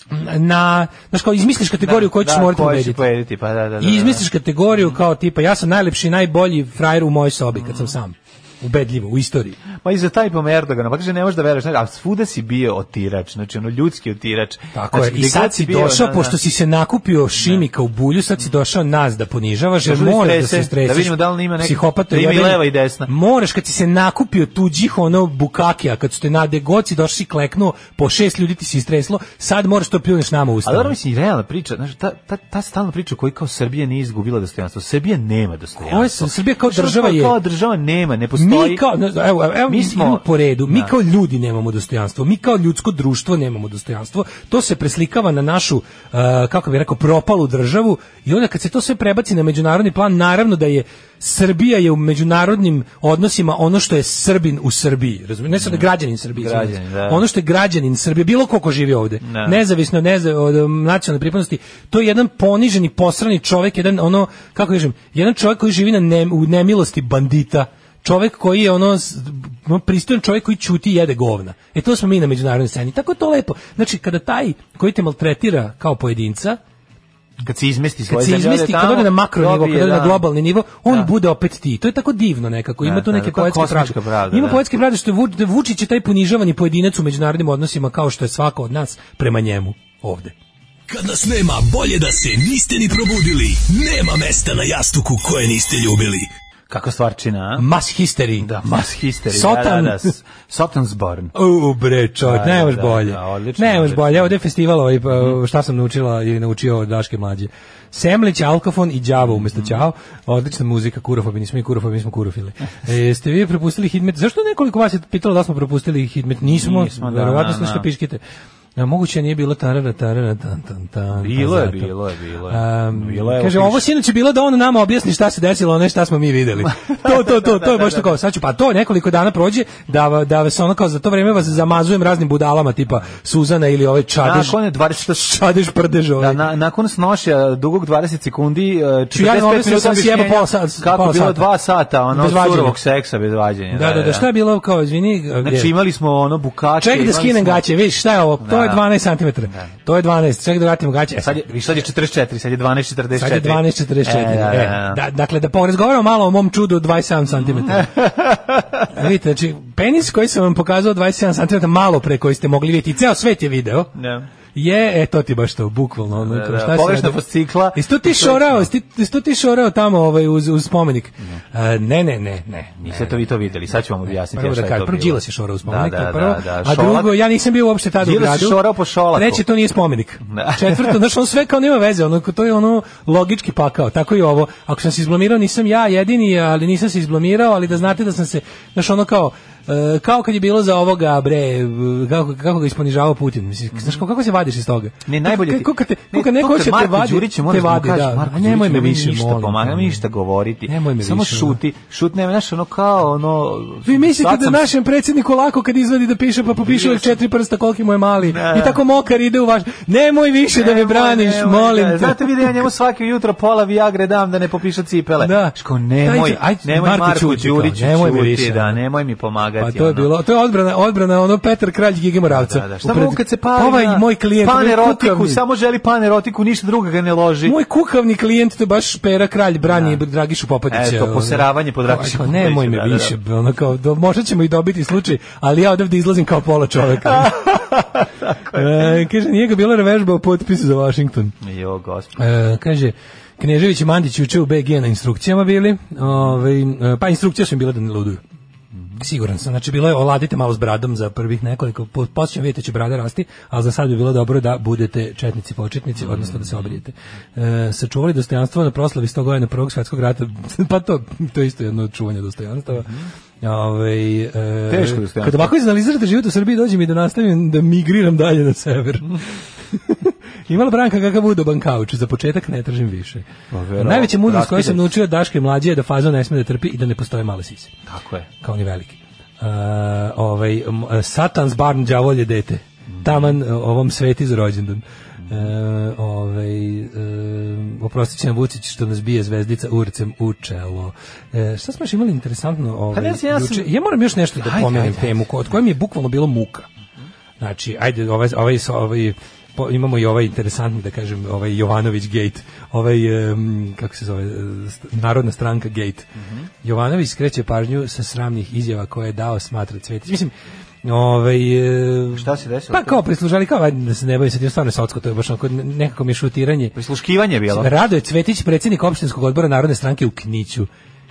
S6: e, na znaš kao izmisliš kategoriju koju ćeš
S7: da,
S6: morati
S7: koju ćeš
S6: pobediti.
S7: pobediti, pa da, da, da, da.
S6: I izmisliš kategoriju kao tipa ja sam najlepši i najbolji frajer u mojoj sobi kad sam sam. Ubedljivo u istoriji.
S7: Ma i za taj pom Erdogana, pa kaže ne možeš da veruješ, ne, a svuda si bio otirač, znači ono ljudski otirač.
S6: Tako
S7: znači,
S6: je.
S7: gde
S6: I
S7: god
S6: sad si
S7: bio,
S6: došao,
S7: da, Mm. da.
S6: pošto si se nakupio šimika u bulju, sad si došao nas da ponižavaš, jer
S7: Došao da
S6: moraš da
S7: istrese,
S6: se streseš.
S7: da vidimo da li ima nek-
S6: Psihopata
S7: da ima i
S6: jedan.
S7: leva i desna.
S6: Moraš kad si se nakupio tuđih ono bukakija, kad su te na degoci došli kleknuo, po šest ljudi ti se istreslo, sad moraš to pljuneš nama u usta.
S7: Ali dobro mislim, i realna priča, znači ta, ta, ta stalna priča koji kao Srbija nije izgubila dostojanstvo. Srbija nema dostojanstvo.
S6: Ovo je s- Srbija kao
S7: Znači, ono,
S6: država
S7: kao-
S6: je-
S7: Kao država nema, ne postoji.
S6: Mi kao, ne znam, evo, evo, mi
S7: Mi
S6: smo
S7: smo-
S6: po redu, mi
S7: Da.
S6: kao ljudi nemamo dostojanstvo, mi kao ljudsko društvo nemamo dostojanstvo, to se preslikava na našu, uh, kako bih rekao, propalu državu i onda kad se to sve prebaci na međunarodni plan, naravno da je Srbija je u međunarodnim odnosima ono što je Srbin u Srbiji, razumiješ? Ne sad građanin Srbije,
S7: Građanin,
S6: izvinite.
S7: da.
S6: ono što je građanin Srbije, bilo ko ko živi ovde,
S7: Da.
S6: nezavisno neza, od um, nacionalne pripadnosti, to je jedan poniženi, posrani čovjek, jedan ono, kako kažem, jedan čovjek koji živi na ne, u nemilosti bandita, čovjek koji je ono, s- ono, pristojan čovjek koji ćuti i jede govna. E to smo mi na međunarodnoj sceni. Tako je to lepo. Znači, kada taj koji te maltretira kao pojedinca,
S7: kad se izmesti
S6: kad
S7: svoje
S6: se
S7: zemlje, ode
S6: izmesti, kad
S7: tamo,
S6: ode na makro nivo,
S7: dobije,
S6: kad ode na
S7: da.
S6: globalni nivo, on
S7: Da.
S6: bude opet ti. To je tako divno nekako. Ima
S7: Da,
S6: tu
S7: da,
S6: neke
S7: da, kao
S6: poetske
S7: kosmička
S6: pravde.
S7: pravda,
S6: Ima
S7: da.
S6: poetske pravde što je Vuč- da Vučić je taj ponižavani pojedinac u međunarodnim odnosima kao što je svako od nas prema njemu ovde.
S1: Kad nas nema, bolje da se niste ni probudili. Nema mesta na jastuku koje niste ljubili.
S7: Kako stvarčina, a?
S6: Mass History.
S7: Da, mass history.
S6: Sotan. Pa
S7: Da, da, da. Sotansborn.
S6: U bre, čovjek,
S7: Da,
S6: ne
S7: da,
S6: možeš
S7: da,
S6: bolje.
S7: da, odlično,
S6: Ne možeš
S7: odlično. Mhm.
S6: bolje. Evo ovde je festival ovaj, pa, šta sam naučila ili naučio od Daške mlađe. Semlić, Alkafon i Đavo
S7: Mhm.
S6: umesto Ćao. Odlična muzika, Kurofobi, nismo mi Kurofobi, mi smo Kurofili. E, ste vi propustili Hidmet? Zašto nekoliko vas je pitalo da smo propustili Hidmet? Nismo,
S7: Nismo, da,
S6: verovatno
S7: da,
S6: ste što
S7: da.
S6: piškite. A moguće nije bilo tarara, tarara, tan, tan, tan.
S7: Bilo
S6: pa
S7: je,
S6: zato.
S7: bilo je, bilo je.
S6: Am,
S7: Bilo je,
S6: kaže,
S7: opiši.
S6: ovo sinoć je bilo da on nama objasni šta se desilo, a ne šta smo mi videli. To, to, to, to je baš to kao, sad ću, pa to nekoliko dana prođe, da, va- da vas ono kao za to vreme vas zamazujem raznim budalama, tipa Suzana ili ovaj čadež,
S7: Nakon je 20
S6: čadež prdež ovaj.
S7: Da, na, nakon snošja dugog 20 sekundi, e, 45
S6: Ću ja ovdje sam
S7: minuta
S6: sam sjebao
S7: objašnjenja
S6: pola sat-
S7: kako
S6: pola
S7: je bilo
S6: sata.
S7: 2 sata ono
S6: Bez vađenja.
S7: surovog seksa bez vađenja.
S6: Da, da, da, šta je bilo kao, izvini,
S7: Znači imali smo ono bukače.
S6: Ček da
S7: imali
S6: skinem
S7: smo-
S6: gaće, vidiš šta je ovo, to
S7: Da.
S6: je 12 cm, to je 12, ček da vratim gaće. E,
S7: Sad je, viš, sad je 44, sad je 12.44.
S6: Sad je 12.44.
S7: E, da, da, da.
S6: da, dakle, da porazgovaramo malo o mom čudu od 27 cm. Vidite, znači, penis koji sam vam pokazao 27 cm malo pre koji ste mogli vidjeti, i ceo svet je video,
S7: Da.
S6: je, e, to ti baš to, bukvalno. Ono,
S7: Da,
S6: kao,
S7: da,
S6: šta si
S7: pogrešna
S6: radio?
S7: fascikla.
S6: Jesi to ti šorao, jesi ti- jesi to ti šorao tamo ovaj, uz, uz spomenik? Ne, ne, ne, ne. E, ne.
S7: Niste to vi to vidjeli, sad ću vam objasniti
S6: Prvo
S7: šta
S6: da
S7: je to
S6: kažem,
S7: bilo.
S6: prvo Đilas je šorao u spomenik,
S7: da,
S6: to je
S7: da,
S6: prvo,
S7: da, da.
S6: a
S7: Šolak-
S6: drugo, ja nisam bio uopšte tada u
S7: Đilas je
S6: gradu.
S7: šorao po Šolaku.
S6: Treće, to nije spomenik.
S7: Da.
S6: Četvrto, znaš, on sve kao nema veze, ono, to je ono logički pakao, tako i ovo. Ako sam se izblamirao, nisam ja jedini, ali nisam se izblamirao, ali da znate da sam se, znaš, ono kao, e, kao kad je bilo za ovoga, bre, v- kako, kako ga isponižavao Putin, mislim, znaš, kao- kako se vadiš iz toga?
S7: Ne, najbolje ti.
S6: Kako kad te,
S7: Ne,
S6: kako kad neko
S7: to kad
S6: hoće te
S7: Marko
S6: vadi,
S7: Đurić
S6: te
S7: je, moraš da mu
S6: vadi,
S7: kažeš,
S6: da.
S7: Marko
S6: A nemoj
S7: Đurić,
S6: me
S7: nemoj
S6: više,
S7: ništa,
S6: molim te, ono.
S7: pomaga, nemoj
S6: ne.
S7: ništa govoriti.
S6: Nemoj me
S7: Samo
S6: više,
S7: šuti, šuti, ne, znaš, ono kao, ono...
S6: Vi mislite
S7: sad
S6: da
S7: sam-
S6: našem predsjedniku lako kad izvadi da piše pa popiše uvijek četiri prsta koliki mu je mali
S7: Da.
S6: i tako mokar ide u vaš nemoj više da me
S7: Nemoj,
S6: braniš
S7: nemoj,
S6: molim
S7: da.
S6: te
S7: Znate vi da ja njemu svaki jutro pola Viagre dam da ne popiše cipele.
S6: Da.
S7: Ško, nemoj,
S6: Dajte, ajde,
S7: nemoj
S6: Marko
S7: Marko
S6: Đuriću,
S7: Đurić,
S6: kao, nemoj mi
S7: čuti,
S6: više.
S7: da, nemoj mi
S6: Pa
S7: pomagati.
S6: to je
S7: ono.
S6: bilo, to je odbrana, odbrana ono Petar Kralj Gige Moravca.
S7: Da, da, Šta
S6: Upred-
S7: mu kad se pali
S6: Ovaj
S7: na
S6: moj klijent, ovaj
S7: panerotiku,
S6: kukavni-
S7: samo želi panerotiku, ništa druga ga ne loži.
S6: Moj kukavni klijent to je baš Pera Kralj brani Dragišu Popadića.
S7: Eto, poseravanje po Dragišu
S6: Popadića. Nemoj me
S7: Popadiću, da, da,
S6: više, ono kao, do, možda ćemo i dobiti slučaj, ali ja odavde izlazim kao pola čoveka. e, kaže, nije ga bila vežba o potpisu za Washington.
S7: Jo, gospod.
S6: E, kaže, Knežević i Mandić uče u BG na instrukcijama bili, ovaj, e, pa instrukcije su im bile da ne luduju.
S7: Mhm.
S6: Siguran sam, znači bilo je oladite malo s bradom za prvih nekoliko, po- posle ćemo vidjeti da će brada rasti, ali za sad bi bilo dobro da budete četnici početnici,
S7: Mhm.
S6: odnosno da se obrijete. E, sačuvali dostojanstvo na proslavi 100 godina prvog svjetskog rata, pa to, to je isto jedno od čuvanja dostojanstava. Ovaj, e,
S7: Mhm. Teško dostojanstvo.
S6: Kad ovako izanalizirate život u Srbiji, dođe mi da nastavim da migriram dalje na sever. Imala Branka kakav udo bankauč, za početak ne tražim više.
S7: Pa verovatno,
S6: Najveća mudrost koju sam
S7: raskidač.
S6: naučio od Daške mlađe je da fazo ne sme da trpi i da ne postoje male sise
S7: Tako je.
S6: kao ni veliki. Uh, ovaj, m- Satans barn đavolje dete. Taman e, ovom sveti za rođendan. E, ovaj, e, oprostit će nam Vucić što nas bije zvezdica urcem u čelo. E, šta smo još imali interesantno? Ovaj,
S7: Pa ne znam, ja sam-
S6: juče? ja moram još nešto da
S7: Ajde,
S6: pomenem
S7: ajde, ajde.
S6: temu ko- od koje mi je bukvalno bilo muka. Znači, ajde, ovaj, ovaj, ovaj po- imamo i ovaj interesantni, da kažem, ovaj Jovanović gate, ovaj, em, kako se zove, e, st- Narodna stranka gate.
S7: Mhm.
S6: Jovanović skreće pažnju sa sramnih izjava koje je dao smatra Cvetić. Mislim, ovaj... e,
S7: Šta se desilo?
S6: Pa kao prislužali, kao ajde da se ne bavim sa tim, stvarno je socko, to je baš onako ne- nekako mi je šutiranje.
S7: Prisluškivanje je bilo.
S6: Rado je Cvetić, predsjednik opštinskog odbora Narodne stranke u Kniću.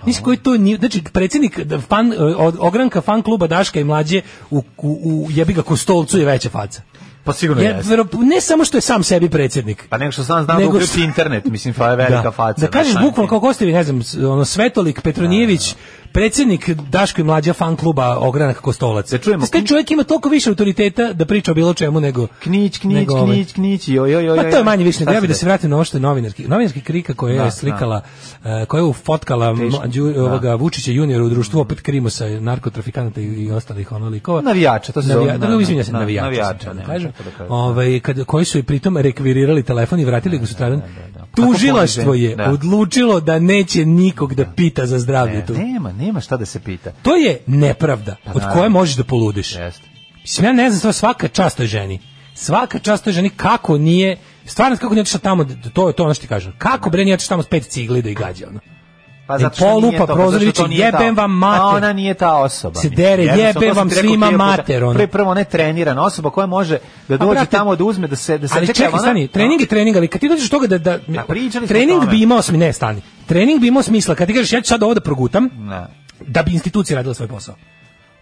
S6: Nisi koji to nije, znači predsjednik da, fan, e, od- ogranka fan kluba Daška i mlađe u, u, u jebi ga kostolcu je veća faca.
S7: Pa sigurno
S6: Je,
S7: jeste.
S6: vero, ne samo što je sam sebi predsjednik.
S7: Pa nego što sam znam da
S6: Nego
S7: uključi
S6: s-
S7: internet, mislim, fa je Pa, velika faca.
S6: da kažeš
S7: znaš,
S6: bukvalno kao Kostevi, ne znam, s- ono Svetolik Petronijević, predsjednik Daško i mlađa fan kluba Ogranak Kostolac.
S7: Da čujemo.
S6: Taj čovjek ima toliko više autoriteta da priča o bilo čemu nego
S7: Knić, knić,
S6: nego ovaj.
S7: knić, knić, joj, joj, joj.
S6: Pa to je manje više,
S7: Šta
S6: nego ja bih da
S7: desilo?
S6: se vratim na ovo što je novinarki. Novinarki krika koja
S7: Da,
S6: je slikala, eh, koja je ufotkala
S7: Teško,
S6: mlađu,
S7: da.
S6: ovoga Vučića juniora u društvu, opet Krimosa, narkotrafikanata i, i ostalih ono likova.
S7: Navijača, to se zove,
S6: Navija-
S7: na-
S6: da,
S7: na-
S6: izvinjam se,
S7: na-
S6: navijača.
S7: navijača,
S6: sam
S7: ne,
S6: da kažem.
S7: tako da kažem.
S6: Ovaj, kad, koji su i pritom rekvirirali telefon i vratili ga sutradan.
S7: da. Kako
S6: Tužilaštvo
S7: poniženje,
S6: je
S7: da.
S6: odlučilo da neće nikog da pita za zdravlje tu.
S7: E, Nema, nema šta da se pita.
S6: To je nepravda od koje
S7: Pa naravno.
S6: možeš da poludiš.
S7: Jeste.
S6: Mislim, ja ne znam, stvarno, svaka čast toj ženi. Svaka čast toj ženi, kako nije, stvarno kako nije otišla tamo, to je to ono što ti kažem. Kako bre nije otišla tamo s pet cigli da i gađa, ono.
S7: Pa
S6: nek
S7: zato što nije
S6: polupa
S7: to, pa
S6: prozor
S7: zato
S6: i viče,
S7: što to nije ta-
S6: jebem vam mater.
S7: A ona nije ta osoba.
S6: Se
S7: mislim.
S6: dere,
S7: Jednostavno,
S6: jebem
S7: to sam
S6: vam
S7: ti rekao
S6: svima
S7: hiljadu puta.
S6: mater, ono. Pa
S7: Prvo, prvo, ona je trenirana osoba koja može da dođe
S6: brate,
S7: tamo da uzme, da se... Da se
S6: ali čekaj,
S7: ona-
S6: stani, trening je trening, ali kad ti dođeš do toga da... da
S7: A pričali smo o
S6: trening
S7: tome.
S6: bi imao smisla, ne, stani. Trening bi imao smisla, kad ti kažeš ja ću sad ovo da progutam,
S7: Ne.
S6: da bi institucija radila svoj posao.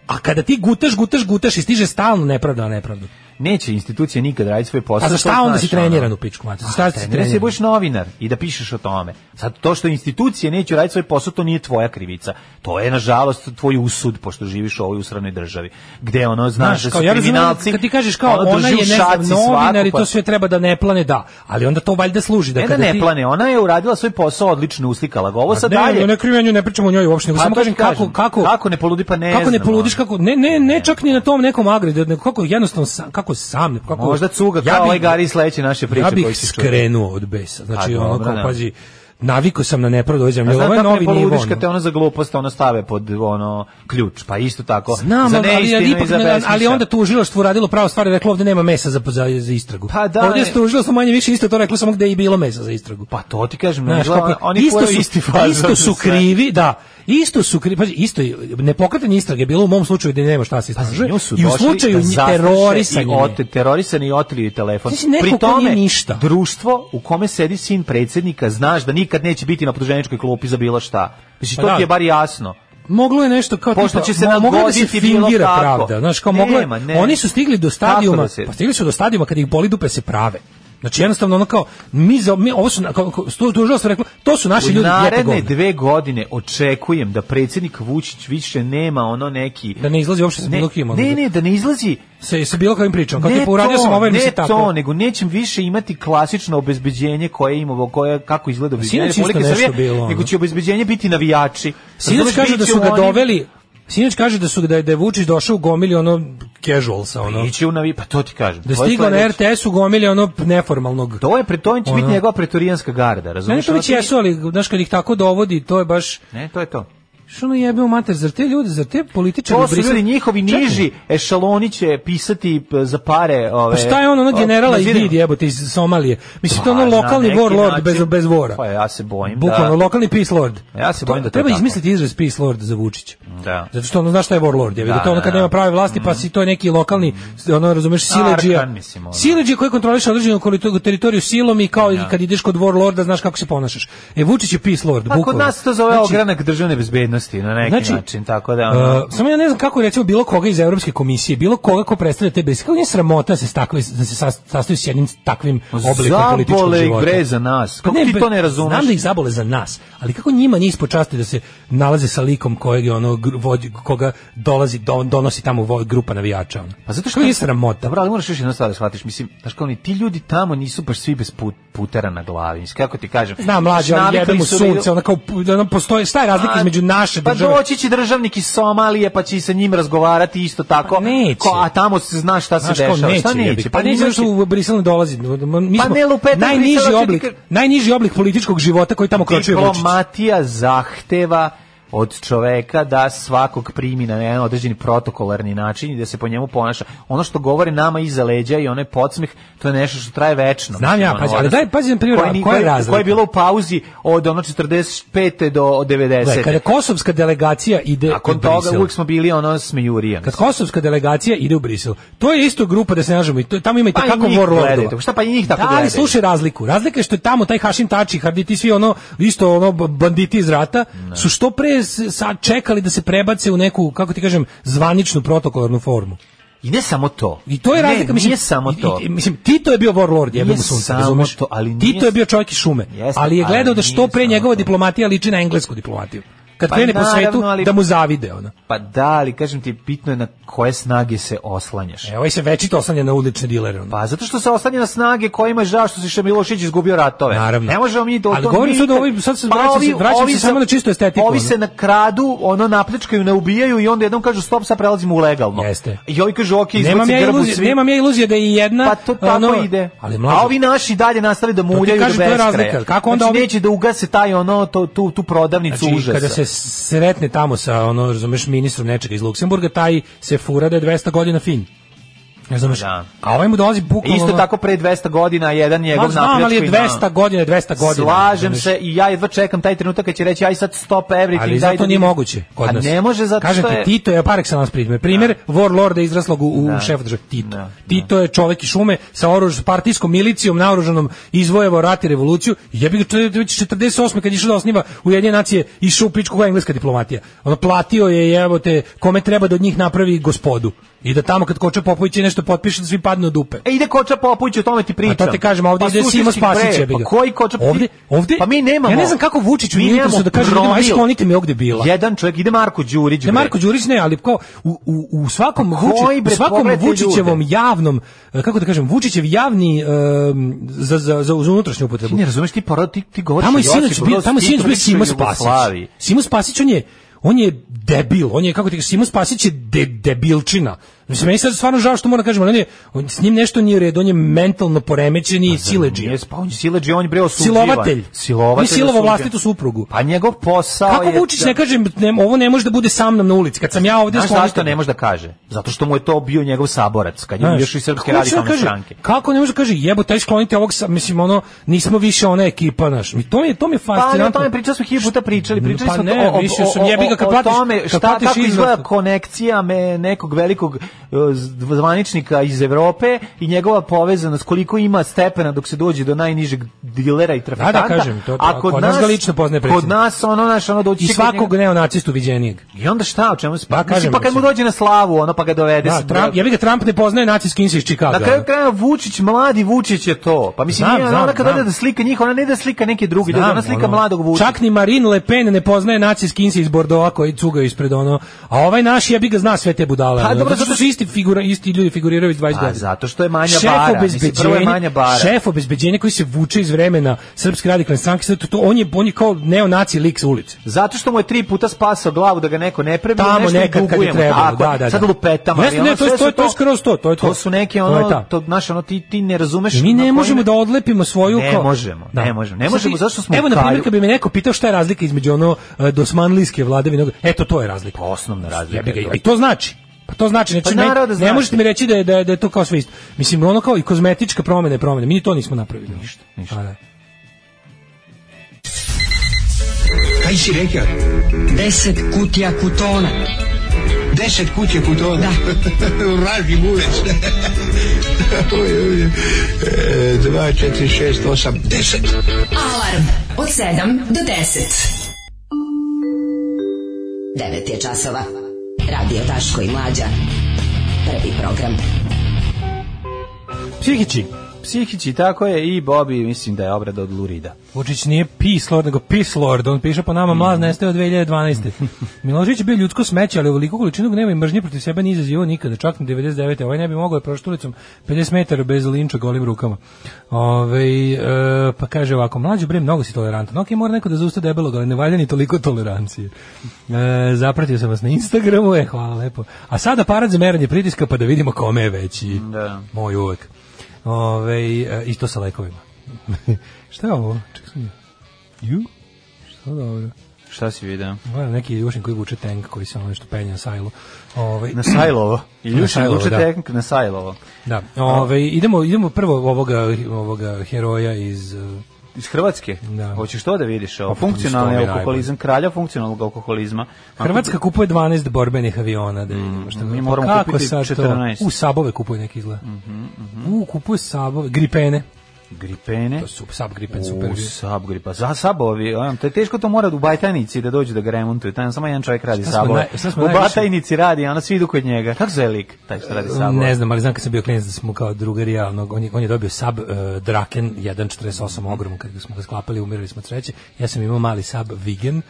S6: A kada ti gutaš, gutaš, gutaš i stiže stalno nepravda na nepravdu.
S7: Neće institucija nikad raditi svoj posao.
S6: A za
S7: to
S6: šta onda
S7: znaš,
S6: si
S7: ono.
S6: treniran u pičku, mate? Za šta si
S7: Ne da si
S6: treniran?
S7: budeš novinar i da pišeš o tome. Sad, to što institucije neće raditi svoj posao, to nije tvoja krivica. To je, nažalost, tvoj usud, pošto živiš u ovoj usranoj državi. Gde, ono, znaš, da su
S6: razumem
S7: kriminalci...
S6: kad ti kažeš kao
S7: ono,
S6: ona
S7: drži
S6: je ne
S7: u šaci
S6: znam
S7: svaku,
S6: novinar i
S7: pa-
S6: to sve treba da ne plane, da. Ali onda to valjda služi da
S7: Ne da
S6: kada
S7: ne
S6: ti Pa
S7: plane, ona je uradila svoj posao odlično, uslikala ga. Ovo sad
S6: ne,
S7: dalje...
S6: ne, ne krivim ja nju, ne pričam o njoj uopšte, nego
S7: Pa
S6: samo
S7: to ti
S6: kažem kako,
S7: kažem.
S6: kako,
S7: Kako ne poludi, pa ne
S6: kako ne
S7: znam,
S6: poludiš,
S7: ono.
S6: kako, ne, ne, ne čak ni na tom nekom agredu, nego kako jednostavno, sam, kako sam, kako...
S7: Možda cuga
S6: Ja
S7: kao
S6: bi-
S7: ovaj Gari iz sledeće naše priče
S6: Ja bih
S7: koju si čuo.
S6: skrenuo od besa, znači
S7: A,
S6: ono
S7: dobro,
S6: kao,
S7: da.
S6: pazi, naviko sam na nepravdu ovoj zemlji,
S7: A
S6: ali
S7: znam
S6: ovo je
S7: kako ne
S6: novi nivo.
S7: poludiš
S6: ono.
S7: kad te ono za glupost ono stave pod ono ključ, pa isto tako.
S6: Znam,
S7: za
S6: ali, ali,
S7: neistinu
S6: ali,
S7: i
S6: ipak,
S7: za
S6: ne-
S7: besmisao.
S6: ali onda tužilaštvo uradilo pravo stvar i reklo ovde nema mesa za, za, za istragu.
S7: Pa da,
S6: Ovde
S7: ne.
S6: je tužilaštvo manje više isto to reklo samo gde je i bilo mesa za istragu.
S7: Pa to ti kažem,
S6: Znaš,
S7: izgleda
S6: kako je,
S7: oni isto su, isti fazon
S6: isto
S7: za
S6: su
S7: sve.
S6: krivi, da. Isto su krivi, pazi, isto je- nepokretanje istrage je bilo u mom slučaju da nema šta se istražuje.
S7: Pa Nju su
S6: I u
S7: došli
S6: slučaju
S7: da zastraše
S6: terorisanja.
S7: i ote, terorisani i otrili telefon.
S6: Znači, neko
S7: Pri
S6: ko
S7: tome,
S6: nije ništa.
S7: društvo u kome sedi sin predsjednika, znaš da nikad neće biti na podruženičkoj klupi za bilo šta. Znači,
S6: Pa
S7: to
S6: da.
S7: ti je bar jasno.
S6: Moglo je nešto kao
S7: Pošto
S6: tipa,
S7: će se
S6: mo- moglo je da se
S7: nadgoditi bilo
S6: fingira
S7: kako.
S6: pravda, znaš, kao moglo je-
S7: Nema, ne.
S6: oni su stigli do
S7: Kako
S6: stadijuma,
S7: da se-
S6: pa stigli su do stadijuma kad ih boli dupe se prave. Znači jednostavno ono kao mi, za, mi ovo su na- kao, kao, sto- tužilaštvo reklo, to su naši
S7: U
S6: ljudi jete
S7: naredne
S6: govna.
S7: dve godine očekujem da predsjednik Vučić više nema ono neki...
S6: da ne izlazi uopšte sa
S7: ne,
S6: bilo kim. ono,
S7: ne, ne, da ne izlazi
S6: Se, se bilo kakvim pričama. Kao
S7: ne
S6: tipa, uradio
S7: to,
S6: sam ovo jer mi se
S7: ne
S6: tako.
S7: to, nego nećem više imati klasično obezbeđenje koje imamo, koje kako izgleda obezbeđenje
S6: Pa Sinoć isto
S7: Republike
S6: nešto
S7: Srbije,
S6: bilo, ono. Pa
S7: nego će obezbeđenje biti navijači.
S6: Sinoć
S7: Razumeš,
S6: kaže da
S7: bit će
S6: su ga
S7: oni-
S6: doveli Sinoć kaže da su da je, da je Vučić došao u gomili ono casual sa ono.
S7: Ići u navi, pa to ti kažem.
S6: Da je
S7: To je
S6: stigao na
S7: sledeće.
S6: RTS u gomili ono neformalnog.
S7: To je pre to će biti
S6: Ono.
S7: njegova pretorijanska garda,
S6: Ne, ne,
S7: razumiješ?
S6: to već jesu, ali znaš kad ih tako dovodi, to je baš
S7: Ne, to je to.
S6: što ono jebe u mater, zar te ljudi, zar te političari
S7: To su
S6: Brisela-
S7: ljudi njihovi
S6: Čekaj,
S7: niži ešaloni će pisati p- za pare ove.
S6: Pa šta je ono, ono
S7: o,
S6: generala
S7: na
S6: iz
S7: zidima.
S6: Didi, jebote, iz Somalije? Mislim, to
S7: Pa,
S6: je ono
S7: na
S6: lokalni
S7: neki
S6: warlord
S7: način-
S6: bez, bez vora.
S7: Pa ja se bojim
S6: Bukvalno,
S7: da.
S6: lokalni peace lord.
S7: Ja se bojim da to
S6: Treba
S7: je tako.
S6: izmisliti izraz peace lord za Vučića.
S7: Da.
S6: Zato što ono znaš šta je warlord, je, da,
S7: Da,
S6: to ono
S7: da,
S6: kad
S7: da. Mm.
S6: nema prave vlasti, pa si to je neki lokalni, ono razumeš, sileđija.
S7: Arkan, mislim, ono.
S6: Sileđija koji kontroliše određenu koli- teritoriju silom i kao i kad ideš kod warlorda, znaš kako se ponašaš. E, Vučić je peace lord,
S7: Pa
S6: bukvalno.
S7: kod nas to zove
S6: Znači,
S7: ogranak državne bezbednosti na neki
S6: Znači,
S7: način, tako da ono,
S6: Uh, samo ja ne znam kako recimo bilo koga iz Evropske komisije, bilo koga ko predstavlja te bez, kako nije sramota da se, stakli, da se sas- sastoji s jednim takvim oblikom političkog
S7: Zabole ih
S6: života. Pa
S7: bre za nas. Kako ti
S6: bre,
S7: to ne razumeš?
S6: Znam da ih zabole za nas, ali kako njima nije ispod časti da se nalaze sa likom kojeg je ono gr- vodi, koga dolazi do- donosi tamo vo- grupa navijača. ono?
S7: Pa zato što
S6: Kako nije sramota.
S7: Dobro, ali moraš još jednu stvar da shvatiš. Mislim, znaš kao oni, ti ljudi tamo nisu baš svi bez put, putera na glavi. Mislim, kako ti kažem? Znači,
S6: Znam, mlađe, ali
S7: Navikli
S6: jebe mu
S7: su
S6: sunce,
S7: bili-
S6: ona kao, ono postoji, šta je razlika
S7: A,
S6: između naše države?
S7: Pa doći će državnik iz Somalije, pa će i sa njim razgovarati isto tako.
S6: Pa neće.
S7: Ko- a tamo se zna šta se
S6: Znaš
S7: dešava.
S6: kao neće,
S7: šta
S6: jebi ga.
S7: neće?
S6: Pa neće
S7: njima
S6: zato što u Brisel ne dolazi. ono, Mi
S7: Pa
S6: smo
S7: ne lupetaj
S6: najniži
S7: Brisela, hoće ti
S6: oblik,
S7: ka-
S6: najniži oblik političkog života koji tamo kročuje Vučić.
S7: Diplomatija zahteva od čoveka da svakog primi na jedan određeni protokolarni način i da se po njemu ponaša. Ono što govore nama iza leđa i onaj podsmeh, to je nešto što traje večno.
S6: Znam ja,
S7: Mislim, ono,
S6: pazi, ali
S7: odnosno,
S6: daj, pazi, na primjer,
S7: koje ni-
S6: koja je
S7: koje-
S6: razlika?
S7: Koje je bilo u pauzi od ono 45. do
S6: Gle,
S7: 90.
S6: kada kosovska delegacija ide
S7: Nakon
S6: u
S7: toga
S6: Brisel,
S7: uvijek smo bili ono smejurija.
S6: kad kosovska delegacija ide u Brisel, to je isto grupa da se nažemo i to, tamo ima i
S7: Pa i
S6: takako
S7: njih gledajte,
S6: warlordova.
S7: šta pa i njih tako
S6: Da, ali
S7: gledaju?
S6: slušaj razliku. Razlika je što je tamo taj Hašim Tači, Harditi, svi ono, isto ono b- banditi iz rata, su što pre s- sad čekali da se prebace u neku, kako ti kažem, zvaničnu protokolarnu formu.
S7: I ne samo to.
S6: I to je razlika,
S7: ne,
S6: mislim,
S7: Nije samo
S6: i-
S7: to.
S6: i- mislim Tito je bio warlord, jebe
S7: Nije
S6: mu sunce,
S7: samo
S6: razumeš?
S7: to, ali nije-
S6: Tito je bio čovjek iz šume,
S7: Jeste,
S6: ali je gledao
S7: ali
S6: da što
S7: nije
S6: pre
S7: samo
S6: njegova
S7: to.
S6: diplomatija liči na englesku diplomatiju. Kad
S7: Pa
S6: krene po
S7: naravno,
S6: svetu
S7: ali-
S6: da mu zavide ono. ona.
S7: Pa da, ali kažem ti, bitno je na koje snage se oslanjaš.
S6: E, ovaj se večito oslanja na ulične dilere. Ono.
S7: Pa zato što se oslanja na snage kojima je žao što se Milošić izgubio ratove.
S6: Naravno.
S7: Ne možemo mi do
S6: Ali govorim sad o ovim- sad se vraćam se- vraćam se samo na čistu estetiku,
S7: Ovi
S6: ono.
S7: se nakradu, ono napljačkaju, ne ubijaju i onda jednom kažu stop, sad prelazimo u legalno.
S6: Jeste.
S7: I ovi kažu ok,
S6: nemam
S7: izbaci
S6: ja
S7: grbu
S6: iluzije,
S7: svi.
S6: nemam ja iluzije da je i jedna
S7: Pa to tako
S6: ono-
S7: ide.
S6: Ali mlađe, Pa
S7: A ovi naši dalje nastave da muljaju do
S6: kažem, to je
S7: beskraja.
S6: razlika. Kako onda
S7: znači,
S6: ovi-
S7: neće da ugase taj ono to, tu tu prodavnicu
S6: znači,
S7: užasa.
S6: kada se sretne tamo sa ono, razumeš, ministrom nečega iz Luksemburga, taj se fura da je 200 godina fin. Razumeš?
S7: Da.
S6: A ovaj mu dolazi bukvalno...
S7: Isto
S6: ono-
S7: tako pre 200 godina jedan
S6: Ma,
S7: njegov
S6: znam, ali
S7: napljačko
S6: je
S7: i
S6: 200
S7: na-
S6: godina, 200 godina.
S7: Slažem
S6: razumeš?
S7: se i ja jedva čekam taj trenutak kad će reći aj sad stop everything.
S6: Ali
S7: daj
S6: zato
S7: da
S6: nije
S7: vidim.
S6: moguće kod
S7: A
S6: nas.
S7: ne može zato
S6: Kažem
S7: što
S6: ti,
S7: je...
S6: Tito je par excellence primjer. Primjer warlorda izraslog u, u šefu države. Tito.
S7: Da,
S6: Tito je čovek iz šume sa oruž, partijskom milicijom naoružanom izvojevao rat i revoluciju. Jebi ga, to je već 48. kad je išao da osniva Ujedinjene nacije, išao u pičku koja je engleska diplomatija. Ono, platio je, evo te, kome treba da od njih napravi gospodu. I da tamo kad Koča Popović je nešto potpiše, da svi padnu od dupe.
S7: E ide Koča Popović, o tome ti pričam.
S6: A to ti kažem, ovdje ide
S7: slušaj
S6: Simo
S7: si, bre,
S6: Spasić, jebi ga.
S7: Pa koji Koča
S6: Ovdje, ovdje,
S7: Pa mi nemamo.
S6: Ja ne znam kako Vučić u
S7: Mi
S6: interesu
S7: nemamo
S6: da kaže, ljudima, aj
S7: promil.
S6: sklonite me ovdje bila.
S7: Jedan čovjek, ide Marko Đurić.
S6: Ne
S7: bre.
S6: Marko Đurić ne, ali kao u, u, u svakom
S7: Pa koji,
S6: Vuči, u
S7: bre,
S6: svakom
S7: pogledajte
S6: Vučićevom
S7: ljude.
S6: javnom e, kako da kažem Vučićev javni em, za za za za unutrašnju upotrebu.
S7: Ti ne razumeš, ti porod, ti, ti govoriš.
S6: Tamo je
S7: o Josipu
S6: sinoć bio,
S7: Brozu
S6: tamo je sinoć bio
S7: Titoviću
S6: Simo
S7: u Jugoslaviji.
S6: Spasić. Simo Spasić on je on je debil, on je kako ti kažem, Simo Spasić je de, debilčina. Mislim, meni sad stvarno žao što moram da kažem, ali on je, on, s njim nešto nije u redu, on je mentalno poremećen i sileđija.
S7: Pa Nije spavan, sileđi, on je bre osuđivan.
S6: Silovatelj.
S7: Silovatelj.
S6: I silovao
S7: osuđen.
S6: vlastitu suprugu.
S7: Pa njegov posao je...
S6: Kako Vučić ne kaže, ne, ovo ne može da bude sa mnom na ulici, kad sam ja ovdje
S7: Znaš
S6: sklonite
S7: zašto
S6: me.
S7: ne može da kaže? Zato što mu je to bio njegov saborac, kad je
S6: Znaš,
S7: još i srpske
S6: kako će da
S7: radikalne
S6: kaže-
S7: stranke.
S6: Kako ne može da kaže jebo taj sklonite ovog sa, mislim ono nismo više ona ekipa naš. Mi to mi je to mi je
S7: Pa ali o
S6: fascinantno.
S7: tome pričali smo hiljadu puta pričali, pričali
S6: Pa
S7: smo
S6: ne,
S7: to, o,
S6: mislio
S7: o,
S6: sam,
S7: o,
S6: jebi ga, kad
S7: o, o
S6: platiš-
S7: tome
S6: kad
S7: šta,
S6: platiš
S7: kako izgleda
S6: izlazak.
S7: konekcija me nekog velikog e, zv- zvaničnika iz Evrope i njegova povezanost, koliko ima stepena dok se dođe do najnižeg dilera i trafikanta.
S6: Da, da, kažem, to-
S7: a kod,
S6: kod nas
S7: nas,
S6: ga lično poznaje
S7: Kod
S6: predsjednik.
S7: nas ono naš ono dođe
S6: I
S7: će kod
S6: svakog
S7: njega-
S6: neonacistu viđenijeg.
S7: I onda šta, o čemu se
S6: Pa,
S7: pa,
S6: kažem,
S7: pa kad mu
S6: mislim.
S7: dođe na slavu, ono pa ga dovede.
S6: Da,
S7: s-
S6: Trump, jebi ga Trump ne poznaje nacijski ins iz ono. Čikaga.
S7: Na kraju kraja Vučić, mladi Vučić je to. Pa mislim,
S6: Znam,
S7: nije,
S6: znam,
S7: ona kad
S6: znam.
S7: ode da slika njih, ona ne da slika neke drugi,
S6: Znam,
S7: da ona slika
S6: ono,
S7: mladog Vučića.
S6: Čak ni Marine Le Pen ne poznaje nacijski ins iz Bordeauxa koji cuga ispred ono. A ovaj naš jebi ga zna sve te budale.
S7: Pa,
S6: ono,
S7: dobro,
S6: zato što
S7: zato
S6: su isti, figura, isti ljudi figuriraju već 20
S7: A
S6: godina.
S7: Pa zato što je manja
S6: šef
S7: bara. Mislim, prvo je
S6: obezbeđenja,
S7: manja bara.
S6: šef obezbeđenja koji se vuče iz vremena Srpske radikalne stranke, sad to, to- on je on je kao neonaci lik sa ulice.
S7: Zato što mu je tri puta spasao glavu da ga neko ne prebi,
S6: Tamo
S7: nešto
S6: nekad kad je
S7: dugujemo.
S6: trebalo,
S7: Tako je.
S6: da, da, da.
S7: Sad lupetama.
S6: Jeste,
S7: ali ono
S6: ne, to je-
S7: sve
S6: to je-
S7: su
S6: to je skroz to, to je to.
S7: To su neke,
S6: To
S7: ono,
S6: je ta.
S7: to, znaš, ono, ti, ti ne razumeš.
S6: Mi
S7: na
S6: ne
S7: koji
S6: možemo
S7: na-
S6: da odlepimo svoju
S7: Ne
S6: kao-
S7: možemo, ne možemo, ne
S6: Sad
S7: možemo,
S6: vi-
S7: zašto smo
S6: Evo
S7: u
S6: na primjer
S7: kraju?
S6: kad bi me neko pitao šta je razlika između ono e, dosmanlijske vladavine, onog- eto to je razlika.
S7: Pa Osnovna razlika.
S6: Jebi ga,
S7: je to.
S6: i to znači. Pa to znači, znači
S7: Pa
S6: meni-
S7: naravno da
S6: ne
S7: znači.
S6: možete mi reći da je, da, je, da je to kao sve isto. Mislim, ono kao i kozmetička promjena je promjena. Mi ni to nismo napravili. Ništa,
S7: ništa.
S9: Kaj si rekao?
S5: Deset kutija kutona.
S9: Deset kuće putova. Da. Vraži bulec. Oj, oj, oj. E, Dva, četiri, šest, osam, deset.
S5: Alarm od 7 do 10. 9 je časova. Radio Daško i Mlađa. Prvi program.
S6: Psihići,
S7: Psihići, tako je, i Bobi, mislim da je obrada od Lurida.
S6: Vučić nije Peace Lord, nego Peace Lord. On piše po nama, mlad nestaje od 2012. Milošević je bio ljudsko smeće, ali ovoliko količinu gneva i mržnje protiv sebe nije izazivao nikada. Čak na 99. Ovaj ne bi mogao je prošao ulicom 50 metara bez linča golim rukama. Ove, e, pa kaže ovako, mlađe bre, mnogo si tolerantan. Ok, mora neko da zausta debelog, ali ne valja ni toliko tolerancije. E, zapratio sam vas na Instagramu, e, hvala lepo. A sada aparat za meranje pritiska, pa da vidimo kome je veći.
S7: Da.
S6: Moj uvek. Ove, e, I to sa lekovima. Šta je ovo? Čekaj sam Ju? Šta dobro?
S7: Šta si vidio?
S6: Gledam neki Jušin koji vuče tank koji se ono nešto penja na sajlu. Ove,
S7: Na Sajlovo.
S6: Na
S7: Iljušin
S6: Sajlovo,
S7: vuče
S6: da.
S7: tehnik na Sajlovo.
S6: da, ove, idemo, idemo prvo ovoga, ovoga heroja iz... eh,
S7: Iz Hrvatske?
S6: Da.
S7: Hoćeš to da vidiš? Ovo,
S6: Pa, to mi je
S7: funkcionalni
S6: najbolje.
S7: alkoholizam, kralja funkcionalnog alkoholizma.
S6: Hrvatska kupuje 12 borbenih aviona. Da vidimo šta
S7: Mm, mi
S6: pa
S7: moramo
S6: kako
S7: kupiti Mhm,
S6: sad to?
S7: 14.
S6: U, sabove kupuje neki izgleda. U, kupuje sabove, gripene.
S7: Gripene.
S6: To su sab gripen, super.
S7: U, Subgrip, pa za sabovi, a, to je teško to mora u Batajnici da dođu da ga remontuju, tamo samo jedan čovjek radi
S6: Šta smo
S7: sabove.
S6: naj- šta smo
S7: u
S6: najviše- E,
S7: Batajnici radi, a ono svi idu kod njega. Kako zove lik taj što radi sabove?
S6: Ne znam, ali znam kad sam bio klinac da smo kao drugari ja, onog, on, je, on je dobio sab eh, Draken 148 ogrom kad ga smo ga sklapali, umirali smo treće. Ja sam imao mali sab Vigen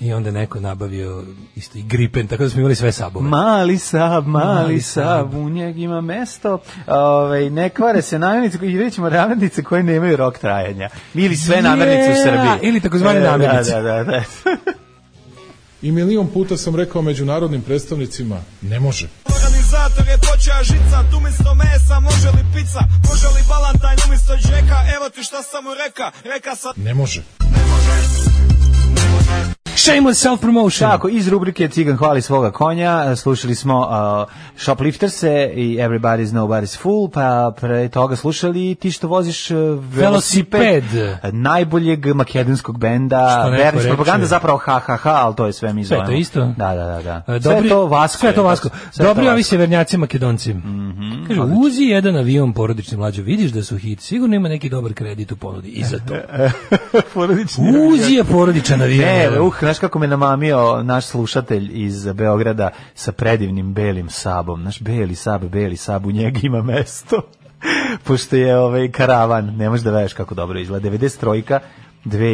S6: i onda je neko nabavio isto i Gripen, tako da smo imali sve sabove.
S7: Mali sab,
S6: Mali
S7: mali
S6: sab.
S7: sab, u njeg ima mesto. Ove, ne kvare se namirnice koji rećemo namirnice koje nemaju rok trajanja. Ili sve namirnice u
S6: Yeah,
S7: Srbiji.
S6: ili takozvane
S7: E, da,
S6: namirnice.
S7: Da, da, da.
S1: I milion puta sam rekao međunarodnim predstavnicima, ne može.
S11: Organizator je počeo žica, tu umjesto mesa može li pizza, može li balantajn umjesto džeka, evo ti šta sam mu reka, reka sa
S1: Ne može.
S6: Shameless self-promotion.
S7: Tako, iz rubrike Cigan hvali svoga konja e, slušali smo uh, Shoplifters-e i Everybody's Nobody's Fool, pa pre toga slušali ti što voziš uh, velosiped,
S6: Velosiped.
S7: najboljeg makedonskog
S6: Što
S7: benda,
S6: neko
S7: verniš
S6: reče.
S7: propaganda zapravo ha ha ha, ali to je sve mi
S6: Sve
S7: zovemo.
S6: to isto?
S7: Da, da, da. da.
S6: E,
S7: sve je to Vasko.
S6: Sve je to
S7: je,
S6: Vasko.
S7: sve je to
S6: Dobri ovi
S7: Vasko. Mhm.
S6: severnjaci makedonci. Kaže, uzi jedan avion porodični mlađo, vidiš da su hit, sigurno ima neki dobar kredit u ponudi i za to.
S7: Porodični
S6: Uzi je porodičan avion.
S7: Ne, uh, znaš kako me namamio naš slušatelj iz Beograda sa predivnim belim sabom. Naš beli sab, beli sab, u njega ima mesto. Pošto je ovaj karavan, ne možeš da veš kako dobro izgleda. 93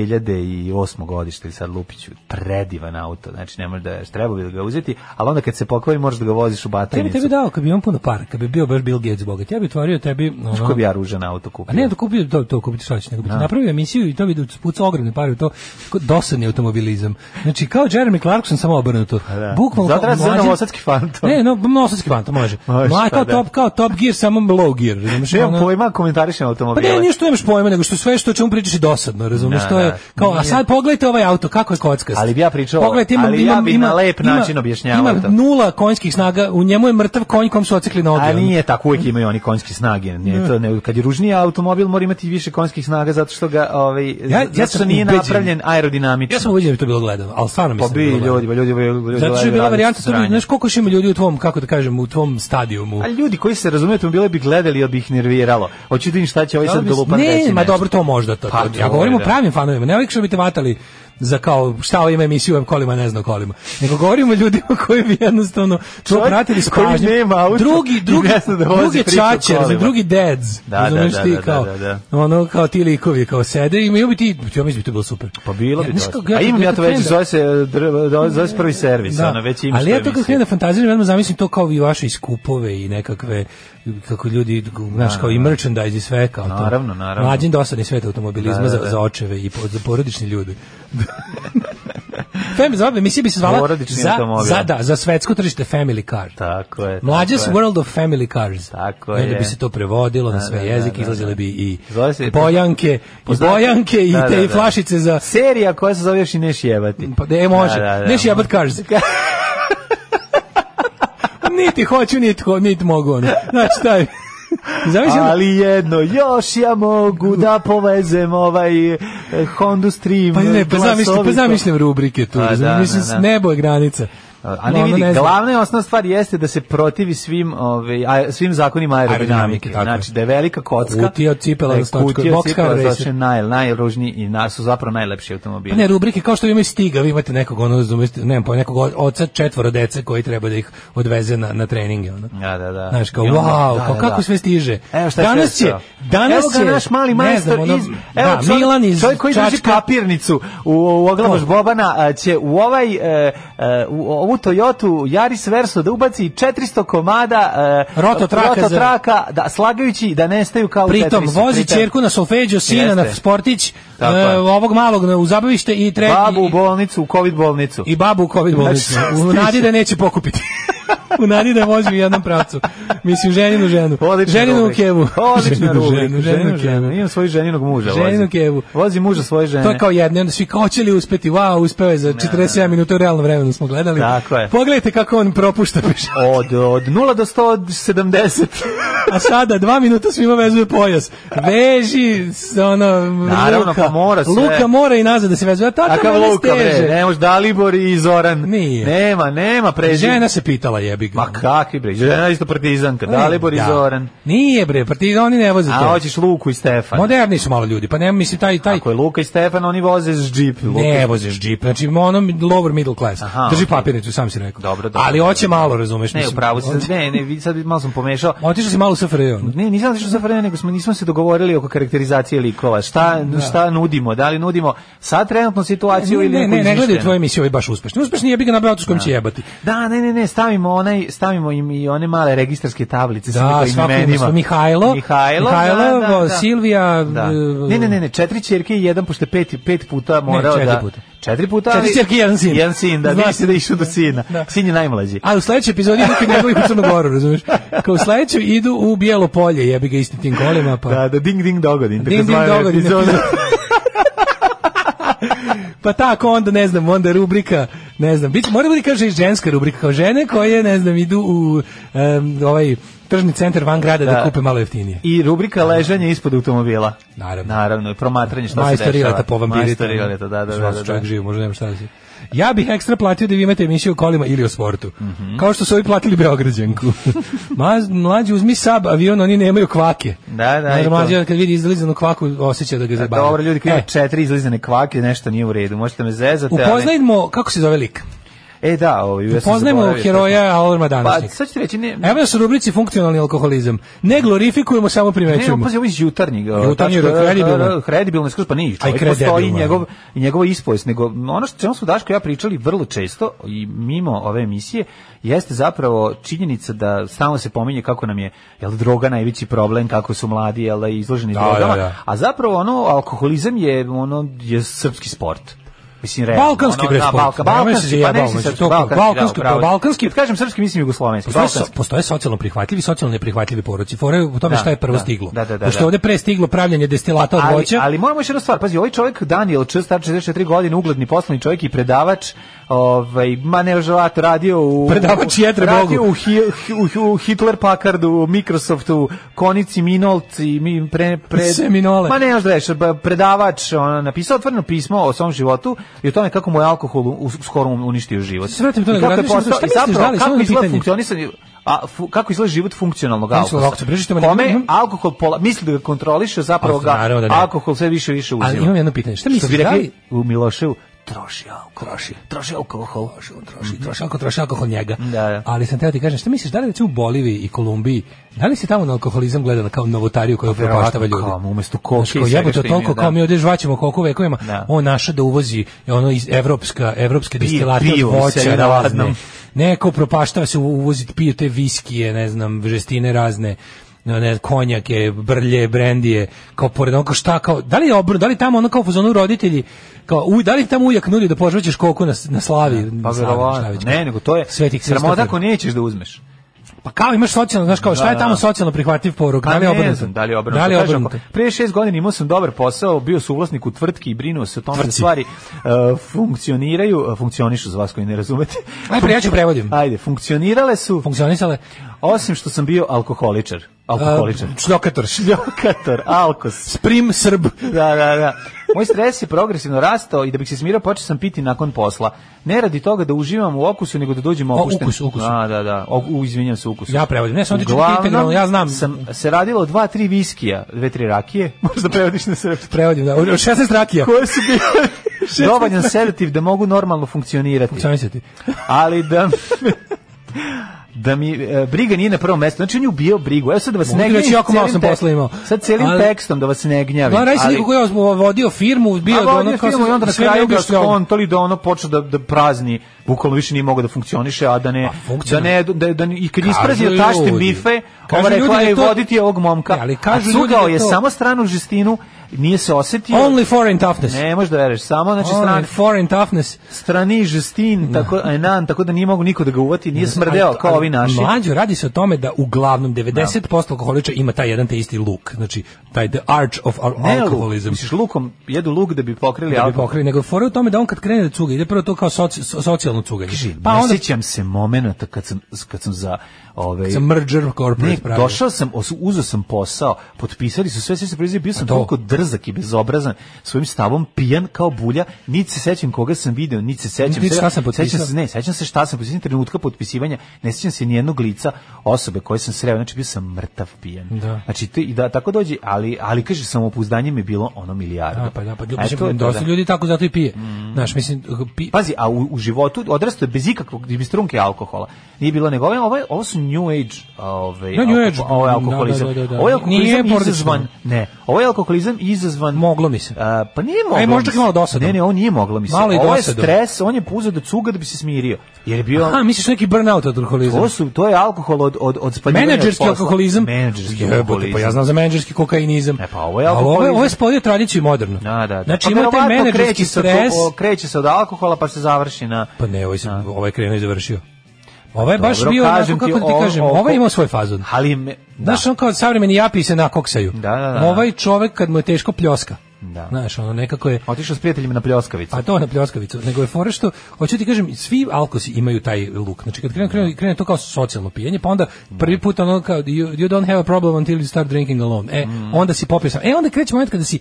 S7: 2008. godište ili sad Lupiću, predivan auto, znači ne možeš da veš, treba bi da ga uzeti, ali onda kad se pokvari možeš da ga voziš u
S6: Ja bi
S7: batajnicu.
S6: Pa tebi dao, kad bi imam puno para, kad bi bio baš Bill Gates bogat, ja bi otvorio tebi... Ono,
S7: Ko bi ja ružan auto kupio?
S6: A Pa ne, da kupio to, to kupiti šta će, nego bi ti napravio emisiju i to bi da pucao ogromne pare u to, ko- dosadni automobilizam. Znači, kao Jeremy Clarkson, samo obrnuto.
S7: Pa da.
S6: Bukvalno
S7: Zato
S6: kao
S7: treba se zove
S6: mlađe-
S7: novosadski fantom.
S6: Ne, no, novosadski fantom može.
S7: Može,
S6: Mla,
S7: pa
S6: kao,
S7: da.
S6: top, kao top gear, samo low gear. razumeš,
S7: Nemam
S6: ono-
S7: pojma, komentarišem
S6: Pa
S7: automobile.
S6: ne, ništa nemaš pojma, nego što sve što o čemu pričaš je dosadno, razumeš,
S7: Da,
S6: to je
S7: da.
S6: kao, a
S7: Nije.
S6: sad pogledajte ovaj auto, kako je kockast.
S7: Ali bi ja pričao- ali ja bi na lep način objašnjavao
S6: Ima
S7: to.
S6: nula konjskih snaga, u njemu je mrtav konj kom su ocekli noge.
S7: A
S6: ono.
S7: nije tako, uvijek imaju oni konjski snage. Nije to, ne, kad je ružniji automobil, mora imati više konjskih snaga zato što ga, ovaj,
S6: ja
S7: zato što
S6: sam
S7: nije
S6: ubeđen.
S7: napravljen aerodinamično.
S6: Ja sam uviđen da bi to bilo gledano, ali stvarno mislim. da
S7: Pobi
S6: je bilo
S7: ljudi,
S6: gledano.
S7: pa ljudi, pa ljudi,
S6: Zato što je bila
S7: radi
S6: varijanta, to bi,
S7: sranje.
S6: znaš koliko još ima ljudi u tvom, kako da kažem, u tvom stadijumu.
S7: A ljudi koji se razumeju automobile bi gledali, ili bi ih nerviralo. Hoću da im šta će ovaj sad dolupan reći.
S6: ne, ma
S7: nešto.
S6: dobro, to možda. To,
S7: Pa
S6: to- ja
S7: to
S6: govorim
S7: je,
S6: o
S7: da.
S6: pravim fanovima, ne uvijek što bi te vatali za kao šta ovo ima emisiju u kolima, ne znam kolima. Nego govorimo o ljudima koji bi jednostavno to
S7: Čovjek
S6: pratili s
S7: koji
S6: pažnjom.
S7: nema auto
S6: drugi,
S7: i
S6: drugi,
S7: ne zna da vozi
S6: drugi
S7: priču o
S6: čače,
S7: kolima.
S6: drugi dads.
S7: Da, da,
S6: razumeš
S7: da,
S6: ti,
S7: da, da,
S6: kao,
S7: da, da.
S6: Ono, kao ti likovi, kao sede i imaju bi ti, ja mislim da bi to bilo super.
S7: Pa bilo bi
S6: znaš
S7: to.
S6: kako
S7: A imam ja to već,
S6: krenem da-
S7: zove se, eh, dr- dr- zove se prvi servis, ono, već imam
S6: ali
S7: što
S6: ja
S7: je
S6: to kako
S7: mislim.
S6: krenem da fantaziram, jednom zamislim to kao i vaše iskupove i nekakve, kako ljudi, znaš, kao i merchandise i sve, kao to.
S7: Naravno, naravno.
S6: Mlađen dosadni svet automobilizma
S7: Da, da,
S6: za,
S7: da.
S6: za očeve i po- za porodični ljudi. Fem, zove, emisija bi se zvala
S7: Porodični
S6: za,
S7: automobil.
S6: za, da, za svetsko tržište Family Car.
S7: Tako je.
S6: Mlađes
S7: tako je.
S6: World of Family Cars.
S7: Tako
S6: I onda
S7: je.
S6: bi se to prevodilo na sve
S7: da,
S6: jezike,
S7: da, da,
S6: izlazile
S7: da.
S6: bi i
S7: Zove se-
S6: bojanke, i
S7: Poznate-
S6: bojanke i
S7: Da,
S6: te
S7: da, da.
S6: flašice za...
S7: Serija koja se zove još i neš jebati.
S6: Pa ne može.
S7: Da, da, da.
S6: Ne šijabat cars. niti hoću, niti, ho, niti mogu. Ono. Znači, taj... Zamislim,
S7: Ali jedno, još ja mogu da povezem ovaj eh, Honda Stream. eh,
S6: pa ne, pa zamišljam, pa
S7: glasovito.
S6: zamišljam rubrike tu.
S7: Pa
S6: Pa,
S7: da,
S6: mislim,
S7: da, da.
S6: nebo je granica.
S7: A ne
S6: Ono,
S7: vidi,
S6: znam.
S7: glavna i osnovna stvar jeste da se protivi svim, ovaj, a- svim zakonima
S6: Aerodinamike,
S7: aerodinamike.
S6: tako je.
S7: Znači da je velika kocka.
S6: Kutija od cipela
S7: da je
S6: za stočko-
S7: kutija od
S6: box
S7: cipela
S6: car
S7: za
S6: racer.
S7: stočko- naj, najružniji i na, su zapravo najlepši automobili.
S6: Pa ne, rubrike, kao što vi imaju stiga, vi imate nekog, ono, razumijete, nemam pojma, nekog o- oca četvora dece koji treba da ih odveze na, na treninge, ono.
S7: Da, da, da.
S6: Znaš, kao,
S7: I onda-
S6: wow,
S7: da,
S6: kao
S7: da,
S6: kako
S7: da.
S6: sve stiže.
S7: Evo šta je
S6: danas
S7: sve
S6: je,
S7: ostalo.
S6: danas
S7: Evo ga
S6: je,
S7: naš mali
S6: ne
S7: majstor
S6: znam, ono,
S7: iz... Evo,
S6: da,
S7: čovjek-
S6: Milan iz
S7: Čovjek koji drži
S6: Čačka.
S7: papirnicu u, u oglamoš
S6: Ko?
S7: Bobana a, će u ovaj, e, e, u ovu Toyotu Yaris Verso da ubaci 400 komada e,
S6: Rototraka za-
S7: rototraka, da, slagajući da nestaju kao u
S6: Pritom
S7: Tetrisu.
S6: vozi
S7: Pritom-
S6: ćerku na solfeđu, sina
S7: Jeste.
S6: na sportić,
S7: Tako
S6: e,
S7: je.
S6: ovog malog na- u zabavište i treći
S7: Babu u bolnicu, u covid bolnicu.
S6: i babu u covid bolnicu.
S7: Znači,
S6: u nadi da neće pokupiti. u nadi da vozi u jednom pravcu. Mislim, ženinu ženu.
S7: Odlična
S6: ženinu
S7: rubrika.
S6: kevu.
S7: Odlična
S6: Ženinu
S7: rubrika.
S6: ženu, ženinu
S7: Ženinu ženu.
S6: kevu.
S7: Imam svoju ženinog muža.
S6: Ženinu
S7: vozim.
S6: kevu.
S7: Vozi muža svoje žene.
S6: To je kao jedno, onda svi kao će li uspeti, wow, uspeo je za 47 minuta u realnom vremenu smo gledali.
S7: Tako je.
S6: Pogledajte kako on propušta pešačke.
S7: Od, od 0 do 170.
S6: A sada dva minuta svima vezuje pojas. Veži s- ono
S7: Naravno,
S6: Luka.
S7: pa mora sve.
S6: Luka mora i nazad da se vezuje. A tata
S7: Takav
S6: mene
S7: Luka, bre,
S6: steže.
S7: ne može Dalibor i Zoran.
S6: Nije.
S7: Nema, nema, preži.
S6: Žena se pitala jebi ga.
S7: Ma kakvi, bre, žena je isto partizanka, Dalibor i
S6: Da.
S7: Zoran.
S6: Nije bre, partizan oni ne voze
S7: A
S6: to.
S7: hoćeš Luku i Stefan.
S6: Moderni su malo ljudi, pa nema mislim taj taj
S7: Ako je Luka i Stefan, oni voze s džip. Luka i
S6: Ne voziš džip, znači ono lower middle class.
S7: Aha,
S6: Drži
S7: okej.
S6: papirnicu, sam si rekao.
S7: Dobro, dobro.
S6: Ali hoće malo, razumeš?
S7: Ne,
S6: mislim,
S7: upravo
S6: on-
S7: se, ne, ne, vidi, sad malo sam pomešao.
S6: Otišao si malo u SFRJ. ono.
S7: Ne, nisam otišao za vreme, nego smo, nismo se dogovorili oko karakterizacije likova. Šta, šta nudimo? Da li nudimo sad trenutnu situaciju
S6: Ne,
S7: ili
S6: ne,
S7: neku
S6: ne, ne gledaju
S7: izmišljenu?
S6: tvoje emisije, ovaj baš uspešni. Uspešni je bi ga na bratu s kojim će jebati.
S7: Da, ne, ne, ne, stavimo onaj, stavimo im i one male registarske tablice sa
S6: Da,
S7: njihovim
S6: svako ima
S7: imenima.
S6: svoj Mihajlo,
S7: Mihajlo,
S6: Mihajlo,
S7: da, da, da.
S6: Silvija,
S7: Da.
S6: e,
S7: Ne, ne, ne, ne, četiri ćerke i jedan pošto je pet pet puta morao
S6: četiri
S7: da
S6: puta.
S7: Četiri puta.
S6: Četiri
S7: ali-
S6: ćerke i jedan sin.
S7: Jedan sin, da,
S6: Znam.
S7: nisi da išao do sina.
S6: Da.
S7: Sin je najmlađi.
S6: A u sledećoj epizodi idu kod njegovih u Crnu Goru, razumiješ? Kao u sledećoj idu u Bijelo polje, jebi ga istim tim kolima, pa...
S7: Da, da, ding ding dogodin.
S6: Ding, ding, dogodin,
S7: epizoda.
S6: pa tako onda ne znam, onda rubrika, ne znam, biće mora biti kaže i ženska rubrika kao žene koje ne znam idu u em, ovaj tržni centar van grada da,
S7: Da.
S6: kupe malo jeftinije.
S7: I rubrika ležanje ispod automobila.
S6: Naravno.
S7: Naravno, i promatranje šta se dešava.
S6: Majstor Ileta po vampirita.
S7: Majstor Ileta, da, da, da.
S6: Svašta
S7: da, da.
S6: čovjek živi, možda nema šta da se- Ja bih ekstra platio da vi imate emisiju o kolima ili o sportu.
S7: Mhm.
S6: Kao što su ovi platili Beograđanku. Ma, mlađi, uzmi sab avion, oni nemaju kvake.
S7: Da, da, i
S6: Znaš,
S7: to.
S6: mlađi, kad vidi izlizanu kvaku, osjeća da ga zabavlja.
S7: Dobro, ljudi, kad
S6: E,
S7: imaju četiri izlizane kvake, nešto nije u redu. Možete me zezati, ali...
S6: Upoznajmo, kako se zove lik?
S7: E, da, ovo, ja sam
S6: Upoznajmo
S7: zaboravio.
S6: heroja Alarma
S7: Pa,
S6: današnjeg.
S7: sad ću ti reći, ne...
S6: Evo nas u rubrici funkcionalni alkoholizam. Ne glorifikujemo, samo
S7: Ne, on
S6: primećujemo.
S7: pazi, ovo je iz jutarnjeg.
S6: Jutarnji,
S7: tačka,
S6: da, kredibilno.
S7: da, Kredibilno je skroz, pa nije. Čovjek
S6: kredibilno.
S7: postoji i njegov, i njegova ispovest. Nego, ono što čemu smo Daško i ja pričali vrlo često i mimo ove emisije, jeste zapravo činjenica da stalno se pominje kako nam je jel, droga najveći problem, kako su mladi jel, izloženi
S6: Da,
S7: drogama.
S6: da, da.
S7: A zapravo ono, alkoholizam je, ono, je srpski sport. Mislim, realno, ono,
S6: Balkanski, bre,
S7: da,
S6: sport.
S7: Balka-
S6: Nemoj se
S7: balkanski, pa
S6: zajebavamo,
S7: ne mislim
S6: znači,
S7: srpski,
S6: to-
S7: balkanski,
S6: balkanski,
S7: da,
S6: pa
S7: upravo.
S6: balkanski- Pa
S7: Kad kažem srpski, mislim jugoslovenski.
S6: Postoje,
S7: balkanski.
S6: so- postoje socijalno prihvatljivi, socijalno neprihvatljivi porodici. Fore u tome
S7: Da,
S6: šta je prvo
S7: da,
S6: stiglo.
S7: da, da, da,
S6: Pošto
S7: da.
S6: je ovde pre stiglo pravljanje destilata od
S7: ali,
S6: voća.
S7: ali moramo još jednu stvar, pazi, ovaj čovjek Daniel Č, star 44 godine, ugledni poslani čovjek i predavač, ovaj, ma nevažavato, radio u...
S6: Predavač jetre
S7: radio
S6: Bogu.
S7: u, Hi, u, u Hitler Packardu, Microsoftu, Konici, Minolci, mi, pre, pre,
S6: Sve Minole.
S7: Ma ne, znaš, predavač, ono, napisao otvoreno pismo o svom životu i o tome kako mu je alkohol u, u- skoro mu uništio život.
S6: Se vratim to
S7: I
S6: na
S7: kako je
S6: gradilište,
S7: postao-
S6: šta
S7: i
S6: misliš,
S7: zapravo,
S6: Dali, samo
S7: kako
S6: jedno
S7: izgleda
S6: pitanje.
S7: funkcionisanje a fu- kako izgleda život funkcionalnog
S6: Mislim,
S7: alkohola.
S6: ovako, brežite me,
S7: Kome
S6: nemam-
S7: alkohol pola, misli da ga kontroliše, zapravo
S6: A,
S7: ga
S6: Pa naravno da ne.
S7: alkohol sve više i više uzima.
S6: Ali imam jedno pitanje, šta misliš,
S7: Što bi
S6: da
S7: rekli
S6: li-
S7: u Miloševu, troši alkohol. Troši.
S6: troši alkohol, troši, on troši, troši alkohol, troši alkohol njega.
S7: Da, da.
S6: Ali sam teo ti kažem, šta misliš, da li recimo u Boliviji i Kolumbiji, da li se tamo na alkoholizam gleda kao novotariju koja upropaštava ljudi?
S7: Kao, umesto koke
S6: Znaš, kao,
S7: i svega
S6: jebote,
S7: što
S6: toliko
S7: imaju, da.
S6: kao mi ovdje žvaćemo koliko vekovima,
S7: Da.
S6: on naša da uvozi ono iz evropska, evropske
S7: Pije
S6: destilate
S7: pivo
S6: od
S7: sebi
S6: voća
S7: na
S6: razne.
S7: ladnom.
S6: Neko propaštava se uvozi, pije te viskije, ne znam, žestine razne ne, konjake, brlje, brendije, kao pored onako šta, kao, da li je obr, da li tamo ono kao u fazonu roditelji, kao, u, da li tamo ujak nudi da požvećeš koliko na, s- na slavi,
S7: Pa
S6: na slavi, šta
S7: verovatno.
S6: već.
S7: Ne, nego to je
S6: Sveti
S7: sramota
S6: Kristofor.
S7: ako nećeš da uzmeš.
S6: Pa kao imaš socijalno, znaš kao, šta je
S7: da.
S6: tamo socijalno prihvatljiv poruk,
S7: Pa
S6: da li je obrnuto?
S7: ne znam, da li je obrnuto.
S6: Da li je
S7: Kažem,
S6: obrnuto?
S7: ako- Prije šest godina imao sam dobar posao, bio sam uvlasnik u tvrtki i brinuo se o tome da
S6: Tvrtci.
S7: stvari uh, funkcioniraju, uh, funkcionišu za vas koji ne razumete.
S6: Ajde, pre, ja ću prevodim.
S7: Ajde, funkcionirale su,
S6: Funkcionisale? e,
S7: osim što sam bio alkoholičar. Alkoholičar.
S6: A, Šljokator.
S7: Šljokator, alkos.
S6: Sprim Srb.
S7: Da, da, da. Moj stres je progresivno rastao i da bih se smirao počeo sam piti nakon posla. Ne radi toga da uživam u okusu, nego da dođem opušten.
S6: ukus, ukus.
S7: Da, da, da. O, u, izvinjam se, ukusu.
S6: Ja prevodim. Ne, samo ti ću
S7: Uglavnom,
S6: biti integralno, ja znam.
S7: Sam se radilo o dva, tri viskija, dve, tri rakije. Možda prevodiš na srpski.
S6: Prevodim, da. Od 16 rakija.
S7: Koje su bile dovoljan sedativ da mogu normalno funkcionirati.
S6: Funkcionisati.
S7: Ali da... da mi e, briga nije na prvom mestu. Znači on je ubio brigu. Evo sad da vas
S6: Mogu
S7: ne
S6: ti
S7: gnjavim.
S6: reći, jako malo
S7: celim
S6: sam
S7: tek-
S6: posla imao.
S7: Sad celim
S6: Ali-
S7: tekstom da vas ne gnjavim.
S6: Da, radi se
S7: ali-
S6: niko koji je ozbo- vodio firmu, bio
S7: A
S6: je
S7: vodio
S6: ono kao
S7: film i onda na
S6: sve
S7: kraju
S6: njega
S7: ga
S6: što on.
S7: skontali da ono počeo da, da prazni, bukvalno više nije mogao da funkcioniše, a da ne, da
S6: funkcionalno.
S7: ne, da, da, i kad je
S6: Pa, Kažu
S7: isprazio tašte
S6: ljudi.
S7: bife,
S6: Kažu
S7: ova rekla
S6: ljudi da
S7: je
S6: to-
S7: voditi ovog momka,
S6: Ne, ali
S7: a
S6: kažu ljudi
S7: cugao
S6: da
S7: je
S6: to-
S7: samo stranu žestinu, nije se osetio,
S6: Only foreign toughness.
S7: ne možeš da veruješ, samo znači
S6: Only
S7: stran,
S6: foreign toughness.
S7: strani žestin, tako, enan, tako da nije mogu niko da ga uvati, nije smrdeo
S6: Ali-
S7: kao
S6: ali
S7: ovi naši.
S6: Mlađo, radi se o tome da uglavnom 90% alkoholiča ima taj jedan te isti luk. Znači, taj the arch of al-
S7: Ne, luk,
S6: alcoholism.
S7: misliš lukom, jedu luk da bi pokrili
S6: da bi
S7: alkohol.
S6: pokrili, nego fora je u tome da on kad krene da cuga, ide prvo to kao soci- so- socijalno cuganje.
S7: Pa
S6: Pa
S7: ne
S6: onda
S7: sjećam se momenata kad sam, kad sam za ovaj,
S6: za merger
S7: Ne,
S6: corporate pravio.
S7: došao sam, os- uzeo sam posao, potpisali su sve, sve se preuzio, bio sam
S6: to.
S7: toliko drzak i bezobrazan, svojim stavom pijan kao bulja, niti se sećam koga sam video, niti se sećam.
S6: Niti šta
S7: svega.
S6: sam potpisao.
S7: Sećam se, ne, sećam se šta sam potpisao, trenutka potpisivanja, ne sećam se nijednog lica osobe koje sam sreo, znači bio sam mrtav pijan.
S6: Da.
S7: Znači, to, i da, tako dođe, ali, ali kaže, samopouzdanje mi je bilo ono milijarda.
S6: Da, pa da, pa
S7: E, to je
S6: mislim,
S7: to,
S6: dosta
S7: da. Mm. Pa-
S6: ljudi tako zato i pije. Znaš, mislim, pi,
S7: Pazi, a u, u životu odrastao je bez ikakvog bez trunke alkohola. Nije bilo nego ovo, ovo, je- ovo su New Age, ovaj,
S6: Da, New
S7: alko-
S6: Age.
S7: ovo je
S6: Da,
S7: alkoholizam.
S6: da, da, da, da.
S7: Ovo je alkoholizam
S6: Nije porodično.
S7: izazvan, ne, ovo je alkoholizam izazvan
S6: Moglo mi se.
S7: A, pa nije moglo.
S6: E, možda
S7: mi
S6: čak
S7: se.
S6: malo dosadno.
S7: Ne, ne, on nije moglo mi se.
S6: Malo i
S7: ovo je
S6: dosadno.
S7: stres, on je puzao da cuga da bi se smirio. Jer je bio
S6: Aha, misliš neki burnout od alkoholizma?
S7: Ovo su, to je alkohol od, od, od spaljivanja od
S6: Menadžerski
S7: posla.
S6: alkoholizam?
S7: Menadžerski
S6: Jebote,
S7: alkoholizam.
S6: Pa ja znam za menadžerski kokainizam.
S7: E, pa ovo je
S6: Ali ovo je,
S7: alkoholizam.
S6: ovo je spodio tradiciju i moderno.
S7: Da, da, da.
S6: Znači
S7: Pa
S6: ima taj
S7: verovatno
S6: menadžerski
S7: kreće se od-
S6: stres.
S7: o- kreće se od alkohola pa se završi na...
S6: Pa ne, ovaj, se, ovaj je krenuo i završio. Ovaj je baš
S7: Pa Dobro,
S6: bio,
S7: kažem
S6: onako,
S7: ti,
S6: kako da ti
S7: o-
S6: kažem,
S7: o-
S6: ovaj je imao svoj fazon.
S7: Ali me, da.
S6: Znaš, on kao savremeni japi se nakoksaju.
S7: Da, da, da.
S6: Ovaj čovek kad mu je teško pljoska.
S7: Da.
S6: Znaš, ono nekako je
S7: Otišao s prijateljima na pljoskavicu.
S6: a Pa to na pljoskavicu, nego je fora što, hoću ti kažem, svi alkosi imaju taj luk. Znači kad krene, krene, krene to kao socijalno pijenje, pa onda prvi put ono kao you, you don't have a problem until you start drinking alone. E, onda si popio sam. E, onda kreće moment kada si,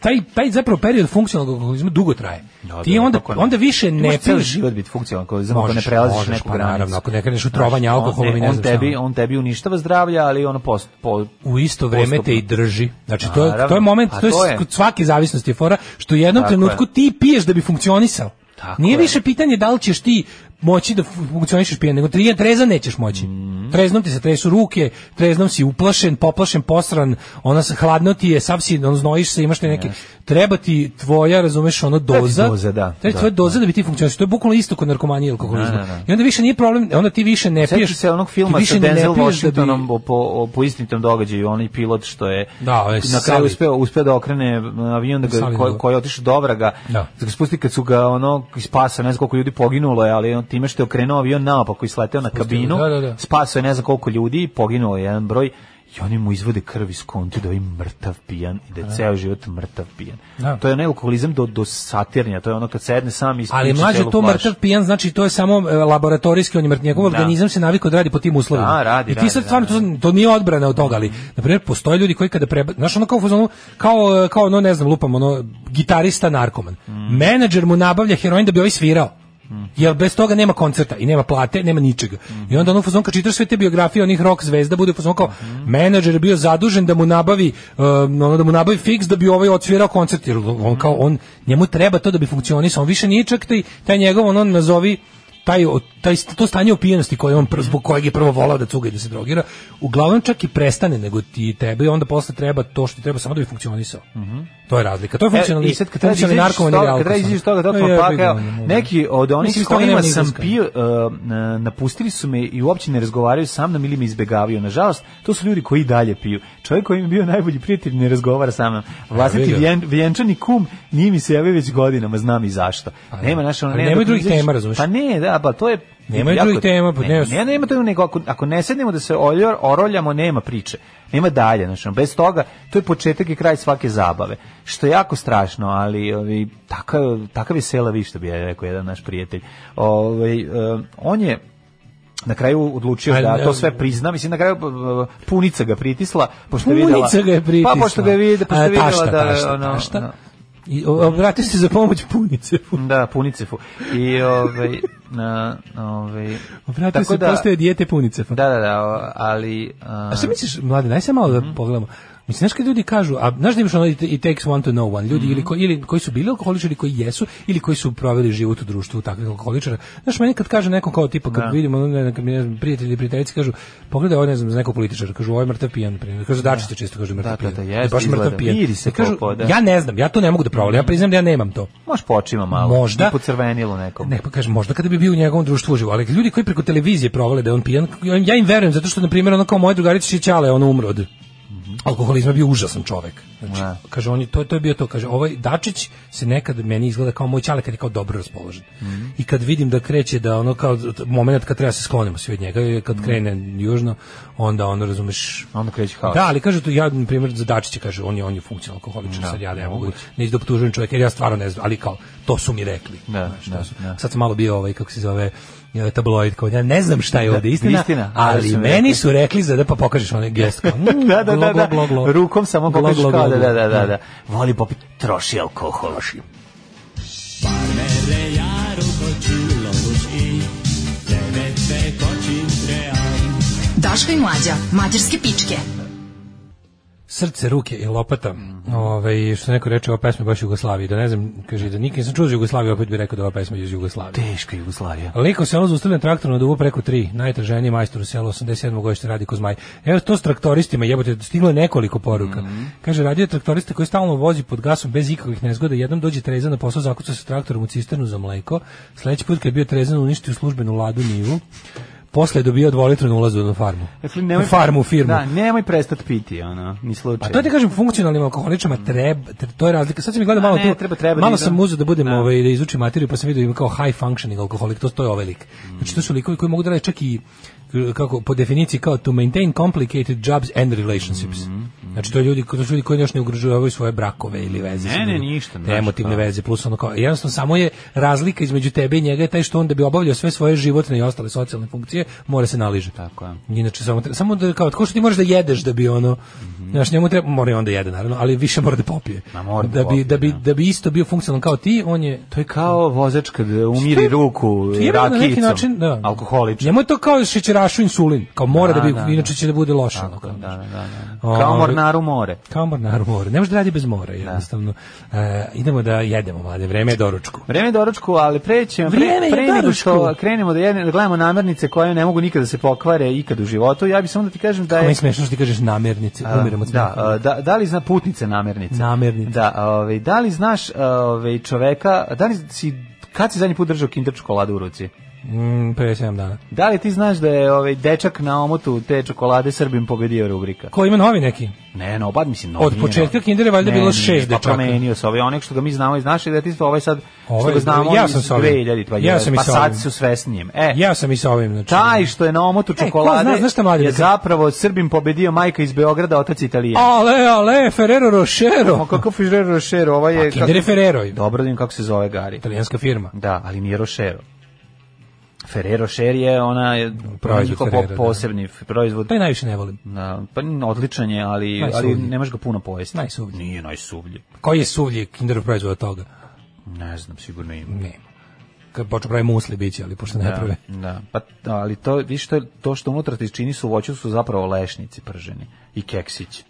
S6: taj, taj zapravo period funkcionalnog alkoholizma dugo traje.
S7: Da,
S6: ti
S7: da,
S6: onda,
S7: kako ne.
S6: onda više
S7: Ti
S6: ne
S7: možeš cijeli
S6: piješ.
S7: život biti funkcionalan ako samo ako ne prelaziš
S6: možeš,
S7: neku
S6: pa
S7: granicu.
S6: naravno, ako ne kreneš u trovanje
S7: Znaš, on-
S6: alkoholom i ne
S7: on
S6: znam
S7: tebi,
S6: šta. ono.
S7: on tebi uništava zdravlje, ali ono post, po,
S6: u isto vreme te
S7: postupno.
S6: i drži. Znači to je, to je
S7: Naravno.
S6: moment,
S7: A
S6: to je,
S7: to je.
S6: kod svake zavisnosti je fora što u jednom
S7: Tako
S6: trenutku
S7: je.
S6: ti piješ da bi funkcionisao.
S7: Tako
S6: Nije
S7: je.
S6: više pitanje da li ćeš ti moći da fu- funkcionišeš pijan, nego tri treza nećeš moći.
S7: Mhm.
S6: Treznom ti se tresu ruke, treznom si uplašen, poplašen, posran, ona se hladno ti je, sav si, ono, znojiš se, imaš te neke... Treba ti tvoja, razumeš, ono,
S7: ti
S6: doza.
S7: doza, da,
S6: Treba ti
S7: da,
S6: tvoja doza da bi ti funkcionišao. To je bukvalno isto kod narkomanije i alkoholizma.
S7: Da, da, da.
S6: I onda više nije problem, onda ti više ne
S7: Sjeti
S6: piješ.
S7: se onog
S6: ti
S7: filma
S6: više
S7: sa
S6: ni ne
S7: Denzel
S6: piješ da bi-
S7: Washingtonom o- po, o- po istinitom događaju, onaj pilot što je
S6: Da, ovaj
S7: na
S6: Sully.
S7: kraju uspeo, uspeo da okrene e, avion da ga,
S6: Sully,
S7: ko,
S6: da.
S7: koji je otišao do vraga,
S6: Da.
S7: da. ga spusti kad su ga ono spasa, ne znam koliko ljudi poginulo je, ali on time što je okrenuo avion naopako i sleteo na kabinu,
S6: da, da, da.
S7: spasao je ne znam koliko ljudi, poginulo je jedan broj i oni mu izvode krv iz konti da je mrtav pijan i da je ceo život mrtav pijan.
S6: Da.
S7: To je onaj alkoholizam do, do satirnja, to je ono kad sedne sam i
S6: Ali
S7: ispriča
S6: mlađe
S7: celu
S6: to
S7: flašu.
S6: mrtav pijan, znači to je samo e, laboratorijski, on je mrtav, njegov
S7: Da.
S6: organizam se navikao da radi po tim uslovima.
S7: Da, radi,
S6: I ti
S7: radi,
S6: sad
S7: da,
S6: stvarno, to, to nije odbrana od toga, ali, na primjer, postoje ljudi koji kada preba... Znaš, ono kao, u fazonu, kao, e, kao ono, ne znam, lupam, ono, gitarista narkoman. Menadžer mu nabavlja heroin da bi ovaj svirao. Jer bez toga nema koncerta i nema plate, nema ničega. I onda ono u fazonu kad čitaš sve te biografije onih rock zvezda bude u fazonu kao menadžer je bio zadužen da mu nabavi um, ono da mu nabavi fiks da bi ovaj odsvirao koncert jer on kao on njemu treba to da bi funkcionisao. On više nije čak taj, taj njegov ono nazovi taj, o- taj, to stanje opijenosti koje on, pr- zbog kojeg je prvo volao da cuga i da se drogira, uglavnom čak i prestane nego ti tebe i onda posle treba to što ti treba samo da bi funkcionisao. To je razlika. To je
S7: E,
S6: funkcionalni,
S7: I sad kad treba izađeš iz
S6: narkoman
S7: toga-
S6: ili
S7: kad treba
S6: alkoholan.
S7: izađeš iz toga, to
S6: E,
S7: to
S6: jebi
S7: pak,
S6: ga,
S7: evo,
S6: ono, ono.
S7: neki od onih
S6: Mislim, iz
S7: s
S6: toga
S7: kojima
S6: nema ni
S7: sam
S6: izlaska.
S7: pio, uh, na- napustili su me i uopće ne razgovaraju sa mnom ili me izbegavaju. Nažalost, to su ljudi koji i dalje piju. Čovjek koji mi je bio najbolji prijatelj ne razgovara sa mnom. Vlastiti
S6: Evo ga.
S7: vjen, vjenčani kum nije mi se javio već godinama, znam i zašto. Nema naša
S6: ali nemaju drugih tema, razumeš?
S7: Pa ne, da, pa to je
S6: Nemaju
S7: jako-
S6: drugih tema, pa
S7: ne,
S6: ne-
S7: ne, nema to nego ako, ako ne sednemo da se oljor, oroljamo, nema priče. Nema dalje, znači bez toga to je početak i kraj svake zabave. Što je jako strašno, ali ovi takav takav je sela vi što bi ja rekao jedan naš prijatelj. Ovaj em, on je na kraju odlučio
S6: Ali,
S7: da to
S6: em,
S7: sve prizna, mislim na kraju eh, punica ga pritisla, pošto je videla.
S6: Punica ga je pritisla.
S7: Pa pošto ga je videla, pošto je
S6: A,
S7: videla
S6: tašta,
S7: da
S6: tašta,
S7: ono,
S6: tašta.
S7: ono,
S6: I o- obratio se za pomoć punice.
S7: da, punicefu. I ovaj na ovaj
S6: Obratio
S7: tako
S6: se,
S7: da-
S6: postoje dijete punice.
S7: Da, da, da, o, ali...
S6: A šta misliš, mlade, daj se malo da
S7: Mhm.
S6: pogledamo. Mislim, znaš kad ljudi kažu, a znaš da imaš ono i it takes one to know one, ljudi
S7: Mhm.
S6: ili, ko- ili koji su bili alkoholičari, ili koji jesu, ili koji su proveli život u društvu takvih alkoholičara. Znaš, meni kad kaže neko kao tipa, kad
S7: Da.
S6: vidimo, ono, ne, znam, kad mi, ne znam, prijatelji ili prijateljice kažu, pogledaj ovo, ne znam, za nekog političara, kažu, ovo je mrtav pijan, na primjer. Kažu, dači se često, kažu, mrtav
S7: Da, da,
S6: pijan.
S7: da, jeste,
S6: baš mrtav
S7: izgleda.
S6: pijan.
S7: Vidi se
S6: I kažu,
S7: kao po, pa da.
S6: ja ne znam, ja to ne mogu da provalim, ja priznam da ja nemam to.
S7: Možeš počima malo.
S6: Možda.
S7: I po crvenilu nekom.
S6: Ne, pa kažem, možda kada bi bio u njegovom društvu uživo, ali ljudi koji preko televizije provale da je on pijan, ja im- ja im verujem, zato što, na primjer, ono kao moja drugarica Šićala je ono umro od alkoholizma, bio užasan čovek. Znači,
S7: Da.
S6: kaže, on je, to, to je bio to, kaže, ovaj Dačić se nekad meni izgleda kao moj čale kad je kao dobro raspoložen.
S7: Mhm.
S6: I kad vidim da kreće, da ono kao moment kad treba se sklonimo svi od njega, je kad krene južno, onda ono, razumeš,
S7: Mhm. Onda kreće haos.
S6: da, ali kaže tu ja na primjer za Dačića kaže on je on je funkcionalni alkoholičar, sad ja ne mogu ne izdoptužujem čovjeka jer ja stvarno ne znam, ali kao to su mi rekli.
S7: Da,
S6: Znaš, to
S7: da,
S6: su-
S7: da.
S6: Sad sam malo bio ovaj kako se zove e, tabloid kao ja ne znam šta je ovdje istina,
S7: istina, ali
S6: ali
S7: su mi
S6: meni
S7: rekli.
S6: su rekli za da pa pokažeš onaj gest kao, mm,
S7: da, da, da,
S6: glo,
S7: da.
S6: glo, glo, glo.
S7: Rukom samo
S6: Glo,
S7: pokažeš
S6: glo,
S7: kao da,
S6: glo,
S7: da,
S6: glo.
S7: da, da, da. Voli popit, troši alkohol.
S5: Daško i mlađa, mađarske pičke.
S6: Srce, ruke i lopata.
S7: Mhm.
S6: Ovaj što neko reče ova pesma je baš Jugoslavije, da ne znam, kaže da nikad nisam čuo za Jugoslaviju, opet bih rekao da ova pesma je iz Jugoslavije.
S7: Teška Jugoslavija.
S6: Liko selo zaustavljen traktor na duvu preko 3. Najtraženiji majstor u selu 87. godište radi Kozmaj. Evo to s traktoristima, jebote, stiglo je nekoliko poruka. Kaže radio je traktorista koji stalno vozi pod gasom bez ikakvih nezgoda, jednom dođe trezan na posao, zakuca se traktorom u cisternu za mleko. Sledeći put kad je bio trezan uništio službenu ladu Nivu. Posle je dobio dvolitrenu ulazu na farmu.
S7: Dakle, nemoj,
S6: na farmu, firmu.
S7: Da, nemoj prestat piti, ono, ni slučaj.
S6: Pa to ti kažem funkcionalnim alkoholičama treba tre- to je razlika. Sad sam mi gledao malo
S7: Mm. A ne,
S6: tu.
S7: treba- treba
S6: malo
S7: da
S6: sam
S7: idem.
S6: uzeo da budem
S7: Da.
S6: ovaj da izučim materiju pa sam video ima kao high functioning alkoholik, to to je ovaj lik.
S7: Mm.
S6: Znači to su likovi koji mogu da rade
S7: Mm,
S6: čak i k- kako po definiciji kao to maintain complicated jobs and relationships. Znači to ljudi, to su ljudi koji još ne ugrožavaju svoje brakove ili veze.
S7: Ne,
S6: sa drugim.
S7: ne, ništa,
S6: Te
S7: znači,
S6: emotivne
S7: da.
S6: veze plus ono kao jednostavno samo je razlika između tebe i njega je taj što on da bi obavljao sve svoje životne i ostale socijalne funkcije mora se naliže.
S7: Tako je.
S6: Inače samo treba, samo da kao tako što ti možeš da jedeš da bi ono znaš njemu treba mora i onda jede naravno, ali više mora da popije.
S7: Mhm. Ma, mora da
S6: da, bi da bi
S7: popije, da.
S6: da bi isto bio funkcionalan kao ti, on je
S7: To je kao vozač kad umiri
S6: je-
S7: ruku
S6: To je na neki
S7: rakijicom,
S6: način, da.
S7: alkoholičan.
S6: Njemu je to kao šećerašu insulin, kao mora da,
S7: Da,
S6: bi,
S7: da,
S6: inače će da bude loše. ono,
S7: Tako,
S6: kao,
S7: da, da, da, da.
S6: Ovaj-
S7: Kao mornar u more.
S6: Kao mornar u more. Ne može da radi bez mora, jednostavno. E, idemo da jedemo, mlade, vreme je doručku.
S7: Vreme je doručku, ali pre ćemo,
S6: Vreme
S7: pre,
S6: je
S7: pre nego što
S6: doručku.
S7: krenemo da, jedne, da gledamo namirnice koje ne mogu nikada da se pokvare ikad u životu, ja bih samo da ti kažem da
S6: Kako mi
S7: je...
S6: je smešno što ti kažeš namirnice,
S7: E, A,
S6: umiremo od
S7: da,
S6: smeha.
S7: a, da, da li zna putnice namernice?
S6: Namernice.
S7: Da, ovaj, da li znaš ovaj, čoveka, da li si, kad si zadnji put držao kinder čokoladu u ruci?
S6: Mm, pre 7 dana.
S7: Da li ti znaš da je ovaj, dečak na omotu te čokolade Srbim pobedio rubrika?
S6: Ko ima novi neki?
S7: Ne, no, bad mislim, no,
S6: Od
S7: nije
S6: početka
S7: novi.
S6: Kindera je valjda
S7: Ne,
S6: bilo
S7: nije,
S6: šest
S7: pa
S6: dečaka.
S7: promenio se, ovaj onek što ga mi znamo iz naše detinjstva, ovaj sad, što
S6: Ovaj,
S7: ga znamo
S6: ja
S7: iz
S6: sam sa ovim.
S7: 2000,
S6: Ja sam i
S7: pa
S6: sa
S7: sad
S6: ovim.
S7: su sve s njim. E,
S6: Ja sam i sa ovim. Znači,
S7: taj što je na omotu
S6: ko
S7: čokolade
S6: zna, znaš šta, dakle? mladine,
S7: je
S6: kad-
S7: zapravo Srbim pobedio majka iz Beograda, otac Italijan.
S6: Ale, ale, Ferrero
S7: Ma
S6: Rochero.
S7: kako Ferrero Rocher, ovaj Pa je...
S6: Pa, Kinder je
S7: kako-
S6: Ferrero,
S7: Dobro da vidim kako se zove Gari.
S6: italijanska firma.
S7: Da, ali nije Rochero. Ferrero Rocher je ona je
S6: Proizvod
S7: njihov
S6: Ferrero,
S7: po-
S6: da. Pa
S7: posebni f- proizvod.
S6: Taj najviše ne volim.
S7: Na, pa n- odličan je, ali, ali
S6: Najsuvlji.
S7: ne možeš ga puno pojesti.
S6: Najsuvlji.
S7: Nije najsuvlji.
S6: Koji je suvlji Kinderov proizvod od toga?
S7: Ne znam, sigurno ima.
S6: Nema. Kad počeo pravi musli biće, ali pošto ne
S7: Da,
S6: prave.
S7: da. Pa, ali to, viš to, to što unutra ti čini su voću su zapravo lešnici prženi i keksići.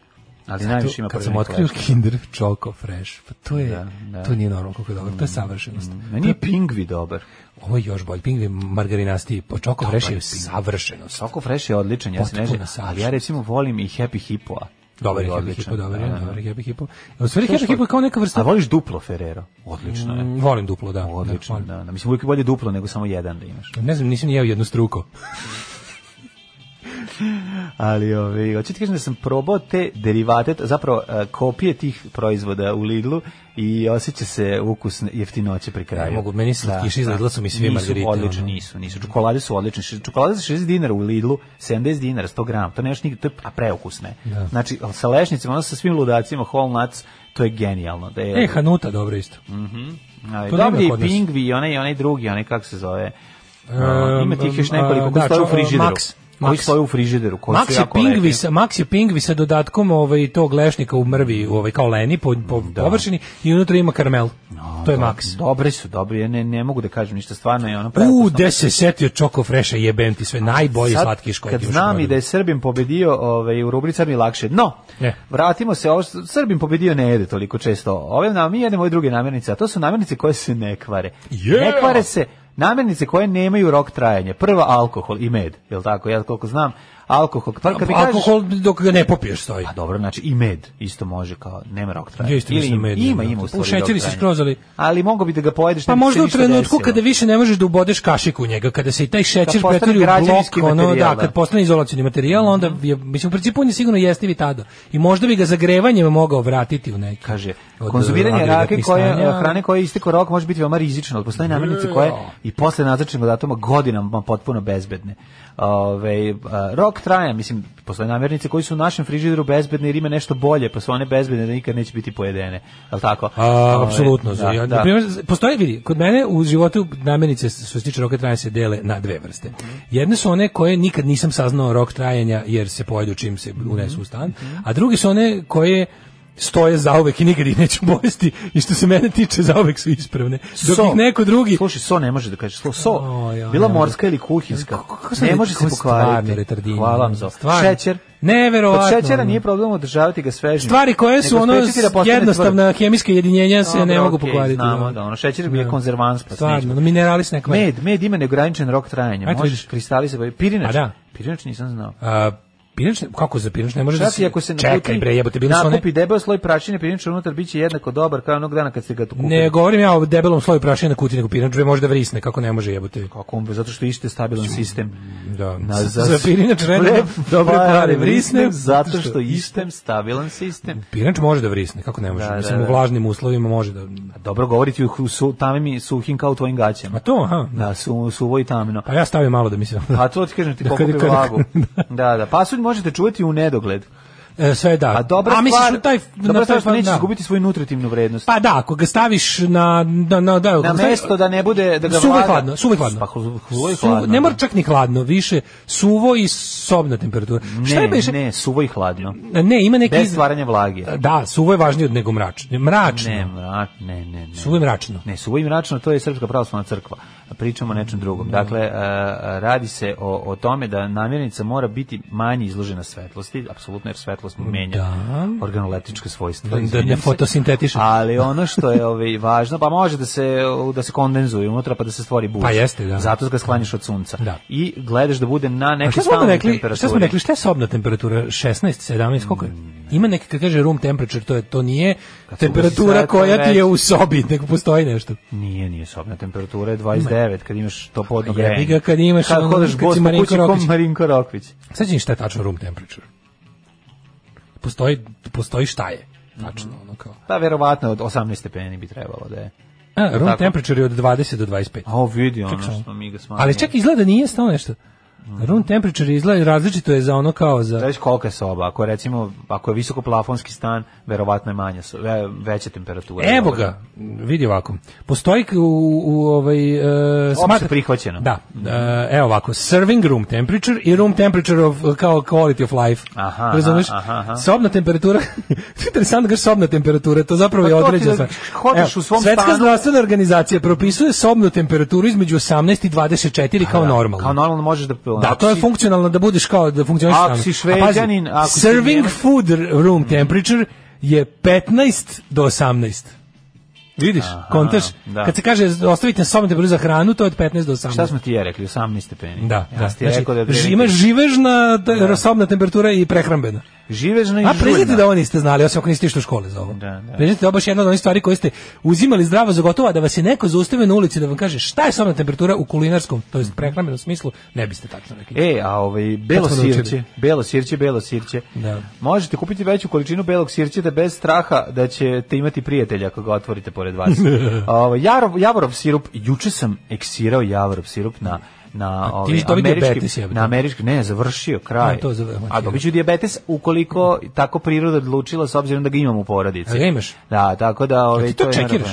S7: Ali najviše ima
S6: Kad sam
S7: prženih
S6: otkrio
S7: lešnika.
S6: Kinder Choco Fresh, pa to je,
S7: Da, da. Mm.
S6: to nije normalno koliko je dobro, to je savršenost.
S7: Meni je pingvi dobar.
S6: Ovo je još bolje. Pingvi margarinasti po Choco Fresh je savršenost.
S7: Soko Fresh je odličan, ja se ne
S6: Potpuno
S7: znam, ali ja recimo volim i Happy Hippo-a.
S6: Dobar je
S7: Koji
S6: Happy
S7: odličan.
S6: Hippo, dobar je,
S7: Da, da.
S6: dobar je Happy Hippo. U stvari Happy Hippo je kao neka
S7: A
S6: vrsta...
S7: voliš duplo Ferrero? Odlično je.
S6: Mm, Volim duplo, da.
S7: Odlično,
S6: da,
S7: da, da. Mislim, uvijek je bolje duplo nego samo jedan da imaš.
S6: volim. Ne znam, nisam ni jeo jednu struko.
S7: Ali, ove, hoću ti kažem da sam probao te derivate, t- zapravo e, kopije tih proizvoda u Lidlu i osjeća se ukus jeftinoće pri kraju.
S6: Ne mogu, meni slatkiši iz Lidla su mi svi margarite,
S7: Nisu odlični,
S6: ono.
S7: nisu, nisu. Čokolade su odlične. Ši- Čokolade za 60 dinara u Lidlu, 70 dinara, 100 gram, to nemaš nigde, to je a preukusne. Znači, ali sa lešnicama, ono sa svim ludacima, whole nuts, to je genijalno. Da je,
S6: E, Hanuta, dobro isto.
S7: Ali
S6: To
S7: dobro
S6: nema
S7: je i
S6: kod nas.
S7: pingvi i onaj, i onaj drugi, onaj kako se zove. Uh, ima tih još
S6: um,
S7: nekoliko koji
S6: da,
S7: stoje u
S6: čo-
S7: frižideru.
S6: Max,
S7: Koji
S6: Max.
S7: stoje u frižideru, koji su
S6: Max je
S7: jako lepi.
S6: pingvi, sa, Max je pingvi sa dodatkom ovaj, tog lešnika u mrvi, ovaj, kao leni po, po površini i unutra ima karmel. to je Max.
S7: Dobri su, dobri, ja ne, ne mogu da kažem ništa, stvarno je ono
S6: U,
S7: preukusno.
S6: gde se setio Choco Fresha, jebem ti sve, najbolji
S7: Sad,
S6: slatkiš koji
S7: Kad
S6: ti još
S7: znam
S6: može
S7: i da je Srbim pobedio ovaj, u rubrici sad mi je lakše. No,
S6: Ne.
S7: vratimo se, ovo, što Srbim pobedio ne jede toliko često. Ove, na, mi jedemo ove druge namirnice, a to su namirnice koje se ne kvare.
S6: Yeah!
S7: Ne kvare se namirnice koje nemaju rok trajanja. Prva alkohol i med, je li tako? Ja koliko znam, alkohol. Pa, kad mi kažeš-
S6: Alkohol dok ga ne popiješ stoji.
S7: A dobro, znači i med isto može kao nema rok trajanja.
S6: Ja isto mislim
S7: ima,
S6: med nema
S7: ima,
S6: rok
S7: ima u
S6: trajanja.
S7: stvari
S6: U šećeri
S7: rok
S6: se
S7: trajanja.
S6: skroz, ali-
S7: Ali mogao bi da ga pojedeš.
S6: Pa
S7: ne bi se
S6: možda u
S7: ništa
S6: trenutku
S7: desilo.
S6: kada više ne možeš da ubodeš kašik u njega, kada se i taj šećer
S7: postane
S6: pretvori u
S7: građevinski
S6: blok, ono,
S7: materijal,
S6: da,
S7: da. Mhm.
S6: kad postane izolacioni materijal, onda je, mislim, u principu on je sigurno jestiv i tada. I možda bi ga zagrevanjem mogao vratiti u neki.
S7: kaže
S6: od,
S7: konzumiranje
S6: uh,
S7: rake koje
S6: agregatnih stanja.
S7: hrane koje je istekao rok može biti veoma rizično, ali postoje namirnice koje i posle naznačenog datuma godinama potpuno bezbedne. Ove, a, rok traja, mislim, postoje namirnice koji su u našem frižideru bezbedne jer ima nešto bolje, pa su one bezbedne da nikad neće biti pojedene. Je li tako?
S6: A,
S7: Ove,
S6: apsolutno.
S7: Ovaj, da,
S6: Da, ja,
S7: da.
S6: na primjer, postoje, vidi, kod mene u životu namirnice što se tiče roka trajanja se dele na dve vrste. Jedne su one koje nikad nisam saznao rok trajanja jer se pojedu čim se
S7: Mhm.
S6: unesu u stan, a druge su one koje stoje zauvek i nikad ih neću bolesti i što se mene tiče zauvek su ispravne. Dok
S7: So.
S6: ih neko drugi...
S7: Slušaj, so ne može da kažeš. Slo, so,
S6: O, ja,
S7: bila
S6: ne
S7: morska ili kuhinska.
S6: Kako- kako sam
S7: ne
S6: re-
S7: može se
S6: kako stvarno
S7: pokvariti.
S6: retardinje.
S7: Hvala vam za ovo.
S6: Stvarno.
S7: Šećer. Od
S6: Neverovatno.
S7: Pa šećera
S6: ono.
S7: nije problem održavati ga svežim.
S6: Stvari koje su
S7: nego
S6: ono
S7: sprečiti da postane
S6: jednostavna hemijska jedinjenja se ne
S7: Dobro,
S6: mogu
S7: okej,
S6: pokvariti.
S7: Znamo da ono šećer je
S6: Da.
S7: konzervans pa
S6: Stvarno, ono
S7: snižimo.
S6: no, minerali se ne kvare.
S7: Med, med ima neograničen rok trajanja.
S6: Ajde,
S7: Možeš
S6: vidiš.
S7: kristalisati. Pirinač.
S6: A da.
S7: Pirinač nisam znao.
S6: A, pirinač, kako za pirinač ne može da
S7: Čak i
S6: se...
S7: ako se
S6: Čekaj bre, jebote, bili su one...
S7: nakupi debel sloj prašine, pirinač unutar biće jednako dobar kao onog dana kad ste ga tu kupili.
S6: Ne govorim ja o debelom sloju prašine na kutiji, nego pirinač bre može da vrisne, kako ne može jebote.
S7: Kako on, zato što ište stabilan sistem.
S6: Da.
S7: Na,
S6: za, za pirinač redno dobre pare vrisne.
S7: zato što istem stabilan sistem.
S6: Pirinač može da vrisne, kako ne može.
S7: Da,
S6: Mislim,
S7: da, da.
S6: u vlažnim uslovima može da...
S7: Dobro govoriti u su, tamim i suhim kao u tvojim gaćama.
S6: A Pa to, aha.
S7: Da, su, suvo i tamno.
S6: Pa ja stavim malo da mi se...
S7: Pa to ti kažem ti
S6: Da,
S7: pokupi
S6: kad- kad-
S7: vlagu. Da, da. Pasulj možete čuvati u nedogled.
S6: E, sve da.
S7: A dobra
S6: A misliš
S7: stvar,
S6: u taj,
S7: dobra stvar
S6: taj
S7: što
S6: fond,
S7: nećeš
S6: da.
S7: izgubiti svoju nutritivnu vrednost.
S6: Pa da, ako ga staviš na, na, na, da, ako
S7: na
S6: ga staviš-
S7: mesto da ne bude da ga
S6: suvo i
S7: vlada-
S6: hladno, suvo i hladno.
S7: Pa suvo i
S6: Suvo-
S7: hladno.
S6: ne mora čak ni hladno, više suvo i sobna temperatura. Šta je
S7: Ne,
S6: beše?
S7: ne, suvo i hladno.
S6: Ne, ima neki...
S7: Bez stvaranja vlage.
S6: Da, suvo je važnije od nego mračno. Mračno.
S7: Ne, mrak, ne, ne, ne.
S6: Suvo je mračno.
S7: Ne, suvo i mračno, to je Srpska pravoslavna crkva. Pričamo o nečem drugom. Dakle, e, radi se o, o tome da namirnica mora biti manje izložena svetlosti, apsolutno jer svetlost menja
S6: Da.
S7: organoleptičke svojstva.
S6: Da- Da ne
S7: izvinjam se.
S6: fotosintetiše.
S7: Ali ono što je ovaj važno, pa može da se da se kondenzuje unutra pa da se stvori buč.
S6: Pa jeste, da.
S7: Zato ga sklanjaš od sunca.
S6: Da.
S7: I gledaš da bude na
S6: A
S7: nekoj
S6: šta smo onda
S7: stalnoj
S6: rekli?
S7: temperaturi.
S6: Šta smo rekli? Šta je sobna temperatura? 16, 17, koliko je? Ima neki kad kaže room temperature, to je to nije
S7: Mm. Kad se ulazi
S6: temperatura
S7: sad, to je
S6: koja ti je
S7: već-
S6: u sobi, nego postoji nešto.
S7: Nije, nije sobna temperatura je 29 kad imaš to podno grejanje.
S6: jebi ga, kad imaš
S7: kad
S6: ono,
S7: hodaš
S6: kad si
S7: bos po
S6: Marinko
S7: kući ko
S6: Rokvić.
S7: Marinko Rokvić.
S6: Sećam šta je tačno room temperature. Postoji, postoji šta je. Tačno, ono kao.
S7: Pa verovatno od 18 stepeni bi trebalo da je.
S6: A, room
S7: Tako.
S6: temperature je od 20 do 25.
S7: A o vidi ono
S6: Ček samo.
S7: što mi ga smanjimo.
S6: Ali čak izgleda nije stalo nešto. Room temperature izgleda različito je za ono kao za...
S7: Znaš kolika je soba, ako je recimo, ako je visoko plafonski stan, verovatno je manja, so- ve- veća temperatura.
S6: Evo ga, vidi ovako. Postoji k- u, u ovaj... e,
S7: Opšte prihvaćeno.
S6: Da, e, evo ovako. Serving room temperature i room temperature of, e, kao quality of life.
S7: Aha, aha,
S6: Razumeš?
S7: aha, aha.
S6: Sobna temperatura, interesantno kažeš sobna temperatura, to zapravo
S7: Pa
S6: je
S7: to ti
S6: određena
S7: da
S6: stvar.
S7: hodaš u svom
S6: Svetska
S7: stanu.
S6: zdravstvena organizacija propisuje sobnu temperaturu između 18 i 24 kao
S7: Pa Da,
S6: normalno.
S7: Kao normalno možeš da...
S6: Da,
S7: ako
S6: to je
S7: si-
S6: funkcionalno da budeš kao da funkcioniš
S7: Ako
S6: sam. A
S7: si
S6: pazi,
S7: Šveđanin, ako si
S6: serving
S7: Njemac-
S6: food room temperature je 15 do 18. Vidiš, kontaš.
S7: da.
S6: Kad se kaže ostavite na sobom temperaturu za hranu, to je od 15 do 18.
S7: Šta smo ti ja rekli, 18 stepeni?
S6: Da,
S7: ja
S6: da.
S7: sam Ti znači, rekao da je
S6: ži-
S7: otprilike-
S6: ima živežna te- sobna temperatura i prehrambena.
S7: Živežna i
S6: A priznajte
S7: žuljna.
S6: da ovo niste znali, osim ako niste išli u škole za ovo.
S7: Da, da.
S6: Priznajte da je ovo baš jedna od onih stvari koje ste uzimali zdravo za gotovo, a da vas je neko zaustavio na ulici da vam kaže šta je sobna temperatura u kulinarskom, to jest prehrambenom smislu, ne biste tačno rekli.
S7: E, a ovaj belo
S6: Kad smo naučili?
S7: sirće, belo sirće, belo sirće.
S6: Da.
S7: Možete kupiti veću količinu belog sirćeta bez straha da ćete imati prijatelja ako ga otvorite pored vas. Ovaj javorov, javorov sirup, juče sam eksirao javorov sirup na na
S6: ti
S7: ovaj
S6: ćeš dobiti dijabetes,
S7: američki
S6: jebote.
S7: na američki ne završio kraj.
S6: A, to završio.
S7: A dobiću dijabetes ukoliko tako priroda odlučila s obzirom da ga imam u porodici.
S6: A ga imaš?
S7: Da, tako da
S6: Jel
S7: ovaj
S6: ti to
S7: je naravno-
S6: čekiraš?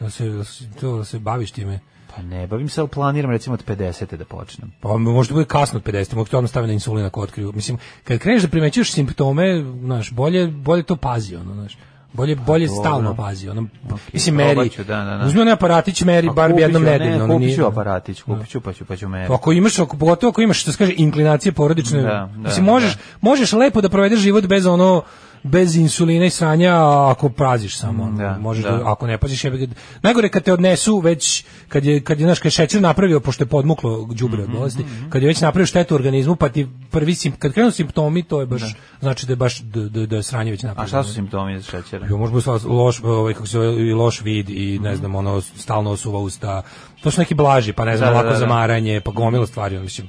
S6: Jel se, jel se, to, jel se baviš time?
S7: Pa ne, bavim se, ali planiram recimo od 50 da počnem.
S6: Pa možda bude kasno od 50, mogu to odmah staviti na insulin ako otkriju. Mislim, kad kreneš da primećuješ simptome, znaš, bolje, bolje to pazi, ono, znaš. Bolje, bolje
S7: Pa dobro.
S6: stalno pazi. Ono, mislim, meri.
S7: probat ću, da, da, da.
S6: Uzmi onaj aparatić, meri
S7: A
S6: bar
S7: Pa kupit ću,
S6: jednom
S7: ne,
S6: nedeljno. ono,
S7: Kupit
S6: nije-
S7: ću aparatić, kupit ću pa ću, pa ću me...
S6: Ako imaš, ako, pogotovo ako imaš, što se kaže, inklinacije porodične,
S7: Da, da,
S6: mislim, možeš, možeš lepo da provedeš život bez ono, bez insulina i sranja a ako praziš samo ono,
S7: Da,
S6: možeš
S7: da.
S6: da, ako ne paziš jebe ga- najgore kad te odnesu već kad je kad je znaš kad je šećer napravio pošto je podmuklo đubre od
S7: Mhm,
S6: bolesti kad je već napravio štetu organizmu pa ti prvi sim, kad krenu simptomi to je baš znači da je baš da, da, da je sranje već napravio
S7: A šta su simptomi za šećera?
S6: Jo, možda sva loš, ovaj kako se zove, i loš vid i
S7: Mhm.
S6: ne znam, ono stalno osuva usta. To su neki blaži, pa ne znam,
S7: Da, da,
S6: lako
S7: da, da.
S6: zamaranje, pa gomila stvari, ono, mislim.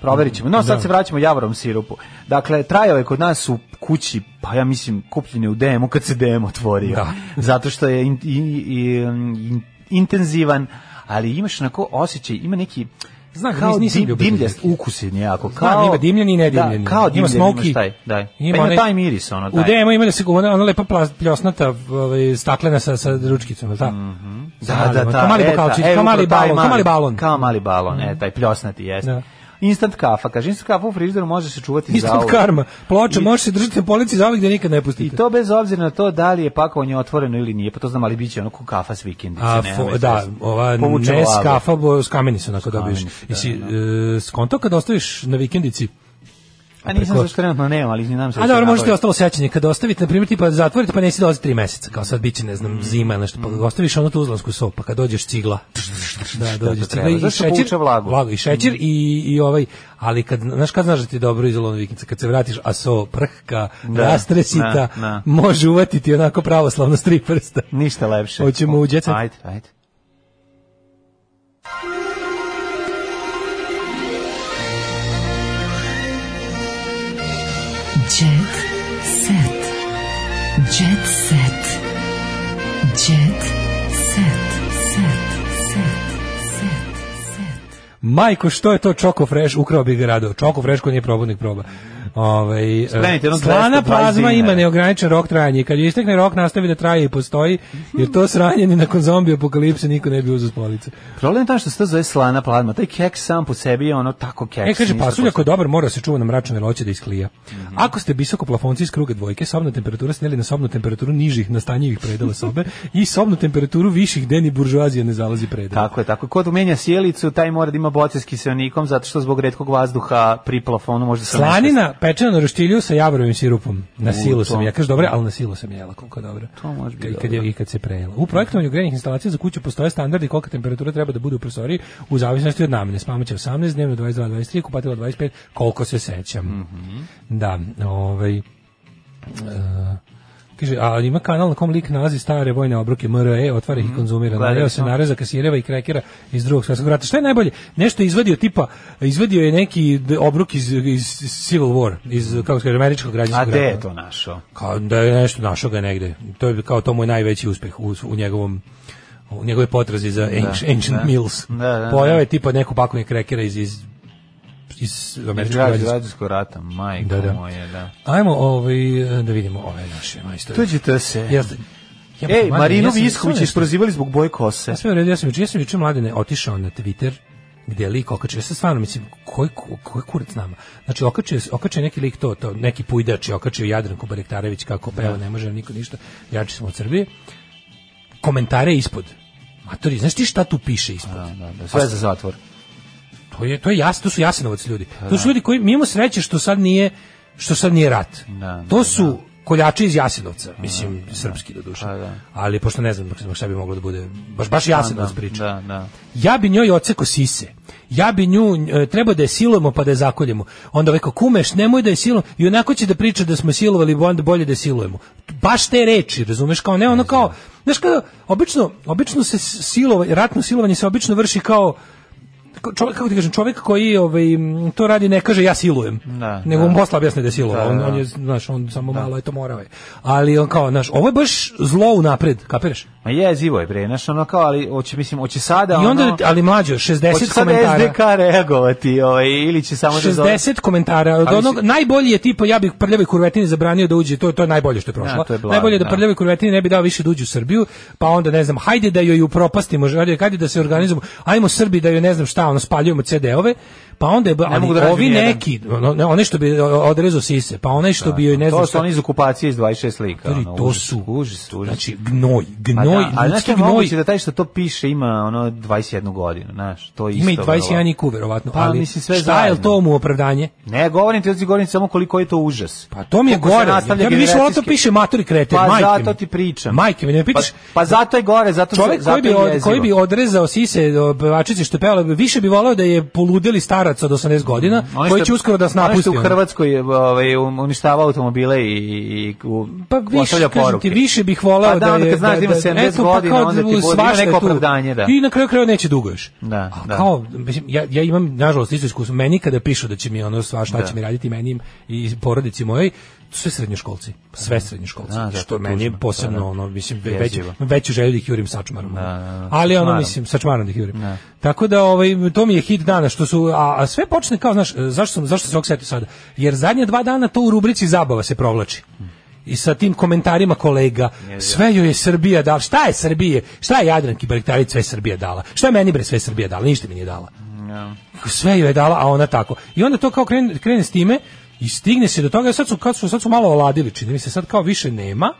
S7: Proverit ćemo. No, sad se vraćamo javorom sirupu. Dakle, trajao je kod nas u kući, pa ja mislim, kupljen je u DM-u kad se DM otvorio.
S6: Da.
S7: Zato što je in- i- i- in- intenzivan, ali imaš onako osjećaj, ima neki...
S6: Znam,
S7: kao
S6: nis- nisam
S7: dim,
S6: ljubitelj
S7: dimljast
S6: nekih.
S7: ukus je nejako. Kao,
S6: Znam, ima dimljeni i nedimljeni.
S7: Da, kao
S6: Ima
S7: dimljeni, imaš
S6: smoky.
S7: taj, daj. Pa
S6: Ima
S7: Ima,
S6: onaj-
S7: taj miris, ono,
S6: U
S7: taj.
S6: DM-u ima da se ona, ona lepa plas, pljosnata ovaj, staklena sa, sa ručkicom, jel' da?
S7: Mhm, Da, da, da.
S6: Kao mali
S7: e,
S6: bokalčić,
S7: da, e,
S6: kao mali
S7: upravo taj
S6: balon, kao mali balon.
S7: Kao mali balon, e, taj pljosnati jeste.
S6: Da.
S7: Instant kafa, kaže, instant kafa u frižideru može se čuvati za
S6: Isto od
S7: uvek.
S6: karma. Ploča,
S7: I-
S6: može se držati na polici za ovih gde nikad ne
S7: I
S6: pustite.
S7: to bez obzira na to da li je pakovanje otvoreno ili nije, pa to znam, ali bit će ono ko kafa s vikendice.
S6: A,
S7: nema
S6: fo-
S7: veze.
S6: da, ova
S7: Povuče
S6: ne
S7: lavu.
S6: skafa, bo, s kameni su onako dobiješ.
S7: kameni su, da,
S6: I si, e, skonto kad ostaviš na vikendici,
S7: A nisam
S6: preko-
S7: zašto trenutno nemam, ali znam se. da
S6: A
S7: ću
S6: dobro, možete
S7: nabaviti.
S6: ostalo sećanje kada ostavite na primjer tipa zatvorite pa nisi dolazi 3 meseca, kao sad biće ne znam zima nešto,
S7: Mm.
S6: pa ostaviš onu tuzlansku sopu, pa kad dođeš cigla. Da, dođeš
S7: treba.
S6: cigla i
S7: Zašto
S6: šećer,
S7: povuče vlagu? Mm.
S6: i šećer i i ovaj, ali kad znaš kad znaš da ti je dobro izolona vikendica, kad se vratiš, a so prhka,
S7: Da,
S6: rastresita,
S7: da, da.
S6: može uvatiti onako pravoslavno s tri prsta.
S7: Ništa lepše.
S6: Hoćemo u Jet Set?
S7: Ajde, ajde.
S5: Jet set. Jet set. Jet set. Set. Set. Set. Set.
S6: Majko, što je to Choco Fresh? Ukrao bi ga rado. Choco Fresh ko nije probodnik proba. Ovaj, e,
S7: Spremite jedno
S6: slana
S7: 220
S6: plazma ima
S7: dinara.
S6: neograničen rok trajanja i kad je istekne rok nastavi da traje i postoji, jer to sranje ni nakon zombi apokalipse niko ne bi uzeo s police.
S7: Problem je to što se to zove slana pladma. Taj keks sam po sebi je ono tako keks.
S6: E, kaže,
S7: ništa Mhm.
S6: pasulj ako
S7: posebno.
S6: je dobar, mora se čuva na mračnoj loće da isklija. Ako ste visokoplafonci iz kruga dvojke, sobna temperatura sneli na sobnu temperaturu nižih nastanjivih predela sobe i sobnu temperaturu viših deni buržuazija ne zalazi predela.
S7: Tako je, tako. je. Ko menja sjelicu, taj mora da ima boce s kiselnikom, zato što zbog retkog vazduha pri plafonu može se...
S6: Slanina pečena na roštilju sa jabrovim sirupom. Na silu sam
S7: to.
S6: ja. Kaže dobro, ali na silu sam jela koliko je dobro.
S7: To može biti
S6: I kad, je, I kad se prejela. U projektovanju grejnih instalacija za kuću postoje standardi kolika temperatura treba da bude u prostoriji u zavisnosti od namene. Spamaća 18, dnevno 22, 23, kupatila 25, koliko se sećam.
S7: Mhm.
S6: Da, ovaj... e, Kaže, a ima kanal na kom lik nalazi stare vojne obroke MRE, otvara ih i konzumira.
S7: gledali
S6: Nadeo se
S7: smo.
S6: nareza kasireva i krekera iz drugog svjetskog rata. Šta je najbolje? Nešto je izvadio tipa, izvadio je neki d- obrok iz, iz Civil War, iz, kako se kaže, američkog
S7: A
S6: građanskog rata.
S7: gde je to našo?
S6: Kao da je nešto našao ga negde. To je kao to mu je najveći uspeh u, u njegovom u njegove potrazi za ancient, ancient
S7: da.
S6: meals.
S7: Da, da, da.
S6: Pojao je tipa neko pakovanje krekera iz, iz, iz američkog
S7: Građanskog
S6: građanskog
S7: građanskog rata, majko
S6: Da, da.
S7: moje, da.
S6: Ajmo ovaj, e, da vidimo ove naše majstore.
S7: Tuđite se.
S6: Jeste. Jebote,
S7: Ej,
S6: mladine,
S7: Marinu
S6: ja sam-
S7: Visković
S6: samo
S7: je
S6: nešto.
S7: prozivali zbog boje kose.
S6: Ja sam uredio, ja sam juče, ja sam juče mladine otišao na Twitter gde je lik okačio, ja sam stvarno mislim, koji, ko- koji kurac nama? Znači, okačio, je- okačio je neki lik to, to neki pujdač je okačio Jadranku Barektarević kako peva, ne može nam niko ništa, jači smo od Srbije. Komentare ispod. Matori, znaš ti šta tu piše ispod?
S7: Sve za zatvor.
S6: To je to je jasno, to su jasnovac ljudi.
S7: Pa
S6: To su ljudi koji mi imamo sreće što sad nije što sad nije rat.
S7: Da,
S6: to su koljači iz Jasenovca, mislim srpski doduše.
S7: Pa da. Pa
S6: Ali pošto ne znam zbog šta bi moglo da bude baš baš Jasenovac priča.
S7: Da, da.
S6: Ja bi njoj oceko sise. Ja bi nju, e, treba da je silujemo pa da je zakoljemo. Onda ovaj kao, kumeš, nemoj da je silujemo. I onako će da priča da smo silovali, onda bolje da je silujemo. Baš te reči, razumeš, kao ne, ono kao, znaš kada, obično, obično se silovanje, ratno silovanje se obično vrši kao, kao čovjek, kako ti kažem, čovjek koji ovaj, m, to radi ne kaže ja silujem,
S7: Da,
S6: nego
S7: da.
S6: mu posle objasni da je silovao, on, on je, znaš, on samo malo je to morao je. Ali on kao, znaš, ovo je baš zlo unapred, kapiraš?
S7: Ma jezivo je, bre, znaš, ono kao, ali, hoće, mislim, hoće sada,
S6: I onda,
S7: ono...
S6: ali mlađo,
S7: Hoće
S6: 60
S7: sad
S6: komentara.
S7: SDK reagovati, ovaj, ili će samo da zove...
S6: 60 komentara. Od
S7: Ali
S6: onog
S7: si-
S6: najbolji je tipa ja bih prljavoj kurvetini zabranio da uđe, to je to je najbolje što je prošlo.
S7: Da, to je blago,
S6: najbolje je da
S7: da.
S6: prljavoj kurvetini ne bi dao više da uđe u Srbiju, pa onda ne znam, hajde da joj upropastimo, hajde, hajde da se organizujemo. Ajmo Srbi da joj ne znam šta, ono spaljujemo CD-ove. Pa onda je, ali
S7: mogu da radim
S6: ovi
S7: nijedan.
S6: neki, ono, ne, one što bi odrezao sise, pa onaj što bi joj ne znam
S7: To su
S6: šta,
S7: oni iz okupacije iz 26 slika.
S6: Matori,
S7: ono,
S6: to
S7: užas,
S6: su-
S7: Užas, užas.
S6: znači gnoj,
S7: Pa
S6: gnoj,
S7: da, ali znaš
S6: ljudski
S7: je
S6: gnoj.
S7: moguće da taj što to piše ima ono 21 godinu, znaš, to je isto.
S6: Ima i
S7: vrlo.
S6: 21 IQ verovatno,
S7: Pa,
S6: ali
S7: mislim, sve
S6: šta je li
S7: zajedno.
S6: to mu opravdanje?
S7: Ne, govorim ti, ja ti govorim samo koliko je to užas.
S6: Pa to mi je
S7: Koliko se
S6: gore.
S7: nastavlja
S6: Ja bih više volao to
S7: generacijski-
S6: piše matori kreten,
S7: Pa
S6: majke
S7: zato
S6: mi.
S7: ti pričam.
S6: Majke mi, ne
S7: Pa,
S6: pitaš.
S7: pa zato je gore, zato što
S6: Čovjek
S7: zato
S6: koji bi,
S7: je
S6: od-
S7: jezivo.
S6: koji bi odrezao sise o, pevačici što je pevala, više bi volao da je poludeli starac od 80 godina,
S7: Onaj
S6: koji
S7: Mm, Ono što-
S6: će uskoro da nas napusti.
S7: Onaj što u
S6: ono.
S7: Hrvatskoj je, ovaj, uništava automobile i, i u,
S6: Pa više,
S7: ostavlja
S6: kažem ti,
S7: poruke.
S6: više bih volao
S7: Pa da,
S6: da,
S7: onda
S6: je...
S7: kad znaš da ima 70 godina,
S6: kao
S7: onda ti bude- ima
S6: svašta je
S7: neko
S6: tu.
S7: opravdanje, da.
S6: I na kraju krajeva neće dugo još.
S7: Da,
S6: A
S7: da.
S6: kao, mislim, ja, ja imam, nažalost, isto iskustvo. Meni kada pišu da će mi ono sva šta će mi raditi meni i porodici mojoj, sve srednjoškolci, sve srednjoškolci,
S7: Da, da,
S6: što
S7: to
S6: meni je
S7: tužno.
S6: posebno,
S7: Da, da.
S6: ono, mislim, ve- već,
S7: Jezivo.
S6: veću želju da ih jurim sačmarom.
S7: da.
S6: Ali ono,
S7: Sačmarom.
S6: mislim, sačmarom da ih jurim. Tako da, ovaj, to mi je hit dana, što su, a, a sve počne kao, znaš, zašto, sam, zašto se ovog setio sada? Jer zadnje dva dana to u rubrici zabava se provlači. I sa tim komentarima kolega, sve joj je Srbija dala. Šta je Srbije? Šta je Jadranki Barektarić sve Srbija dala? Šta je meni bre sve Srbija dala? Ništa mi nije dala. Sve joj je dala, a ona tako. I onda to kao krene, krene s time i stigne se do toga, sad su, kad su, sad su malo oladili, čini mi se, sad kao više nema,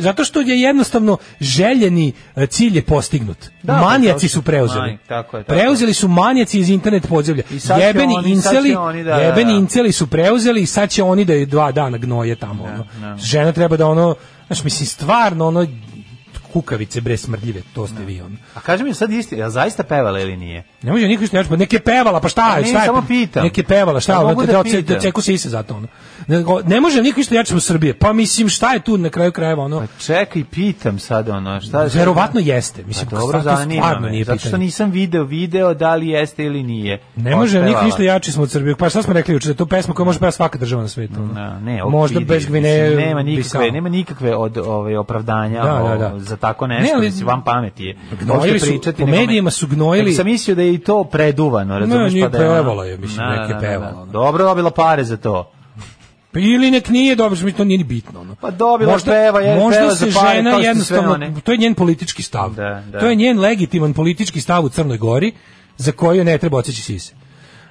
S6: zato što je jednostavno željeni e, cilj je postignut.
S7: Da, pa
S6: Manijaci
S7: to-
S6: su preuzeli.
S7: Manj, tako je, tako je.
S6: preuzeli su manijaci iz internet podzemlja.
S7: I sad će
S6: Jebeni
S7: oni- sad će
S6: inceli,
S7: oni da-
S6: jebeni
S7: da, da.
S6: inceli su preuzeli i sad će oni da je dva dana gnoje tamo. ono. Žena treba da ono, znaš, mislim, stvarno ono, kukavice bre smrdljive, to ste vi ono.
S7: A kaži mi sad isti, je zaista pevala ili nije?
S6: Ne može niko ništa reći, pa nek je pevala, pa šta
S7: Pa
S6: je,
S7: ne,
S6: šta je?
S7: samo pitam.
S6: Nek je pevala, šta
S7: Pa
S6: je,
S7: mogu
S6: ono,
S7: da
S6: da, da,
S7: pitam.
S6: da ceku sise zato ono. Ne, o, ne može niko ništa jače od Srbije, pa mislim šta je tu na kraju krajeva ono.
S7: Pa čekaj, pitam sad ono, šta
S6: Pa Verovatno jeste, mislim,
S7: Pa dobro,
S6: stvarno-
S7: zanima
S6: stvarno
S7: me,
S6: nije
S7: zato što
S6: pitanje.
S7: nisam video, video da li jeste ili nije.
S6: Ne može niko
S7: Otpevala.
S6: ništa jači smo od Srbije. Pa šta smo rekli juče, da je to pesma koju može pevati svaka država na svetu. ono.
S7: Na, ne, ovo
S6: Možda
S7: vidi,
S6: bez Gvineje.
S7: mislim, nema nikakve,
S6: Bisao.
S7: nema nikakve od ove opravdanja
S6: Da, da, da.
S7: o- za tako nešto,
S6: Ne, ali-
S7: mislim, van pameti je.
S6: Gnojili
S7: Možete
S6: su-
S7: pričati
S6: u
S7: nekome-
S6: medijima su gnojili-
S7: Nego Sam mislio da je i to preduvano, razumeš
S6: nije
S7: pa da je ono-
S6: pevala je, mislim,
S7: Da,
S6: neke
S7: da, da,
S6: pevala,
S7: da.
S6: ono.
S7: Dobro dobila pare za to.
S6: Pa ili nek nije dobro, mislim, to nije ni bitno. Ono.
S7: Pa dobila
S6: možda,
S7: peva, je,
S6: možda
S7: peva
S6: se
S7: za pare,
S6: žena
S7: kao što sve
S6: jednostavno,
S7: one.
S6: to je njen politički stav.
S7: Da, da.
S6: To je njen legitiman politički stav u Crnoj Gori, za koju ne treba oceći sise.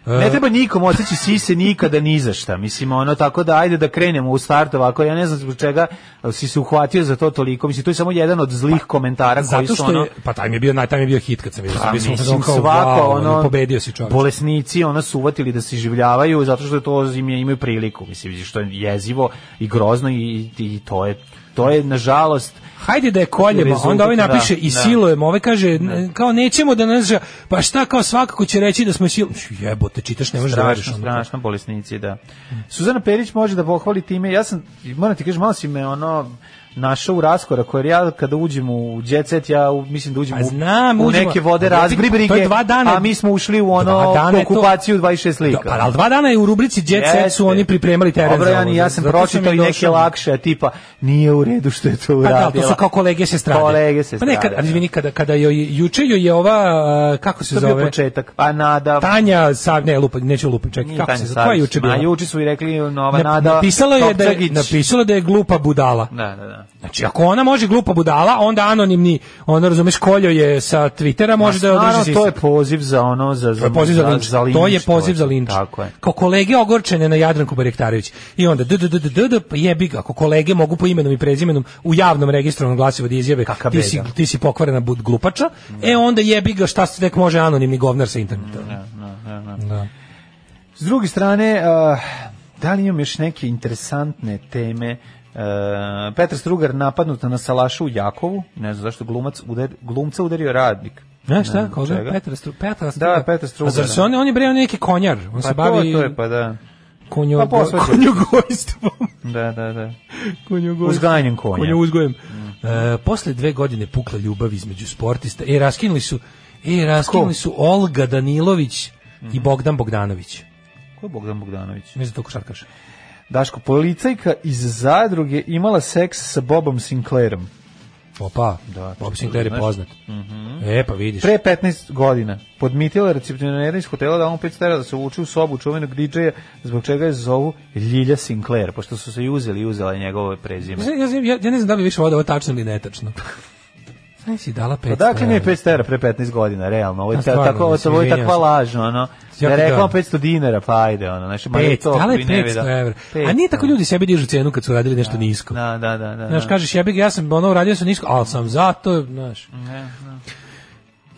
S6: E.
S7: Ne treba nikom otići sise nikada ni za šta. Mislim ono tako da ajde da krenemo u start ovako. Ja ne znam zbog čega e, si se uhvatio za to toliko. Mislim to je samo jedan od zlih komentara koji
S6: Zato
S7: su
S6: što
S7: ono
S6: je, pa taj mi je bio naj, taj mi je bio hit kad sam vidio.
S7: Pa,
S6: Mi smo
S7: mislim,
S6: kao,
S7: svako,
S6: wow, ono,
S7: ono,
S6: pobedio si čovjek.
S7: bolesnici ono su uvatili da se življavaju zato što to im je, imaju priliku. Mislim što je jezivo i grozno i, i to je to je nažalost
S6: Hajde da je koljemo,
S7: Rezultat,
S6: onda ovaj napiše
S7: da,
S6: i
S7: da.
S6: silujemo, ovaj kaže, n- kao nećemo da nas ža- pa šta kao svakako će reći da smo silujemo, jebote, čitaš, ne možeš da veriš.
S7: strašno,
S6: ono.
S7: strašno bolesnici, da. Suzana Perić može da pohvali time. Ja sam, moram ti kažem, malo si me ono našao u raskoraku, jer ja kada uđem u jet set, ja u- mislim da uđem
S6: Pa
S7: u-
S6: znam,
S7: u,
S6: uđemo. Pa
S7: neke vode
S6: To je
S7: razbribrige,
S6: dva dana-
S7: a mi smo ušli u
S6: Dva
S7: ono
S6: dana je to-
S7: okupaciju 26 lika.
S6: Da, pa, ali dva dana je u rubrici Jet Set
S7: Jeste.
S6: su oni pripremali teren
S7: Dobro,
S6: za
S7: ja,
S6: ovo,
S7: ja sam
S6: zato sam
S7: pročitao
S6: i
S7: i neke
S6: došao.
S7: lakše, a tipa, nije u redu što je to
S6: Pa
S7: uradila.
S6: da, to su kao kolege se strade.
S7: Kolege se
S6: Pa nekad,
S7: strade,
S6: ali
S7: da.
S6: izvini, kada, kada joj, juče joj je ova, a, kako se
S7: To je bio
S6: zove,
S7: početak. Pa nada...
S6: Tanja, Sav, ne, lupa, neću lupam, čekaj,
S7: Nije
S6: kako
S7: Tanja
S6: se zove, koja je
S7: Savić.
S6: juče bila?
S7: Ma, juče su i rekli Nova
S6: Nap-
S7: Pa Nada
S6: napisala je da je,
S7: Topčagić.
S6: napisala da je glupa budala.
S7: Da, da, da.
S6: Znači, ako ona može glupa budala, onda anonimni, ono, razumeš, koljo je sa Twittera, može da je održi
S7: Naravno,
S6: sistem.
S7: to je poziv za ono za
S6: To je poziv za linč. to je
S7: linč,
S6: poziv za linč.
S7: Tako je.
S6: Kao kolege ogorčene na Jadranku Barjektarević. I onda d d d d d d pa jebi ga, ako kolege mogu po imenom i prezimenom u javnom registrovanom glasivo da izjave
S7: Kaka
S6: ti si,
S7: beda."
S6: ti si pokvarena bud glupača, e onda jebi ga šta se tek može anonimni govnar sa interneta. Da.
S7: S druge strane, uh, da li imam još neke interesantne teme? Uh, Petar Strugar napadnuta na salašu u Jakovu, ne znam zašto glumac udar, glumca udario radnik.
S6: Znaš šta,
S7: znam
S6: koga?
S7: čega.
S6: Petra Stru, Petra Stru.
S7: Da, Petar Strugar.
S6: A zar se on, on je bre on je neki konjar, on
S7: pa
S6: se
S7: to,
S6: bavi
S7: to je, pa da.
S6: konjo,
S7: Pa posvađa.
S6: konjogojstvom.
S7: Da, da, da.
S6: Konjogojstvom.
S7: Uzgajanjem konja.
S6: Konja uzgojem. E, posle dve godine pukla ljubav između sportista. E, raskinuli su, e, raskinuli
S7: Ko?
S6: su Olga Danilović i Bogdan Bogdanović.
S7: Ko je Bogdan Bogdanović?
S6: Ne znam to košarkaš.
S7: Daško, policajka iz zadruge imala seks sa Bobom Sinclairom.
S6: Opa,
S7: Da,
S6: Bob
S7: to
S6: Sinclair je
S7: znaš. Mhm.
S6: poznat. E, pa vidiš.
S7: Pre 15 godina podmitila je recepcionera iz hotela da on pet stara da se uvuče u sobu čuvenog DJ-a zbog čega je zovu Ljilja Sinclair, pošto su se i uzeli i uzela je njegove prezime.
S6: Ja, ja, ja, ja ne znam da li više ovo da je ovo tačno ili netačno. Znači si dala 500
S7: Odakle Pa Dakle, mi je
S6: evra.
S7: 500 evra pre 15 godina, realno. Ovo je,
S6: A,
S7: ta-
S6: stvarno,
S7: tako, ovo,
S6: mislim,
S7: ovo je takva
S6: izvinjavam se.
S7: laž, ono. Da
S6: Ja
S7: je
S6: bih
S7: rekla
S6: dao.
S7: 500 dinara, pa ajde, ono. Znači, ma je
S6: Pet,
S7: to,
S6: dala je
S7: bi ne vedao.
S6: 500 evra. A
S7: 500.
S6: nije tako ljudi sebi dižu cenu kad su radili nešto nisko.
S7: Da, da, da. da,
S6: Znaš,
S7: da.
S6: kažeš, ja bih, ja sam ono uradio sam nisko, ali sam zato, znaš.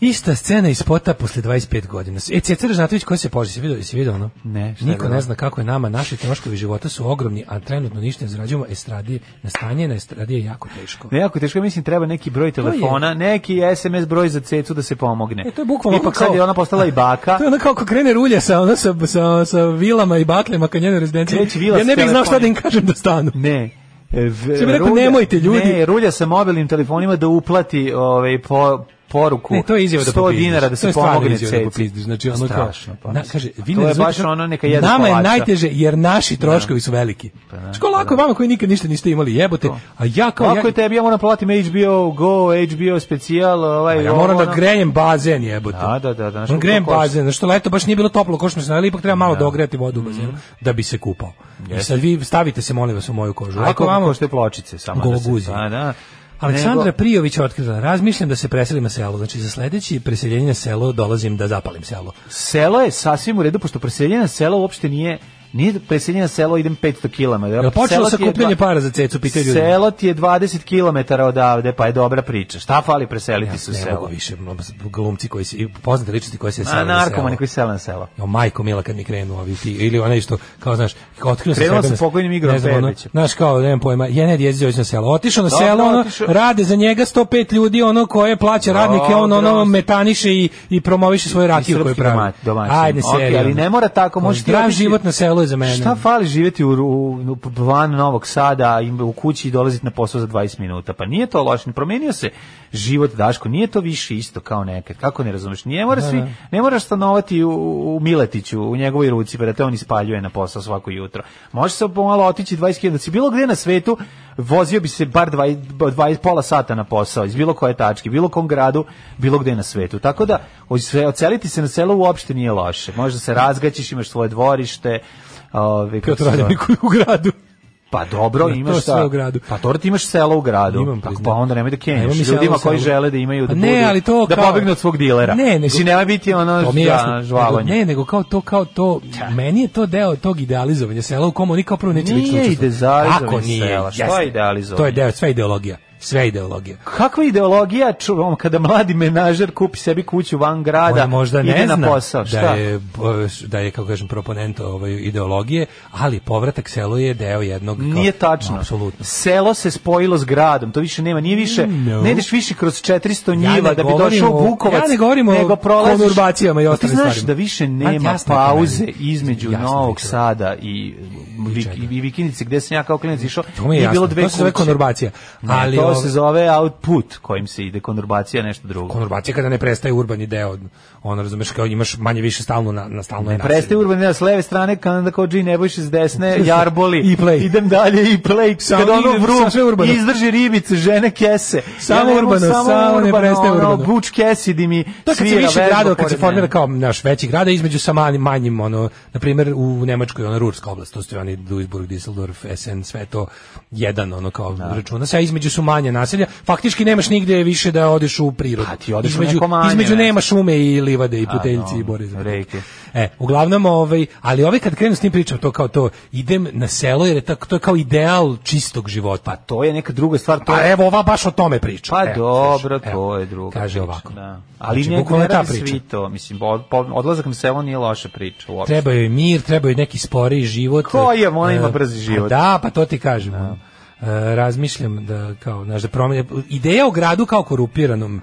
S6: Ista scena iz spota posle 25 godina. E, Cecar Žnatović koja se poži, si vidio, si vidio ono?
S7: Ne, šta je
S6: Niko
S7: bilo?
S6: ne zna kako je nama, naši troškovi života su ogromni, a trenutno ništa ne zarađujemo estradije, na stanje na estradije je jako teško.
S7: Ne, jako je teško, mislim, treba neki broj
S6: je.
S7: telefona, neki SMS broj za cecu da se pomogne.
S6: E, to je bukvalno
S7: Ipak
S6: pa
S7: sad
S6: kao-
S7: je ona postala i baka.
S6: To je ono kao kako krene rulja sa, ono, sa, sa, sa vilama i bakljama ka njenoj rezidenciji.
S7: Kreće vila
S6: Ja ne
S7: s
S6: bih znao šta da
S7: telefonima.
S6: im kažem da stanu.
S7: Ne. E, v-
S6: Što bi rekao, nemojte, ljudi.
S7: Ne, rulja sa mobilnim telefonima da uplati ovaj, po, poruku.
S6: Ne, to je izjava da
S7: 100
S6: popizdiš.
S7: dinara da
S6: To
S7: se
S6: je stvarno
S7: pomogne
S6: izjava da
S7: ceci.
S6: popizdiš. Znači, ono kao,
S7: Strašno, pa
S6: na,
S7: mislim.
S6: kaže,
S7: Pa
S6: vi
S7: to
S6: ne
S7: je
S6: razumete
S7: baš
S6: kako-
S7: ono, neka jedu
S6: Nama je
S7: kolača.
S6: najteže, jer naši troškovi su veliki.
S7: da,
S6: Ško lako
S7: pa
S6: je vama koji nikad ništa niste imali, jebote. A ja kao...
S7: Kako
S6: ja,
S7: je tebi, ja moram platiti HBO Go, HBO specijal, ovaj...
S6: a ja
S7: ovo,
S6: moram da
S7: ono.
S6: grejem bazen, jebote.
S7: Da, da, da, da, znaš
S6: On
S7: koliko
S6: grejem
S7: košta? Mhm.
S6: bazen, znaš što leto baš nije bilo toplo, ko što smo se naveli, ipak treba malo da ogrejati vodu u bazenu, da bi se kupao. I sad vi stavite se, molim vas, u moju kožu.
S7: Aj,
S6: Ovako
S7: koliko
S6: vamo,
S7: košte pločice samo da
S6: Gologuzi.
S7: se... A, da.
S6: Aleksandra
S7: Nego-
S6: Prijović je otkrila, razmišljam da se preselim na selo, znači za sledeći preseljenje na selo dolazim da zapalim selo.
S7: Selo je sasvim u redu, pošto preseljena selo uopšte nije... Nije preseljena selo, idem 500 km.
S6: Jel počelo sa kupljanje
S7: para?
S6: para za cecu, pitaju ljudi?
S7: Selo ti je 20 km odavde, pa je dobra priča. Šta fali preseliti se u
S6: Ne mogu
S7: selo?
S6: više, m- glumci koji se, i poznate ličnosti koji se
S7: A
S6: sele na selo.
S7: narkomani koji se sele na selo.
S6: Jo, majko mila kad mi krenu ovi ti, ili onaj što, kao znaš, kao otkrio sam
S7: Krenuo
S6: sebe
S7: sam
S6: na-
S7: pokojnim Igorom
S6: ne znam, ono,
S7: Perovićem.
S6: Znaš, kao, nemam pojma, Jened Jezdić na selo, otišao na
S7: Dobro,
S6: selo, ono,
S7: otišao.
S6: rade za njega 105 ljudi, ono koje plaća radnike, on
S7: Dobro.
S6: ono metaniše i, i promoviše svoju
S7: I
S6: rakiju koju
S7: srpski
S6: pravi.
S7: doma- domaćin.
S6: Ajde,
S7: Ok,
S6: serija.
S7: ali ne mora tako, možeš ti
S6: Zdrav
S7: otići-
S6: život na selu je za mene.
S7: Šta fali živjeti u, u, u van Novog Sada, im- u kući i dolaziti na posao za 20 minuta? Pa nije to loše, promenio se život Daško, nije to više isto kao nekad. Kako ne razumeš? Nije mora svi, ne moraš stanovati u, u Miletiću, u njegovoj ruci, pa da te on ispaljuje na posao svako jutro. Možeš se pomalo otići 20 km. Da si bilo gde na svetu, vozio bi se bar 20, 20 pola sata na posao, iz bilo koje tačke, bilo kom gradu, bilo gde na svetu. Tako da, od- oceliti se na selo uopšte nije loše. Možda se razgaćiš, imaš svoje dvorište, Ove,
S6: Piotr Radjanik u gradu.
S7: Pa dobro,
S6: Da, to
S7: imaš
S6: sve u gradu.
S7: Pa dobro, ti imaš selo u gradu.
S6: Imam,
S7: Tako,
S6: priznam.
S7: pa onda nemoj da
S6: Nemam
S7: kenjaš.
S6: mi
S7: Ljudima
S6: selo u
S7: koji
S6: selu.
S7: žele da imaju da
S6: A ne,
S7: budu-
S6: ali to
S7: da
S6: kao-
S7: pobegnu od svog dilera.
S6: Ne, nego-
S7: Mislim, nemoj biti ono
S6: To mi je jasno.
S7: da, žvalanje.
S6: Nego- Ne, nego kao to, kao to, meni je to deo tog idealizovanja sela u komu oni kao prvo neće
S7: Nije
S6: lično učestvovati.
S7: idealizovanje
S6: Kako nije?
S7: sela? Šta
S6: Jeste.
S7: je idealizovanje?
S6: To je deo, sve ideologija. Sve ideologija.
S7: Kakva ideologija čuvam kada mladi menažer kupi sebi kuću van grada,
S6: On možda
S7: ide
S6: ne zna
S7: na posao, šta?
S6: da je b- da je kako kažem proponent ovaj ideologije, ali povratak selu je deo jednog kao-
S7: Nije tačno.
S6: Apsolutno.
S7: Selo se spojilo s gradom, to više nema, nije više,
S6: No.
S7: ne ideš više kroz 400
S6: Ja ne
S7: njiva da bi
S6: govorim
S7: došao
S6: o-
S7: u Vukovac,
S6: ja ne govorim o
S7: nego prolaziš...
S6: konurbacijama i
S7: Pa
S6: ostalim
S7: Ti znaš
S6: stvarima.
S7: da više
S6: Ma,
S7: nema
S6: jasno je to
S7: pauze
S6: meni.
S7: između
S6: Jasno je
S7: Novog
S6: to.
S7: Sada i, vi,
S6: čega.
S7: i Vikinice gde sam ja kao klinac išao,
S6: To mi je
S7: nije
S6: jasno.
S7: bilo dve
S6: To se zove
S7: kuće.
S6: konurbacija.
S7: Ne,
S6: Ali
S7: to
S6: ovo-
S7: se zove output kojim se ide, konurbacija je nešto drugo.
S6: konurbacija kada ne prestaje urbani deo ono razumeš kao imaš manje više stalno na, na stalno je naselje.
S7: Prestaje urbani deo s leve strane, kada onda kao Dži Nebojša s desne, jarboli,
S6: I play.
S7: idem dalje i play,
S6: Samo
S7: kada ono
S6: idem,
S7: vruć,
S6: samo sve urbano.
S7: izdrži ribice, žene kese.
S6: Samo
S7: ne mogu,
S6: urbano, samo ne prestaje
S7: ono,
S6: urbano.
S7: Buč Cassidy mi
S6: To je kad se
S7: svira
S6: više
S7: vežba
S6: gradova, kad se
S7: pored
S6: formira
S7: mene.
S6: kao naš veći grada između sa manjim, manjim ono, na primjer u Nemačkoj, ona Rurska oblast, to su oni Duisburg, Düsseldorf, Essen, sve to jedan, ono kao računa se, a između su manje naselja, faktički nemaš nigdje više da odeš u prirodu.
S7: Pa ti odeš u
S6: između,
S7: neko manje
S6: između
S7: mesto.
S6: nema šume i livade i puteljci
S7: no,
S6: i bore. za-
S7: reke.
S6: E, uglavnom, ovaj, ali ovaj kad krenu s tim pričam, to kao to, idem na selo jer je tako- to je kao ideal čistog života.
S7: Pa to je neka druga stvar, to
S6: Pa
S7: je
S6: evo, ova baš o tome priča.
S7: Pa
S6: Evo,
S7: dobro,
S6: slušaj,
S7: to
S6: evo,
S7: je drugo.
S6: e, Kaže ovako.
S7: Da. Ali
S6: Znači,
S7: ne,
S6: bukvalno
S7: ne
S6: je ta
S7: radi
S6: priča.
S7: svi to. Mislim, od, po- odlazak na selo nije loša priča uopšte.
S6: Treba joj mir, treba joj neki sporiji život.
S7: Ko je, ona ima
S6: E,
S7: brzi život.
S6: Da, pa to ti kažem. E, razmišljam da kao, znaš, da promene, ideja o gradu kao korupiranom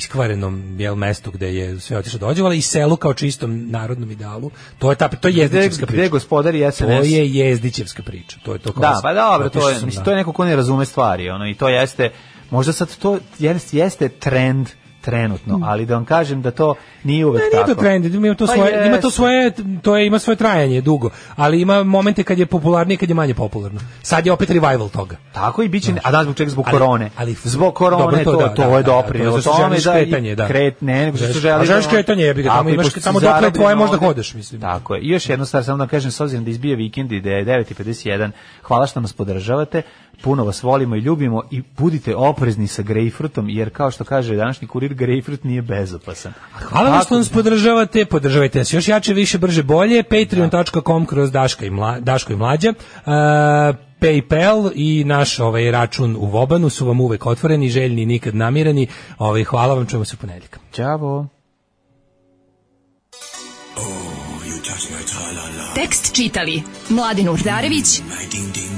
S6: iskvarenom jel mestu gde je sve otišlo dođevala i selu kao čistom narodnom idealu. To je ta to je
S7: Gde,
S6: jezdićevska
S7: gde
S6: priča.
S7: gospodar i SNS?
S6: To je jezdićevska priča. To je to kao
S7: Da, pa dobro,
S6: otišao
S7: to je,
S6: sam
S7: mislim,
S6: na-
S7: to je neko ko ne razume stvari, ono, i to jeste, možda sad to jeste, jeste trend trenutno, ali da vam kažem da to nije uvek
S6: Hmm. Ne,
S7: tako.
S6: Pa nije to trend, ima to
S7: Pa
S6: svoje, ima
S7: jeste.
S6: to svoje, to je ima svoje trajanje dugo, ali ima momente kad je popularnije, kad je manje popularno. Sad je opet revival toga.
S7: Tako i biće, a da zbog čega, zbog
S6: Ali-
S7: korone.
S6: ali-
S7: zbog korone
S6: Dobro,
S7: to,
S6: to
S7: to,
S6: da, da,
S7: je
S6: da,
S7: doprinelo
S6: da, to je
S7: tome
S6: želiš kretanje, da.
S7: Kret, ne, nego što
S6: Želiš-
S7: želiš.
S6: a želiš
S7: da-
S6: kretanje, jebi ga, tamo
S7: Tako, i
S6: imaš
S7: pošto
S6: samo
S7: si
S6: dokle
S7: zaradi
S6: tvoje možda
S7: novac-
S6: hodeš, mislim.
S7: Tako je. I još jedna stvar samo da vam kažem s obzirom da izbije vikend i da je 9:51. Hvala što nas podržavate. Puno vas volimo i ljubimo i budite oprezni sa grejpfrutom jer kao što kaže današnji kurir grejpfrut nije bezopasan.
S6: Hvala vam
S7: Tako-
S6: što nas podržavate, podržavajte nas još jače, više, brže, bolje, patreon.com kroz Daška i Mla, Daško i Mlađa, E, PayPal i naš ovaj račun u Vobanu su vam uvek otvoreni, željni i nikad namirani. Ovaj, hvala vam, čujemo se u ponedjeljak.
S7: Ćao.
S5: Tekst čitali Mladin Urdarević